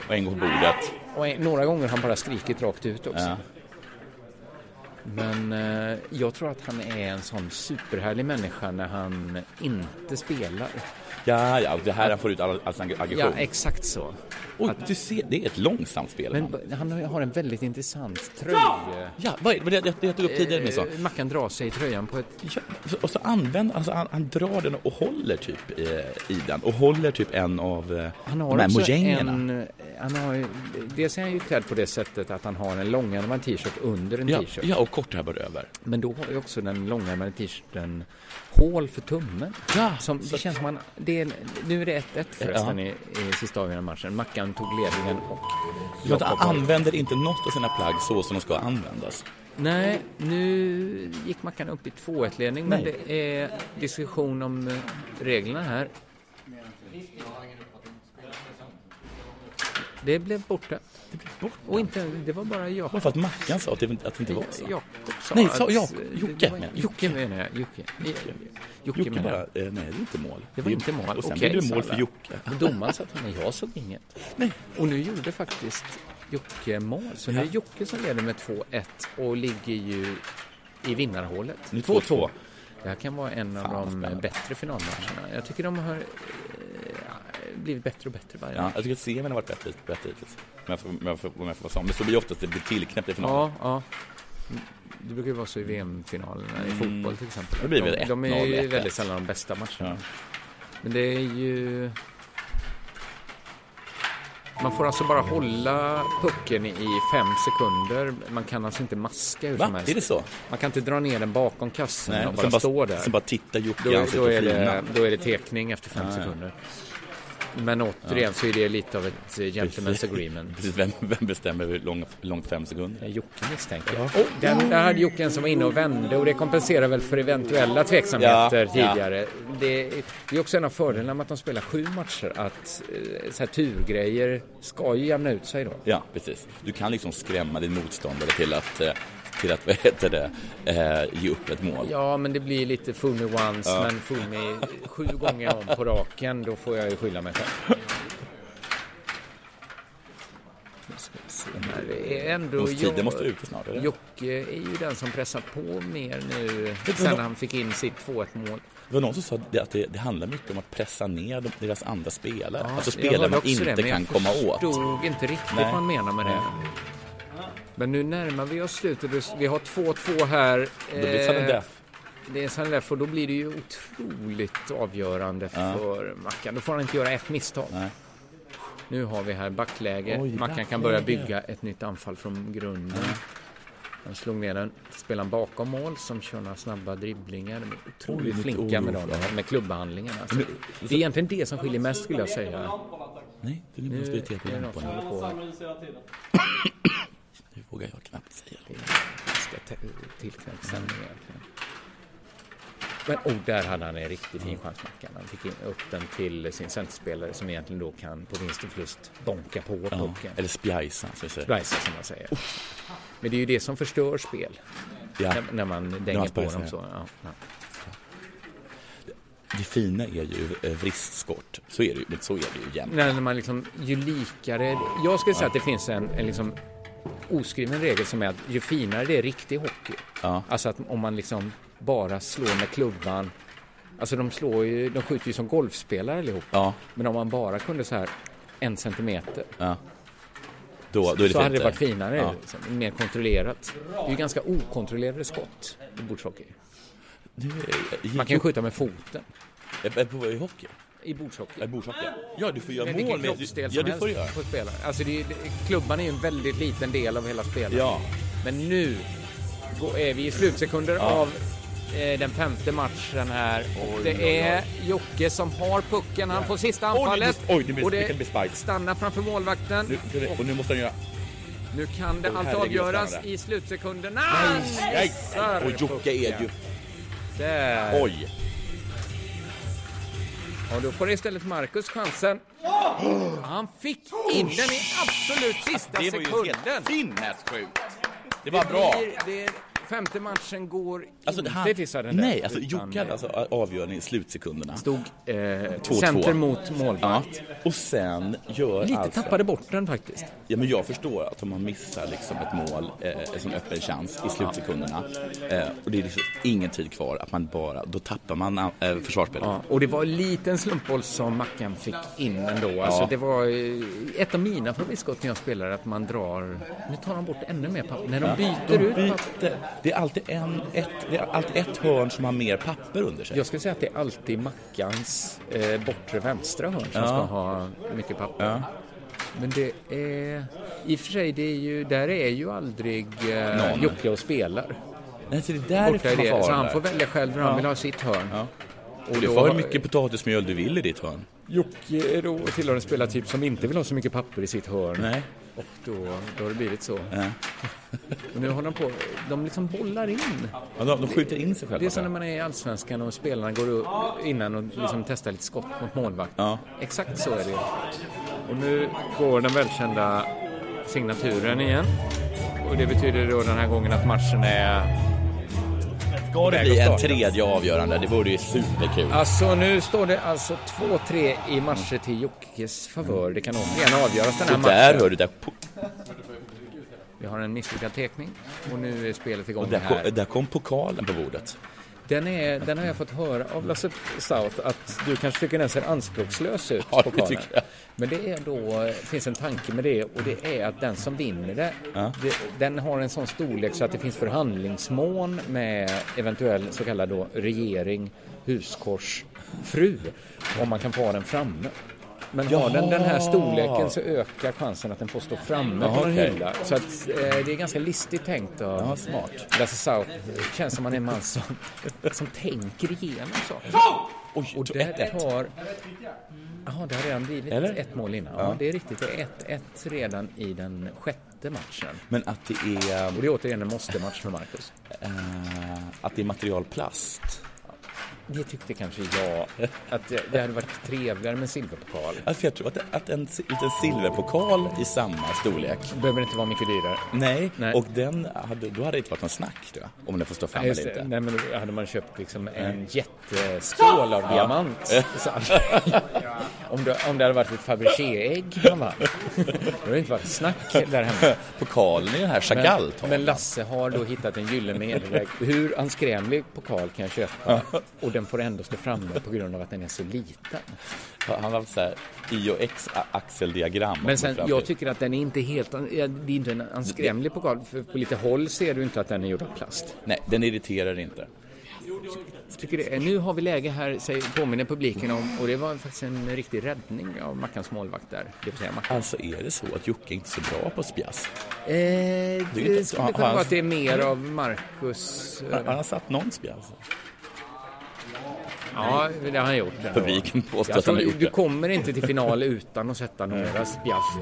Och en gång på bordet. Och en, några gånger har han bara skrikit rakt ut också. Ja. Men eh, jag tror att han är en sån superhärlig människa när han inte spelar. Ja, ja, och det här han får ut all, all sin aggression. Ja, exakt så. Oj, du ser, det är ett långsamt spel. Men man. b- han har- har en väldigt intressant tröja. Ja! Ja, vad är det? Det- det- det jag tog upp tidigare, Nilsson. Mackan drar sig i tröjan på ett... Ja, och så använder alltså, han, han drar den och håller typ eh, i den och håller typ en av eh, Han har de här också mojängerna. en... eh, Han har, ju- dels är han ju klädd på det sättet att han har en långärmad t-shirt under en Ja, t-shirt. ja, och kortärmad över. Men då har ju också den långärmade t-shirten hål för tummen. Ja, som, det känns som man, det är, nu är det 1-1 förresten i, i sista avgörande matchen. Mackan tog ledningen och Ja, att han Jakob var- använder inte något av sina plagg så som de ska användas. Nej, nu gick Mackan upp i 2-1-ledning, men Nej. det är diskussion om eh, reglerna här. Det blev borta. Det blev borta? Och inte, det var bara Jakob. Bara för att Mackan sa att det, att det inte var så. Jakob sa nej, sa att- jag, det Jocke var- menar jag. Jocke menar jag. Jocke. Jocke. Jocke Jocke menar bara, jag. eh, nej det är inte mål. Det var är- inte mål. Och sen Okej, blev det sa mål för alla. Jocke. Men Domaren sa att men jag såg inget. Nej. Och nu gjorde faktiskt Jocke mål. Så nu är Jocke som leder med 2-1 och ligger ju i vinnarhålet. Nu är det 2-2. Det här kan vara en av de bättre finalmatcherna. Jag tycker de har eh, blivit bättre och bättre varje Ja, match. jag tycker att semin har varit bättre, bättre hittills. Om jag får- om jag får om jag får vara sån. Men så blir det oftast det blir tillknäppt i Ja, finalen. ja. Det brukar ju vara så i VM-finalerna i Mm. fotboll till exempel. Då blir det de, de är 1-0, ju 1-1. väldigt sällan de bästa matcherna. Men det är ju... Man får alltså bara hålla pucken i fem sekunder. Man kan alltså inte maska hur Va? som helst. Är det så? Man kan inte dra ner den bakom kassen Nej, och och bara, sen bara- stå där. sen bara titta djupt i då, ansiktet då, är och flina. det, då är det tekning efter fem Ja, ja. sekunder. Men återigen så är det lite av ett eh, gentleman's agreement. Precis, vem, vem bestämmer hur lång- långt fem sekunder? Eh, Jocke misstänker jag. Oh, den, där hade Jocke en som var inne och vände och det kompenserar väl för eventuella tveksamheter Ja, ja. tidigare. Det, är- det är också en av fördelarna med att de spelar sju matcher att eh, så här turgrejer ska ju jämna ut sig då. Ja, precis. Du kan liksom skrämma din motståndare till att, eh, till att vad heter det, eh, ge upp ett mål. Ja, men det blir lite fool me once, Ja. men fool me sju gånger om på raken, då får jag ju skylla mig själv. Nu ska vi se här. Det är ändå... Måste- tiden jag- måste ut snart, eller? Jocke är ju den som pressar på mer nu du sen vad- han fick in sitt 2-1-mål. Det var någon som sa det- att det, det handlar mycket om att pressa ner de- deras andra spelare. Ja, alltså jag spelare hörde man också inte det, men kan jag komma åt. förstod inte riktigt Nej. vad han menar med det. Men nu närmar vi oss slutet. Vi har 2-2 här. Då blir det sudden Eh, death. Det är sudden death och då blir det ju otroligt avgörande Ja. för Mackan. Då får han inte göra ett misstag. Nu har vi här backläge. Oj, Mackan backläge. kan börja bygga ett nytt anfall från grunden. Han slog ner den. Spelaren bakom mål som kör några snabba dribblingar. De är otroligt Oj, flinka oj, med, dem, ja. med klubbhandlingarna. Alltså, Men- det är egentligen det som skiljer mest skulle jag säga. Nej, det är Nu måste irritera på är det någon lampan. som håller på här. Nu vågar jag knappt säga det. ska te- tillknäppt sändning Mm. egentligen. Men oh, där hade han en riktigt fin chans, Mackan. Han fick in upp den till sin centerspelare som egentligen då kan på vinst och förlust bonka på Ja, pucken. eller spjajsa, som vi säger. Splicea, som man säger. Men det är ju det som förstör spel. Ja. När, när man dänger man på splicea. dem så. Ja, ja. Det fina är ju eh, vristskott. Så är det ju, men så är det ju jämt. När man liksom, ju likare... Jag skulle säga att det finns en, en liksom oskriven regel som är att ju finare det är riktig hockey. Alltså att om man liksom bara slår med klubban. Alltså de slår ju, de skjuter ju som golfspelare allihop. Men om man bara kunde så här en centimeter. Då, då är det så hade fint, det varit eh. finare, Ja. liksom, mer kontrollerat. Det är ju ganska okontrollerade skott i bordshockey. Nu, eh, Man kan ju skjuta med foten. Eh, eh, På, I hockey? I bordshockey. I bordshockey, ja. Ja, du får göra Vet vilken mål med- kroppsdel Ja, som du får helst göra. På spelaren. Alltså, det, det, klubban är ju en väldigt liten del av hela spelet. Ja. Men nu går- är vi i slutsekunder av eh, den femte matchen här. Och oj, oj. det är Jocke som har pucken. Han får sista Oj, det blir- anfallet. oj, det blir- och det kan bli det spike. stannar framför målvakten. Nu, och nu måste han göra... Nu kan det Oj, allt herregud, avgöras spännande. i slutsekunderna. Nej, nej, nej. Och Jocke är ju... Där. Oj! Och då får istället Marcus chansen. Han fick in den i absolut sista Det var ju sekunden. Sinnessjukt! Det var bra. blir- det är, femte matchen går Alltså, inte han, till sudden death, nej, alltså utan- eh, Jocke hade alltså avgörande i slutsekunderna. Stod eh, center center mot målvakt. Och sen gör Lite alltså... tappade bort den faktiskt. Ja, men jag förstår att om man missar liksom ett mål, eh, en sån öppen chans i slutsekunderna eh, och det är liksom ingen tid kvar, att man bara, då tappar man eh, försvarsspelet. Ja, och det var en liten slumpboll som Mackan fick in ändå. Alltså, Ja. Det var eh, ett av mina favoritskott när jag spelar att man drar... Nu tar de bort ännu mer papper. När de Ja, byter de ut papper. Det är alltid en, ett, det är alltid ett hörn som har mer papper under sig. Jag skulle säga att det är alltid Mackans eh, bortre vänstra hörn som Ja. ska ha mycket papper. Men det är... I och för sig, det är ju, där är ju aldrig eh, Någon. Jocke och spelar. Nej, så det är därför Borta i man det. får Så han där. får välja själv hur han Ja. vill ha sitt hörn. Och du får ha hur mycket potatismjöl du vill i ditt hörn. Jocke är då tillhör en spelartyp som inte vill ha så mycket papper i sitt hörn. Nej. Och då, då har det blivit så. och nu håller de på, de liksom bollar in. Ja, de, de skjuter in sig själva. Det är som när man är i Allsvenskan och spelarna går upp innan och liksom testar lite skott mot målvakt. Exakt så är det. Och nu går den välkända signaturen igen. Och det betyder då den här gången att matchen är... Ska det väg bli att en starta. tredje avgörande? Det vore ju superkul. Alltså nu står det alltså 2-3 i matcher till Jockes favör. Det kan återigen avgöras den här och där matchen. hör du, där, Vi har en misslyckad tekning och nu är spelet igång och där, här. kom, där kom pokalen på bordet. Den, är, den har jag fått höra av Lasse South att du kanske tycker den ser anspråkslös ut. Ja, det pokalen. tycker jag. Men det är då, det finns en tanke med det och det är att den som vinner det, Ja. det den har en sån storlek så att det finns förhandlingsmån med eventuell så kallad då regering, huskors, fru om man kan få ha den framme. Men har Jaha. den den här storleken så ökar chansen att den får stå framme Jaha, på en okej. hylla. Så att, eh, det är ganska listigt tänkt av Ja, smart. Lasse South. Det känns som han är en man som, som tänker igenom saker. Och där tar... Jaha, det har redan blivit Eller? ett mål innan. Ja. Ja. det är riktigt. Det är 1-1 redan i den sjätte matchen. Men att det är... Och det är återigen en måste-match för Marcus. att det är materialplast. Det tyckte kanske jag att det, det hade varit trevligare med en silverpokal. Ja, för Alltså, jag tror att, att en si- liten silverpokal i samma storlek. Behöver inte vara mycket dyrare. Nej, och den hade, då hade det inte varit någon snack tror jag, om den får stå fram Nej, just eller det. inte. Mm. Nej, men då hade man köpt liksom en jätteskål av Ja. diamant. Så hade- om, det, om det hade varit ett Fabergé-ägg man vann, då hade det inte varit snack där hemma. Pokalen är den här Men, chagall men Lasse har då hittat en gyllene medelväg. Hur anskrämlig pokal kan jag köpa? Och den får ändå stå framme på grund av att den är så liten. Han har haft så här I och X-axeldiagram. Men sen, jag tycker att den är inte helt... Det är inte en anskrämlig pokal. För på lite håll ser du inte att den är gjord av plast. Nej, den irriterar inte. Tycker det, nu har vi läge här, säger, påminner publiken om, och det var faktiskt en riktig räddning av Mackans målvakt där, det vill säga Mackan. Alltså är det så att Jocke inte är så bra på spjass? Eh, Det är ju det inte- skulle har- kunna har vara han- att det är mer av Marcus... eh, Har har han satt någon spjass? Ja, det har han gjort. ändå. Publiken påstår Jag att han tror har gjort Alltså, Du det. kommer inte till final utan att sätta några spjaff.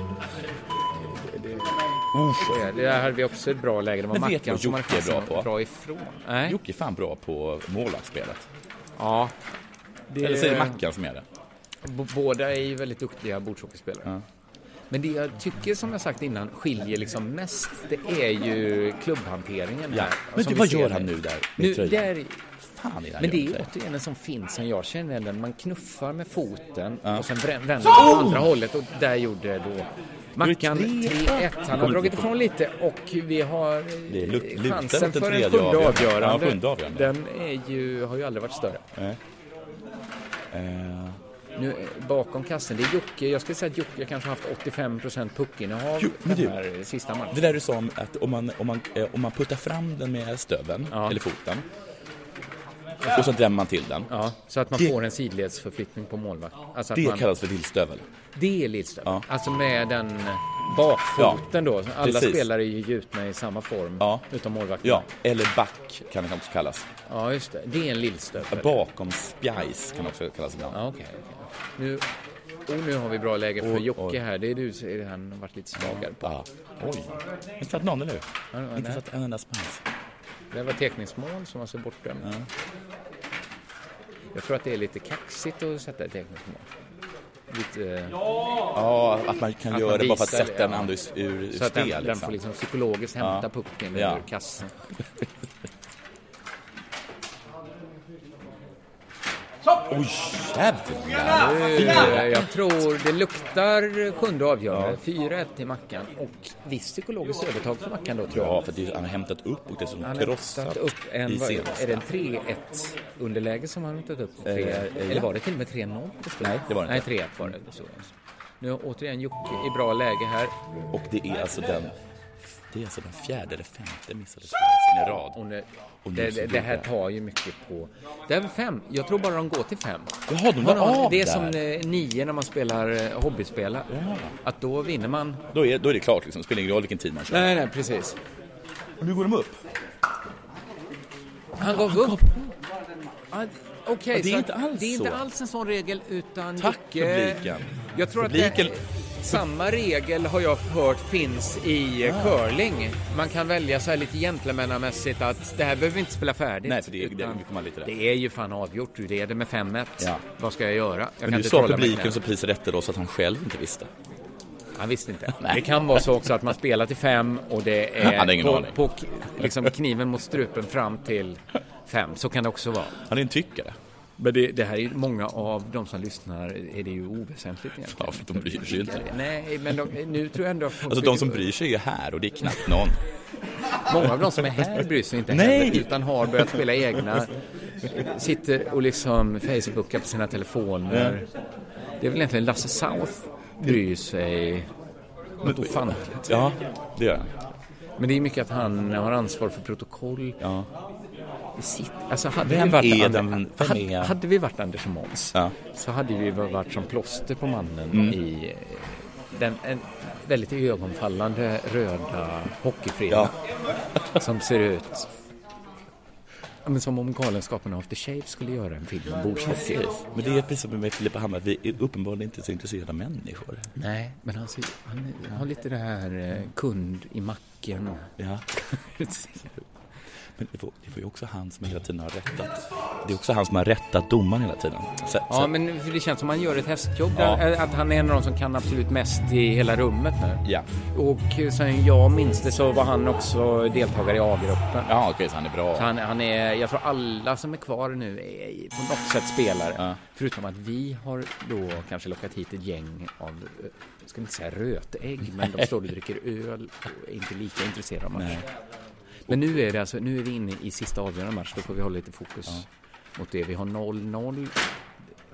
Det, det, så är det. där hade vi också ett bra läge. Det var Men vet du Mackan vad som Jocke markerade är bra på? Bra ifrån. Nej. Jocke är fan bra på målvaktsspelet. Ja. Det- Eller så är det Mackan som är det. B- Båda är ju väldigt duktiga bordshockeyspelare. Men det jag tycker, som jag sagt innan, skiljer liksom mest, det är ju klubbhanteringen Ja. här. Men som du, vi vad ser gör han nu där med Nu, tröjan? där... Fan är det han Men det gör med är ju tröjan? återigen en sån fin som jag känner igen den. Man knuffar med foten Ja. och sen brän- vänder man åt Oh! andra hållet och där gjorde då Mackan Det är 3-1. 3-1. Han har dragit ifrån lite och vi har eh, Det är luk- lutar åt chansen en för en tredje sjunde avgörande. avgörande. Ja, sjunde avgörande. Den är ju, har ju aldrig varit större. Nej. Eh, Nu eh, bakom kassen, det är Jocke. Jag skulle säga att Jocke kanske har haft 85% puckinnehav Jo, men den du, här sista matchen. Det där du sa om att om man, om man, eh, om man puttar fram den med stöveln eller foten Och sen drämmer man till den. Ja, så att man Det- får en sidledsförflyttning på målvakt. Alltså att Det man, kallas för dillstövel. det är Lidström. Ja. Alltså med den bakfoten då. Alla precis. spelare är ju gjutna i samma form, utom målvakten. Ja, eller back kan det också kallas. Ja, just det. Det är en lillstövel. Bakom spjajs kan det också kallas ibland. Ja, okej. Nu, och nu har vi bra läge för Oj, Jocke oj. här. Det är du som- han har varit lite svagare på. Ja. Oj. Inte satt någon, eller hur? Ja, det var Inte där. satt en enda spjajs. Det var teckningsmål som alltså bortdömt. Jag tror att det är lite kaxigt att sätta ett teckningsmål. Lite... eh, Ja, att man kan göra det bara för att visar sätta en andra ur- ur Så att den, spel, den liksom. får liksom psykologiskt hämta Ja. pucken Ja. ur kassen. Oj, jävlar! Eh, Nu, Jag tror det luktar sjunde avgörande. 4-1 till Mackan och visst psykologiskt övertag för Mackan då tror jag. Ja, för det, han har hämtat upp och dessutom Han har krossat tagit upp en, i vad- senaste. är det en 3-1 underläge som han har tagit upp? Eh, Tre, eh, eller ja. var det till och med 3-0? Nej, det var det Nej, inte. 3-1 var det. Så. Nu har återigen Jocke i bra läge här. Och det är alltså den, det är alltså den fjärde eller femte missade spjajsen i rad. Och nu, Och nu det, så det, det här dubblar. tar ju mycket på... Det är väl fem. Jag tror bara de går till fem. Jaha, de Ja, la av Det är där. som eh, nio när man spelar eh, hobbyspelare. Att då vinner man. Då är, då är det klart, liksom. det spelar ingen roll vilken tid man kör. Nej, nej, precis. Nu går de upp. Han gav upp. Ja, Okej, Ja, det är så inte att- alls det är inte så. alls en sån regel utan... Tack, Jocke- publiken. Jag tror att Publiken- det, samma regel har jag hört finns i eh, Ah. curling. Man kan välja så här lite gentlemannamässigt att det här behöver vi inte spela färdigt. Nej, för det- det- utan vi kommer lite där. det är ju fan avgjort, du leder med 5-1. Ja. Vad ska jag göra? Jag Men nu inte sa trolla med publiken knäna. som prisade rätter oss att han själv inte visste. Han visste inte. Det kan vara så också att man spelar till fem och det Han är hade ingen på, aning. på k- liksom kniven mot strupen fram till fem. Så kan det också vara. Han är en tyckare. Men det, det här är ju många av de som lyssnar är det ju oväsentligt egentligen. Ja, för de bryr sig ju inte. Nej, men de, nu tror jag ändå att folk Alltså de som bryr sig är ju här och det är knappt någon. Många av de som är här bryr sig inte Nej! heller utan har börjat spela egna. Sitter och liksom facebookar på sina telefoner. Det är väl egentligen Lasse South bryr sig något ofantligt. Ja, det gör han. Men det är mycket att han har ansvar för protokoll. Ja. I sitt, alltså hade Vem vi varit är And- den- vem hade, är- hade vi varit Anders och Måns så hade vi väl varit som plåster på mannen Mm. i eh, den en väldigt ögonfallande röda hockeyfrilla som ser ut Ja, men som om Galenskaparna After Shave skulle göra en film om bordshockey. Precis. Men det är precis som med Filippa Hammar, att vi är uppenbarligen inte så intresserade av människor. Nej, men han, ser, han har lite det här eh, kund i macken. Ja. Men det var, det var ju också han som hela tiden har rättat. Det är också han som har rättat domaren hela tiden. Så, Ja, så, men det känns som han gör ett hästjobb. Ja. Där, eh, att han är en av de som kan absolut mest i hela rummet nu. Ja. Och eh, sen jag minns det så var han också deltagare i A-gruppen. Ja, okej, så han är bra. Så han, han är, jag tror alla som är kvar nu är i- på något sätt spelare. Förutom att vi har då kanske lockat hit ett gäng av, eh, jag ska inte säga rötägg, men de står och dricker öl och är inte lika intresserade av matchen. Men nu är, det alltså, nu är vi inne i sista avgörande match, då får vi hålla lite fokus mot det. Vi har 0-0.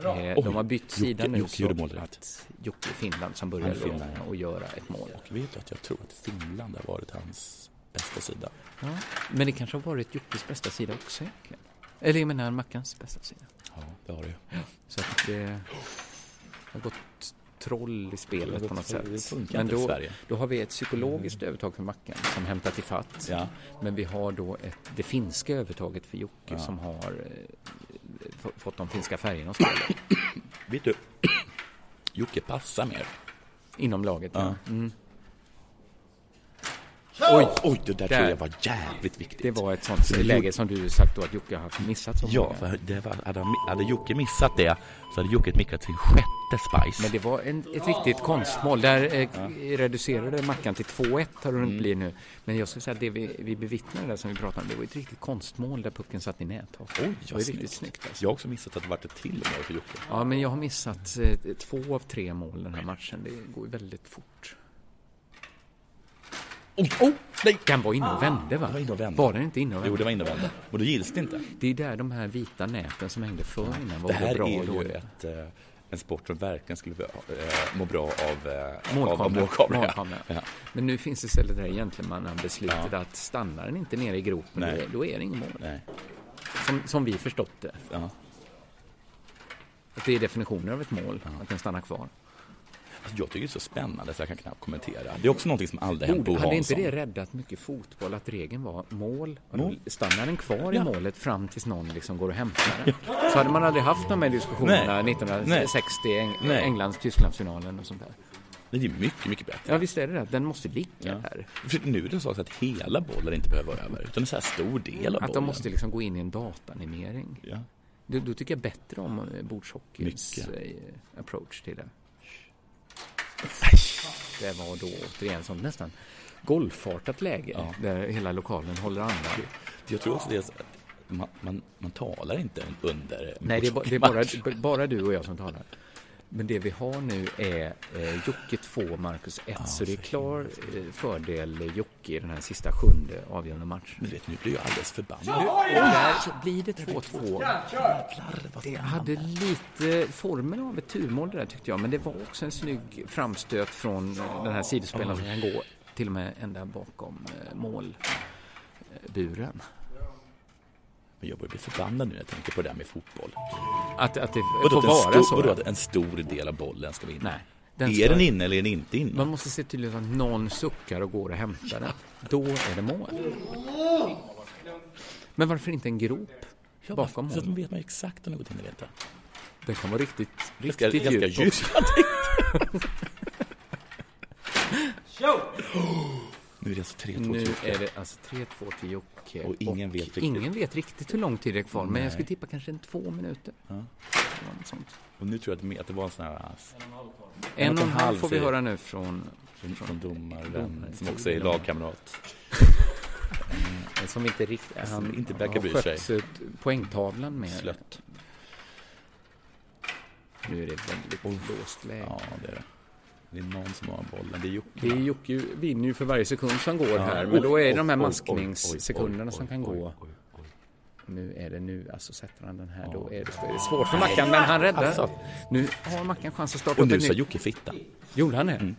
Eh, Oj, De har bytt sida Jocke- nu. Jocke så gjorde målet. att Jocke Finland som Han börjar är Finland, då att göra ett mål. Och vet du att jag tror att Finland har varit hans bästa sida. Ja. Men det kanske har varit Jockes bästa sida också egentligen. Eller jag menar Mackans bästa sida. Ja, det har det ju. Så att eh, det har gått troll i Det har spelet gått på något troll. Det sätt. funkar Men inte för då, Sverige. Mm. då har vi ett psykologiskt övertag för Mackan som hämtar till fatt. Ja. Men vi har då ett, det finska övertaget för Jocke Ja. som har eh, få- fått de finska färgerna att spela. Vet du, Jocke passar mer. Inom laget, ja. Mm. Oj, oj, det där, tror jag var jävligt viktigt. Det var ett sånt För det läge gjorde- som du sagt då att Jocke har haft missat så Ja, många. för det var, hade, han, hade Jocke missat det så hade Jocke mickat sin sjätte spice. Men det var en, ett riktigt konstmål. Där eh, reducerade Mackan till 2-1 har det Mm. hunnit bli nu. Men jag skulle säga att det vi, vi bevittnade där som vi pratade om, det var ett riktigt konstmål där pucken satt i nättaket. Oj, det vad var ju snyggt. riktigt snyggt. Alltså. Jag har också missat att det vart ett till mål för Jocke. Ja, men jag har missat eh, två av tre mål den här matchen. Det går ju väldigt fort. Oh, nej! Den var Ah, inne och vände va? Var, den inte inne och vände? Jo, det var inne och vände. Och då gills det inte. Det är där de här vita näten som hängde förr innan var Det här bra är ju dåliga. ett, eh, en sport som verkligen skulle eh, må bra av, eh, av, av Målkamera. målkamera. Målkamera. Ja. Men nu finns istället det här gentlemannabeslutet Ja. att stannar den inte nere i gropen, Nej. då är- då är det ingen mål. Nej. Som, som vi förstått det. Att det är definitionen av ett mål, att den stannar kvar. Alltså, jag tycker det är så spännande så jag kan knappt kommentera. Det är också någonting som aldrig hänt Borde- Bo Hade inte Hansson. det räddat mycket fotboll att regeln var mål? och Mål. då Stannar den kvar Ja. i målet fram tills någon liksom går och hämtar den? Så hade man aldrig haft de här diskussionerna Nej. 1960, Eng- Nej. Englands-Tysklandsfinalen och sånt där. Det är mycket, mycket bättre. Ja, visst är det det. Den måste ligga där. För nu är det så att hela bollen inte behöver vara över, utan en så här stor del av Att de bollen. måste liksom gå in i en datanimering. Ja. Då, då tycker jag bättre om eh, bordshockeyns eh, approach till det. Det var då återigen som nästan golfartat läge där hela lokalen håller andan. Jag tror också det är så att man, man, man talar inte under en Nej, det är, ba- det är bordshockeymatch. bara, bara du och jag som talar. Men det vi har nu är eh, Jocke 2, Marcus 1. så det är klar eh, fördel Jocke i den här sista sjunde avgörande matchen. Men vet, nu blir jag alldeles förbannad. Nu, och där så blir det 2-2. Det hade lite formen av ett turmål det där tyckte jag, men det var också en snygg framstöt från eh, den här sidospelaren som kan gå till och med ända bakom eh, målburen. Men jag börjar bli förbannad nu när jag tänker på det här med fotboll. Att, att det Vadå, får att en vara stor, så? Vadå att en stor del av bollen ska vara inne? Nej. Den är ska- den inne eller är den inte inne? Man måste se till att någon suckar och går och hämtar den. Då är det mål. Men varför inte en grop bakom Så att mål? man vet man exakt om det går in eller inte. Den kan vara riktigt, Ganska- riktigt ganska djup djup, också. jag tänkte. Nu är det alltså 3-2 Nu till Jocke. är det alltså 3-2 till Jocke. Och ingen vet riktigt. ingen vet riktigt hur lång tid det är kvar, men Nej. jag skulle tippa kanske en två minuter. Eller något sånt. Och nu tror jag att det- att det var en sån här... En och en halv får vi säger- höra nu från, från, från domaren, domaren. som också är lagkamrat. eh, som inte riktigt... Som Han inte verkar har bry sig. skött, eh, poängtavlan med... Slött. Nu är det väldigt låst läge. Ja, det är det. Det är någon som har bollen. Det är Jocke. Det är Jocke vinner ju för varje sekund som går Ja, här, men oj, då är det oj, de här oj, oj, maskningssekunderna oj, som oj, kan oj, gå. Nu är det nu, alltså sätter han den här då är det, då är det svårt för Mackan, men han räddar. Alltså. Nu har Mackan chans att starta Och upp nu ett sa nytt- Jocke fitta. Gjorde han det?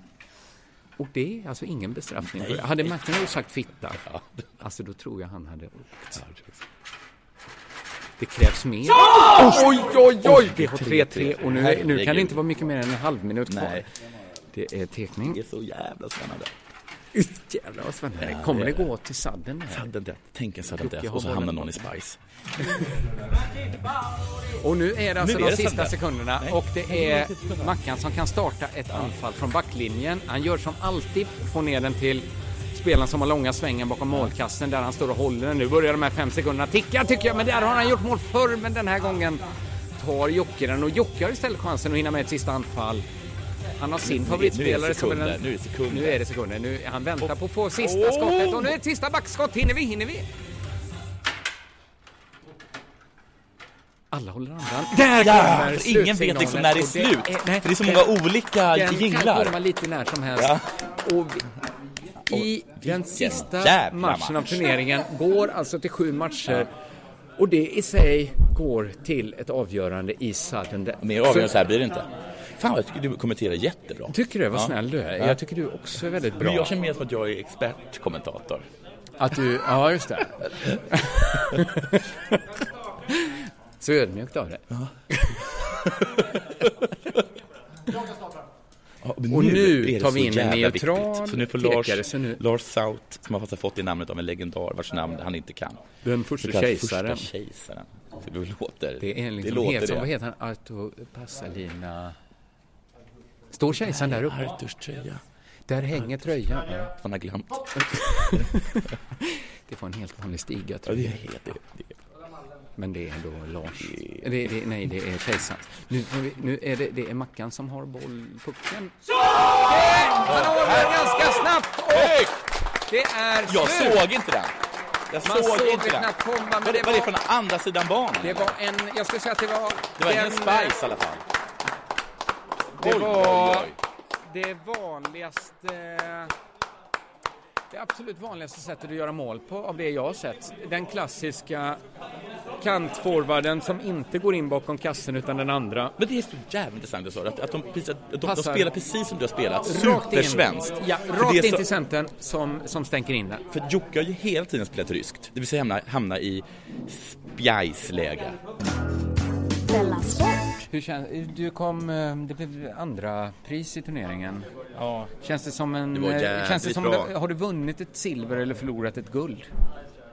Och det är alltså ingen bestraffning. Mm. Nej. Hade Mackan då sagt fitta, alltså då tror jag han hade åkt. Det krävs mer. Ja! Oj, oj, oj! Vi har 3-3. 3-3 och nu, nu kan det inte vara mycket mer än en halv minut kvar. Nej. Det är tekning. Det är så jävla spännande. Jävlar vad spännande. Ja, Kommer det det är det. gå till sadden här? Sudden death. Tänk en sudden Jocke death har och så bollen. hamnar någon i Spice. Och nu är det alltså Nu är de det sista sudden. sekunderna Nej. och det är Mackan som kan starta ett anfall från backlinjen. Han gör som alltid, får ner den till spelaren som har långa svängen bakom målkassen där han står och håller den. Nu börjar de här fem sekunderna ticka tycker jag, men där har han gjort mål förr, men den här gången tar Jocke den och Jocke har istället chansen att hinna med ett sista anfall. Han har sin Nu- nu är- nu är favoritspelare det som är sekunder, den... nu är det sekunder. Nu är det sekunder. Nu, han väntar på att få sista Åh! skottet och nu är det ett sista backskott. Hinner vi? Hinner vi? Alla håller andan. Där Jävlar, kommer Ingen vet liksom när det är slut. slutsignalen. Och För det är så den- många olika Den kan jinglar. komma lite när som helst. Ja. Och vi, i den sista jävla matchen av match. turneringen går alltså till sju matcher. Och det i sig går till ett avgörande i sudden death. Mer avgörande så här blir det inte. Fan, jag tycker du kommenterar jättebra. Tycker du? Vad snäll du är. Jag tycker du också är väldigt bra. Men jag känner mer som att jag är expertkommentator. Att du, ja just det. Så ödmjukt av dig. Ja, men Och är nu det tar så vi in en jävla neutral viktigt. Så nu får pekare, Lars, så nu- Lars South, som har fått- fått det namnet av en legendar vars namn han inte kan. Den första Så kallad kejsaren. Första kejsaren. Så det låter Det är en liksom, låter het, som, det. vad heter han, Arto Passalina... Står kejsaren där uppe? Arturs tröja. Där hänger tröjan. Man har glömt. det var en helt vanlig stiga Ja, tror det jag. är helt... Det, det. Men det är då Lars. Det, det, nej, det är kejsarens. Nu, får vi- nu är det, det är Mackan som har bollpucken. Han håller ganska snabbt och det är Jag slut. såg inte den. Jag Man såg såg inte det den. knappt komma, men Vad är det vad är det var- från andra sidan banan? Det var en, jag skulle säga att det var... Det var ingen den- spice i alla fall. Det Oj, var oj, eh, det vanligaste... Det absolut vanligaste sättet att göra mål på av det jag har sett. Den klassiska kantforwarden som inte går in bakom kassen utan den andra. Men det är så jävligt intressant det sa du, att, att, de, precis- att de, de Passar. spelar precis som du har spelat, Rakt in. supersvenskt. Ja, För rakt det är in så- till centern som, som stänker in den. För Jocke har ju hela tiden spelat ryskt, det vill säga hamna, hamna i spjajsläge. Della Sport. Hur kän- du kom, eh, det blev andra pris i turneringen. Ja. Känns det som en... Det var eh, jävligt känns det som bra. Har du vunnit ett silver eller förlorat ett guld?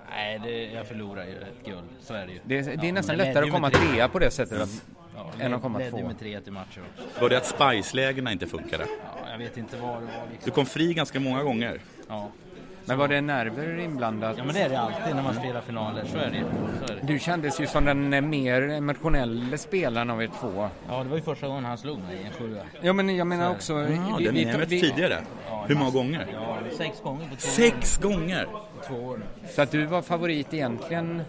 Nej, det, jag förlorar ju ett guld. Så är det ju. Det är- det men är nästan jag lättare ledde att ju med komma tre. trea på det sättet Mm. att- Ja, än än att komma ledde två. med 3 till matcher också. Var det att spajslägena inte funkade? Ja, jag vet inte vad det var liksom. Du kom fri ganska många gånger. Ja. Men var det nerver inblandat? Ja, men det är det alltid när man spelar finaler. Så är det ju. Så är det. Du kändes ju som den eh, mer emotionella spelaren av er två. Ja, det var ju första gången han slog mig i en sjua. Ja, men jag menar Så är också... det. vi- vi- vi- vi- Ja, Hur många gånger? Ja, sex gånger på två Sex gånger? På två år. Så att du var favorit egentligen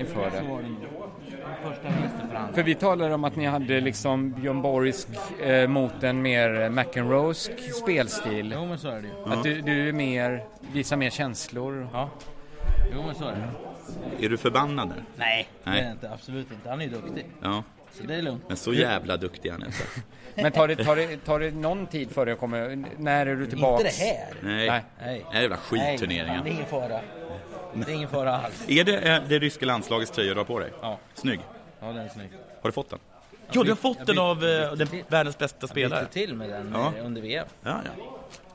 inför Så var det. det nog. Första vänsterförhand. För vi talade om att ni hade liksom Björn Borgsk eh, mot en mer McEnroesk spelstil. Jo, men så är det ju. Att du, du är mer, visar mer känslor. Ja. Jo, men så är det. Är du förbannad nu? Nej, Nej. Det är inte, absolut inte. Han är ju duktig. Ja. Så det är lugnt. Men så jävla duktig är han inte. Men tar det, tar, det, tar det någon tid för dig att komma När är du tillbaks? Inte det här. Nej. Nej. Det här är jävla Nej, skitturneringen. det är ingen fara. Det är ingen fara alls. Är det eh, det ryska landslagets tröja du har på dig? Ja. Snygg. Ja, den är snygg. Har du fått den? Jag Ja, du har byt- fått jag den byt- av eh, bytte den till. världens bästa spelare. Jag bytte till med den Ja. eh, under VM. Ja, ja.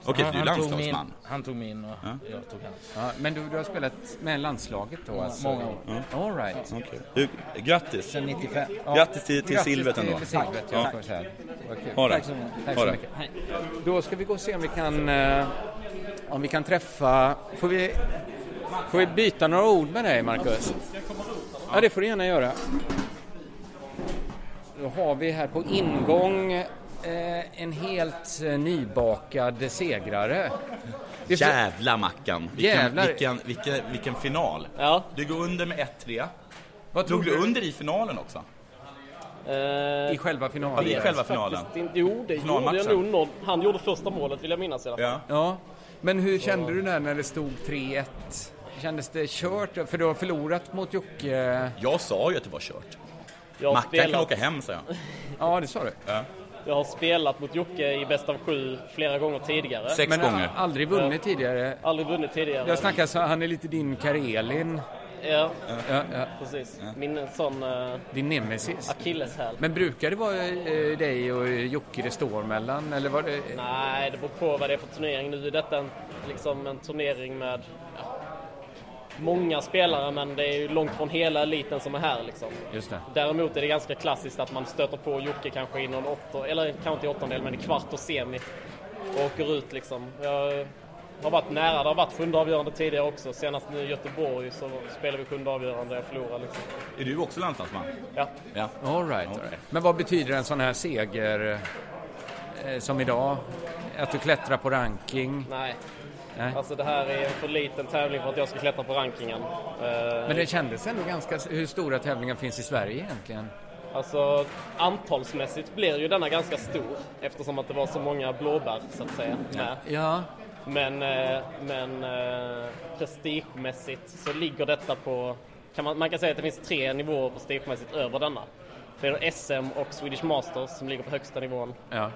Okej, Han- så du är han tog landslagsman. min- Han tog min och Ja. jag tog hans. Ja, men du, du har spelat med landslaget då? Många- Alltså. många år. Ja. All right. Okej. Du, grattis! Sen 95. Grattis till, till Grattis silvret till ändå. silvret, ja, får jag säga. Vad kul. Ha det. Tack så mycket. Tack Ha så det. mycket. Hej. Då ska vi gå och se om vi kan, eh, om vi kan träffa... Får vi, får vi byta några ord med dig, Marcus? Ja, det får du gärna göra. Då har vi här på ingång eh, en helt eh, nybakad segrare. Vi får- Jävla Mackan! Vilken, Jävlar. vilken, vilken, vilken final! Ja. Du går under med 1-3. Vad Drog trodde du du? under i finalen också? Eh, I själva finalen. Ja, i själva finalen. Faktiskt inte. Jo, det gjorde jag Finalmatchen. nog. Någon, han gjorde första målet vill jag minnas i alla fall. Ja, men hur kände du där när det stod 3-1? Kändes det kört? För du har förlorat mot Jocke. Jag sa ju att det var kört. Jag har Mackan kan spelat. åka hem, sa jag. Ja, det sa du. Ja. Jag har spelat mot Jocke i bäst av sju flera gånger tidigare. Sex Men gånger. a- aldrig vunnit tidigare. Aldrig vunnit tidigare. Jag snackar så han är lite din Karelin. Ja, Ja, ja. precis. Min sån eh, Din nemesis. akilleshäl. Men brukar det vara eh, dig och Jocke det står mellan? Eller var det... Nej, det beror på vad det är för turnering. Nu är detta en, liksom en turnering med ja, många spelare, men det är ju långt från hela eliten som är här. Liksom. Just det. Däremot är det ganska klassiskt att man stöter på Jocke kanske i någon åtta, eller kanske inte i åttondel, men i kvart och semi och åker ut liksom. Jag har varit nära, det har varit sjunde avgörande tidigare också. Senast nu i Göteborg så spelade vi sjunde avgörande och jag förlorade liksom. Är du också landslagsman? Ja. Ja. All right, all right. Men vad betyder en sån här seger eh, som idag? Att du klättrar på ranking? Nej. Nej. Alltså det här är en för liten tävling för att jag ska klättra på rankingen. Eh, Men det kändes ändå ganska... Hur stora tävlingar finns i Sverige egentligen? Alltså antalsmässigt blir ju denna ganska stor eftersom att det var så många blåbär så att säga med. Ja. Men, eh, men eh, prestigemässigt så ligger detta på, kan man, man kan säga att det finns tre nivåer prestigemässigt över denna. Det är SM och Swedish Masters som ligger på högsta nivån. Ja.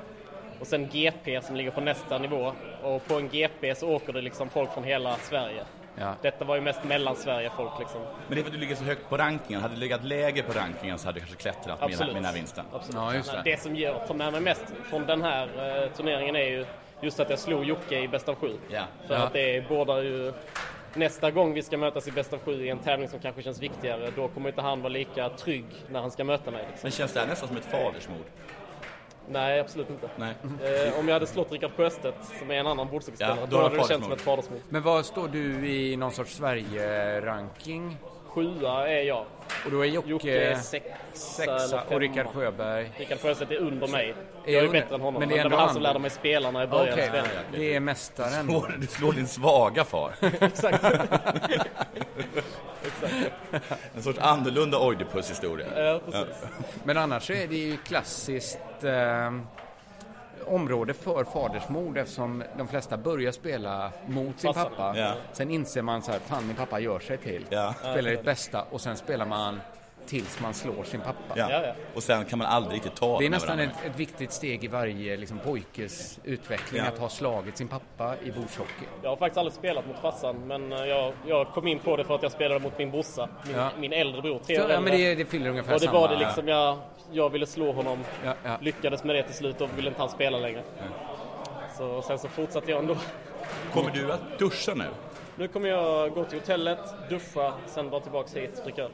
Och sen GP som ligger på nästa nivå. Och på en GP så åker det liksom folk från hela Sverige. Ja. Detta var ju mest mellan Sverige folk liksom. Men det är för att du ligger så högt på rankingen. Hade du legat lägre på rankingen så hade du kanske klättrat med den, här- Absolut. med den här vinsten. Absolut. det. som jag tar med mig mest från den här eh, turneringen är ju just att jag slog Jocke i bäst av sju. Ja. För Ja. att det bådar ju... Nästa gång vi ska mötas i bäst av sju i en tävling som kanske känns viktigare, då kommer inte han vara lika trygg när han ska möta mig. Liksom. Men känns det här nästan som ett fadersmord? Nej, absolut inte. Nej. Eh, om jag hade slått Rickard Sjöstedt, som är en annan bordsockeyspelare, Ja, då, hade det känts som ett fadersmord. Men vad står du i någon sorts Sverige-ranking? Sjua är jag. Och då är Jocke, Jocke är sexa eller femma. och Rickard Sjöberg. Rickard Sjöstedt är under mig. Är Jag är under- bättre än honom. Men men det det, är ändå var han han. som lärde mig spelarna i början av Okej, spelen. det är mästaren. Du slår, du slår din svaga far. Exakt. En sorts annorlunda Oidipus-historia. Eh, Men annars så är det ju klassiskt eh, område för fadersmord eftersom de flesta börjar spela mot sin Passar. pappa. Ja. Sen inser man så här, fan min pappa gör sig till. Ja. Spelar sitt bästa och sen spelar man tills man slår sin pappa. Ja. Och sen kan man aldrig riktigt ta Det är med nästan varandra. ett, ett viktigt steg i varje liksom, pojkes utveckling Ja. att ha slagit sin pappa i bordshockey. Jag har faktiskt aldrig spelat mot farsan, men eh, jag, jag kom in på det för att jag spelade mot min brorsa, min, Ja. min äldre bror, tre Så, år ja, äldre. men det- det fyller ungefär Och det samma- var det liksom, jag, jag ville slå honom, Ja, ja. lyckades med det till slut och ville inte han spela längre. Så, och sen så fortsatte jag ändå. Kommer du att duscha nu? Nu kommer jag gå till hotellet, duscha, sen dra tillbaks hit, dricka öl.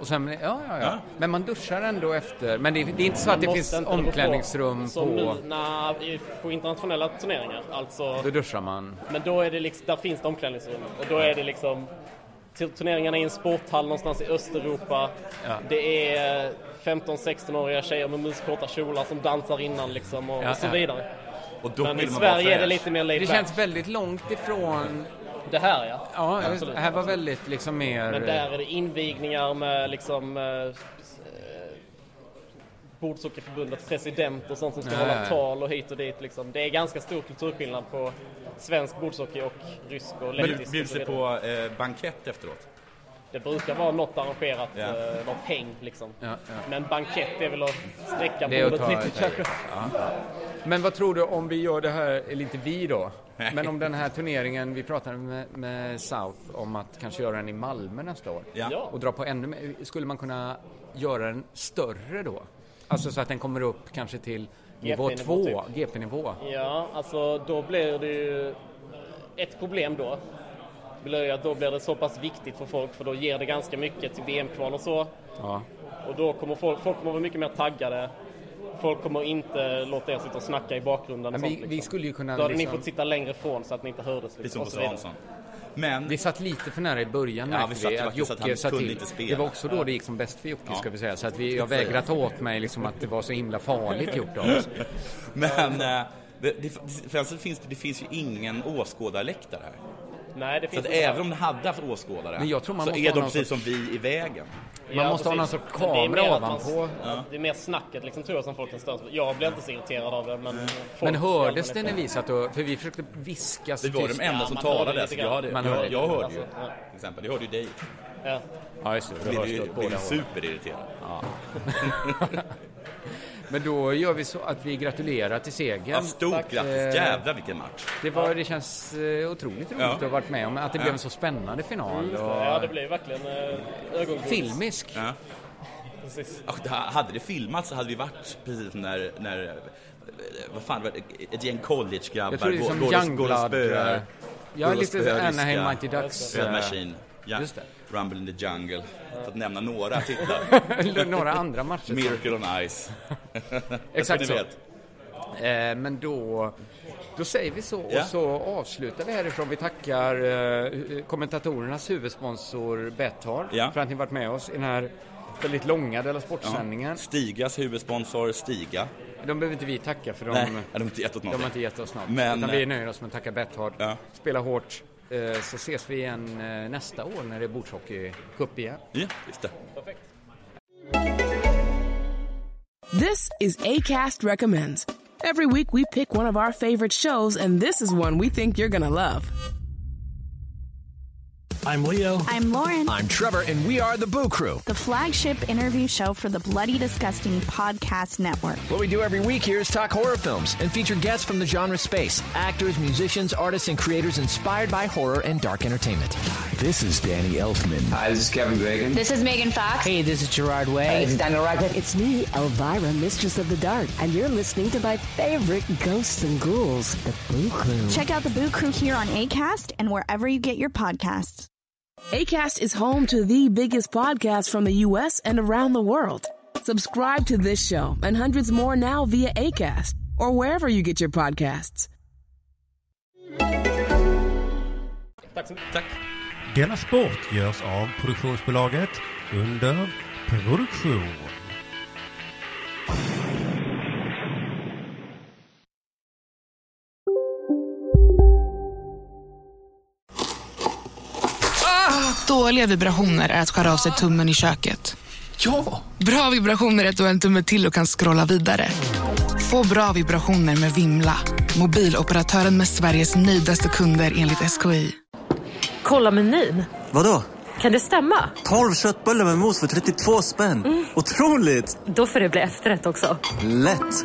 Och sen, ja, ja, ja. Men man duschar ändå efter. Men det, det är inte så att det Man finns måste inte gå på. omklädningsrum på... Som nu, na, i- på internationella turneringar. Alltså, Då duschar man. Men då är det liksom, där finns det omklädningsrum. Och då är det liksom, till- turneringarna är i en sporthall någonstans i Östeuropa. Ja. Det är 15-16-åriga tjejer med muskorta kjolar som dansar innan liksom och, Ja, och så ja. vidare. Och då men i vill man vara Sverige är det fräsch. lite mer laid Det back. känns väldigt långt ifrån... Det här ja. Ja, Absolut. det här var väldigt liksom mer... Men där är det invigningar med liksom eh, eh, Bordsockerförbundets president och sånt som ska Ja, ja, hålla ja. tal och hit och dit. Liksom. Det är ganska stor kulturskillnad på svensk bordshockey och rysk och Men du lettisk. bjuds och så det vidare. på eh, bankett efteråt? Det brukar vara något arrangerat, Ja. eh, något häng liksom. Ja, ja. Men bankett är väl att sträcka Det är att bordet ta- lite ta- kanske. ja. Men vad tror du om vi gör det här, eller inte vi då, men om den här turneringen, vi pratade med, med South om att kanske göra den i Malmö nästa år. Ja. Och dra på ännu mer. Skulle man kunna göra den större då? Alltså så att den kommer upp kanske till nivå GP-nivå två, typ. GP-nivå. Ja, alltså då blir det ju ett problem då. Blir ju att då blir det så pass viktigt för folk för då ger det ganska mycket till VM-kval och så. Ja. Och då kommer folk, folk kommer vara mycket mer taggade. Folk kommer inte låta er sitta och snacka i bakgrunden. Och Men vi- sånt, liksom. vi skulle ju kunna Då hade liksom- ni fått sitta längre ifrån så att ni inte hördes. Det är som och hos så vidare. Hansson. Men... Vi satt lite för nära i början Ja, vi märkte satt ju faktiskt att han sa kunde till. inte spela. Det var också då Ja. det gick som bäst för Jocke Ja. ska vi säga. Så att vi, jag vägrar ta åt mig liksom att det var så himla farligt gjort av oss. Men eh, det, det, för alltså, det, finns, det finns ju ingen åskådarläktare här. Nej, det Så finns att inte. även om de hade haft åskådare Men jag tror man så måste är ha de någon precis som sorts- vi i vägen. Ja, precis. Men det är mer att man- Ja. Det är mer snacket liksom, tror jag som folk kan störa sig på. Jag blir inte så irriterad av det. Men, folk Men i hördes allmänhet- det när vi satt och... För vi försökte viska Vi var tyst. de enda som man hörde talade. lite Så grann. jag, hörde, Man jag, hörde jag, lite, hörde alltså. ju till exempel. Jag hörde ju dig. Ja. Ja, just det. Det Blev hörs ju åt båda blev ju hållen. superirriterad. Men då gör vi så att vi gratulerar till segern. Ja, stort Tack. grattis. Eh, Jävlar vilken match. Det, var, det känns eh, otroligt roligt Ja. att ha varit med om. Att det Ja. blev en så spännande final. Mm, Ja, det och... blir verkligen eh, ögongodis. Filmisk. Ja. Precis. Och det- Hade det filmats så hade vi varit precis när, när eh, vad fan, var det? ett gäng collegegrabbar Jag tror det är som går, går, och- går och Youngblood, spöar. eh, ja, går och lite spöar Anaheim ryska Mighty Ducks, Red eh, Machine. Ja. Rumble in the Jungle. För att nämna några Eller titlar. några andra matcher. Miracle on Ice. Jag tror Exakt ni så. vet. Eh, men då, då säger vi så Ja. och så avslutar vi härifrån. Vi tackar eh, kommentatorernas huvudsponsor Betthard Ja. för att ni varit med oss i den här väldigt långa Della Sport-sändningen. Ja. Stigas huvudsponsor Stiga. De behöver inte vi tacka för de, Nej, de har inte gett oss de någonting. har inte gett oss något. Men- eh, utan vi nöjer oss med att tacka Betthard. Spela hårt. eh, Så ses vi igen eh, nästa år när det är bordshockeycup igen. Ja, just det. This is ACAST Recommends. Every week we pick one of our favorite shows, and this is one we think you're going to love. I'm Leo. I'm Lauren, I'm Trevor, and we are the Boo Crew. the flagship interview show for the Bloody Disgusting Podcast Network. What we do every week here is talk horror films and feature guests from the genre space actors, musicians, artists, and creators inspired by horror and dark entertainment. This is Danny Elfman. Hi, this is Kevin Bacon. This is Megan Fox. Hey, this is Gerard Way. it's Daniel Radcliffe. It's me, Elvira, Mistress of the Dark, and you're listening to my favorite ghosts and ghouls, The Boo Crew. Check out the Boo Crew here on ACAST and wherever you get your podcasts. ACAST is home to the biggest podcasts from the U.S. and around the world. Subscribe to this show and hundreds more now via ACAST or wherever you get your podcasts. Tack så mycket. Denna sport görs av produktionsbolaget under produktion. Dåliga vibrationer är att skära av sig tummen i köket. Ja! Bra vibrationer är att du har en tumme till och kan scrolla vidare. Få bra vibrationer med Vimla. Mobiloperatören med Sveriges nöjdaste kunder enligt SKI. Kolla menyn. Vadå? Kan det stämma? 12 köttbullar med mos för 32 spänn. Otroligt! Då får det bli efterrätt också. Lätt!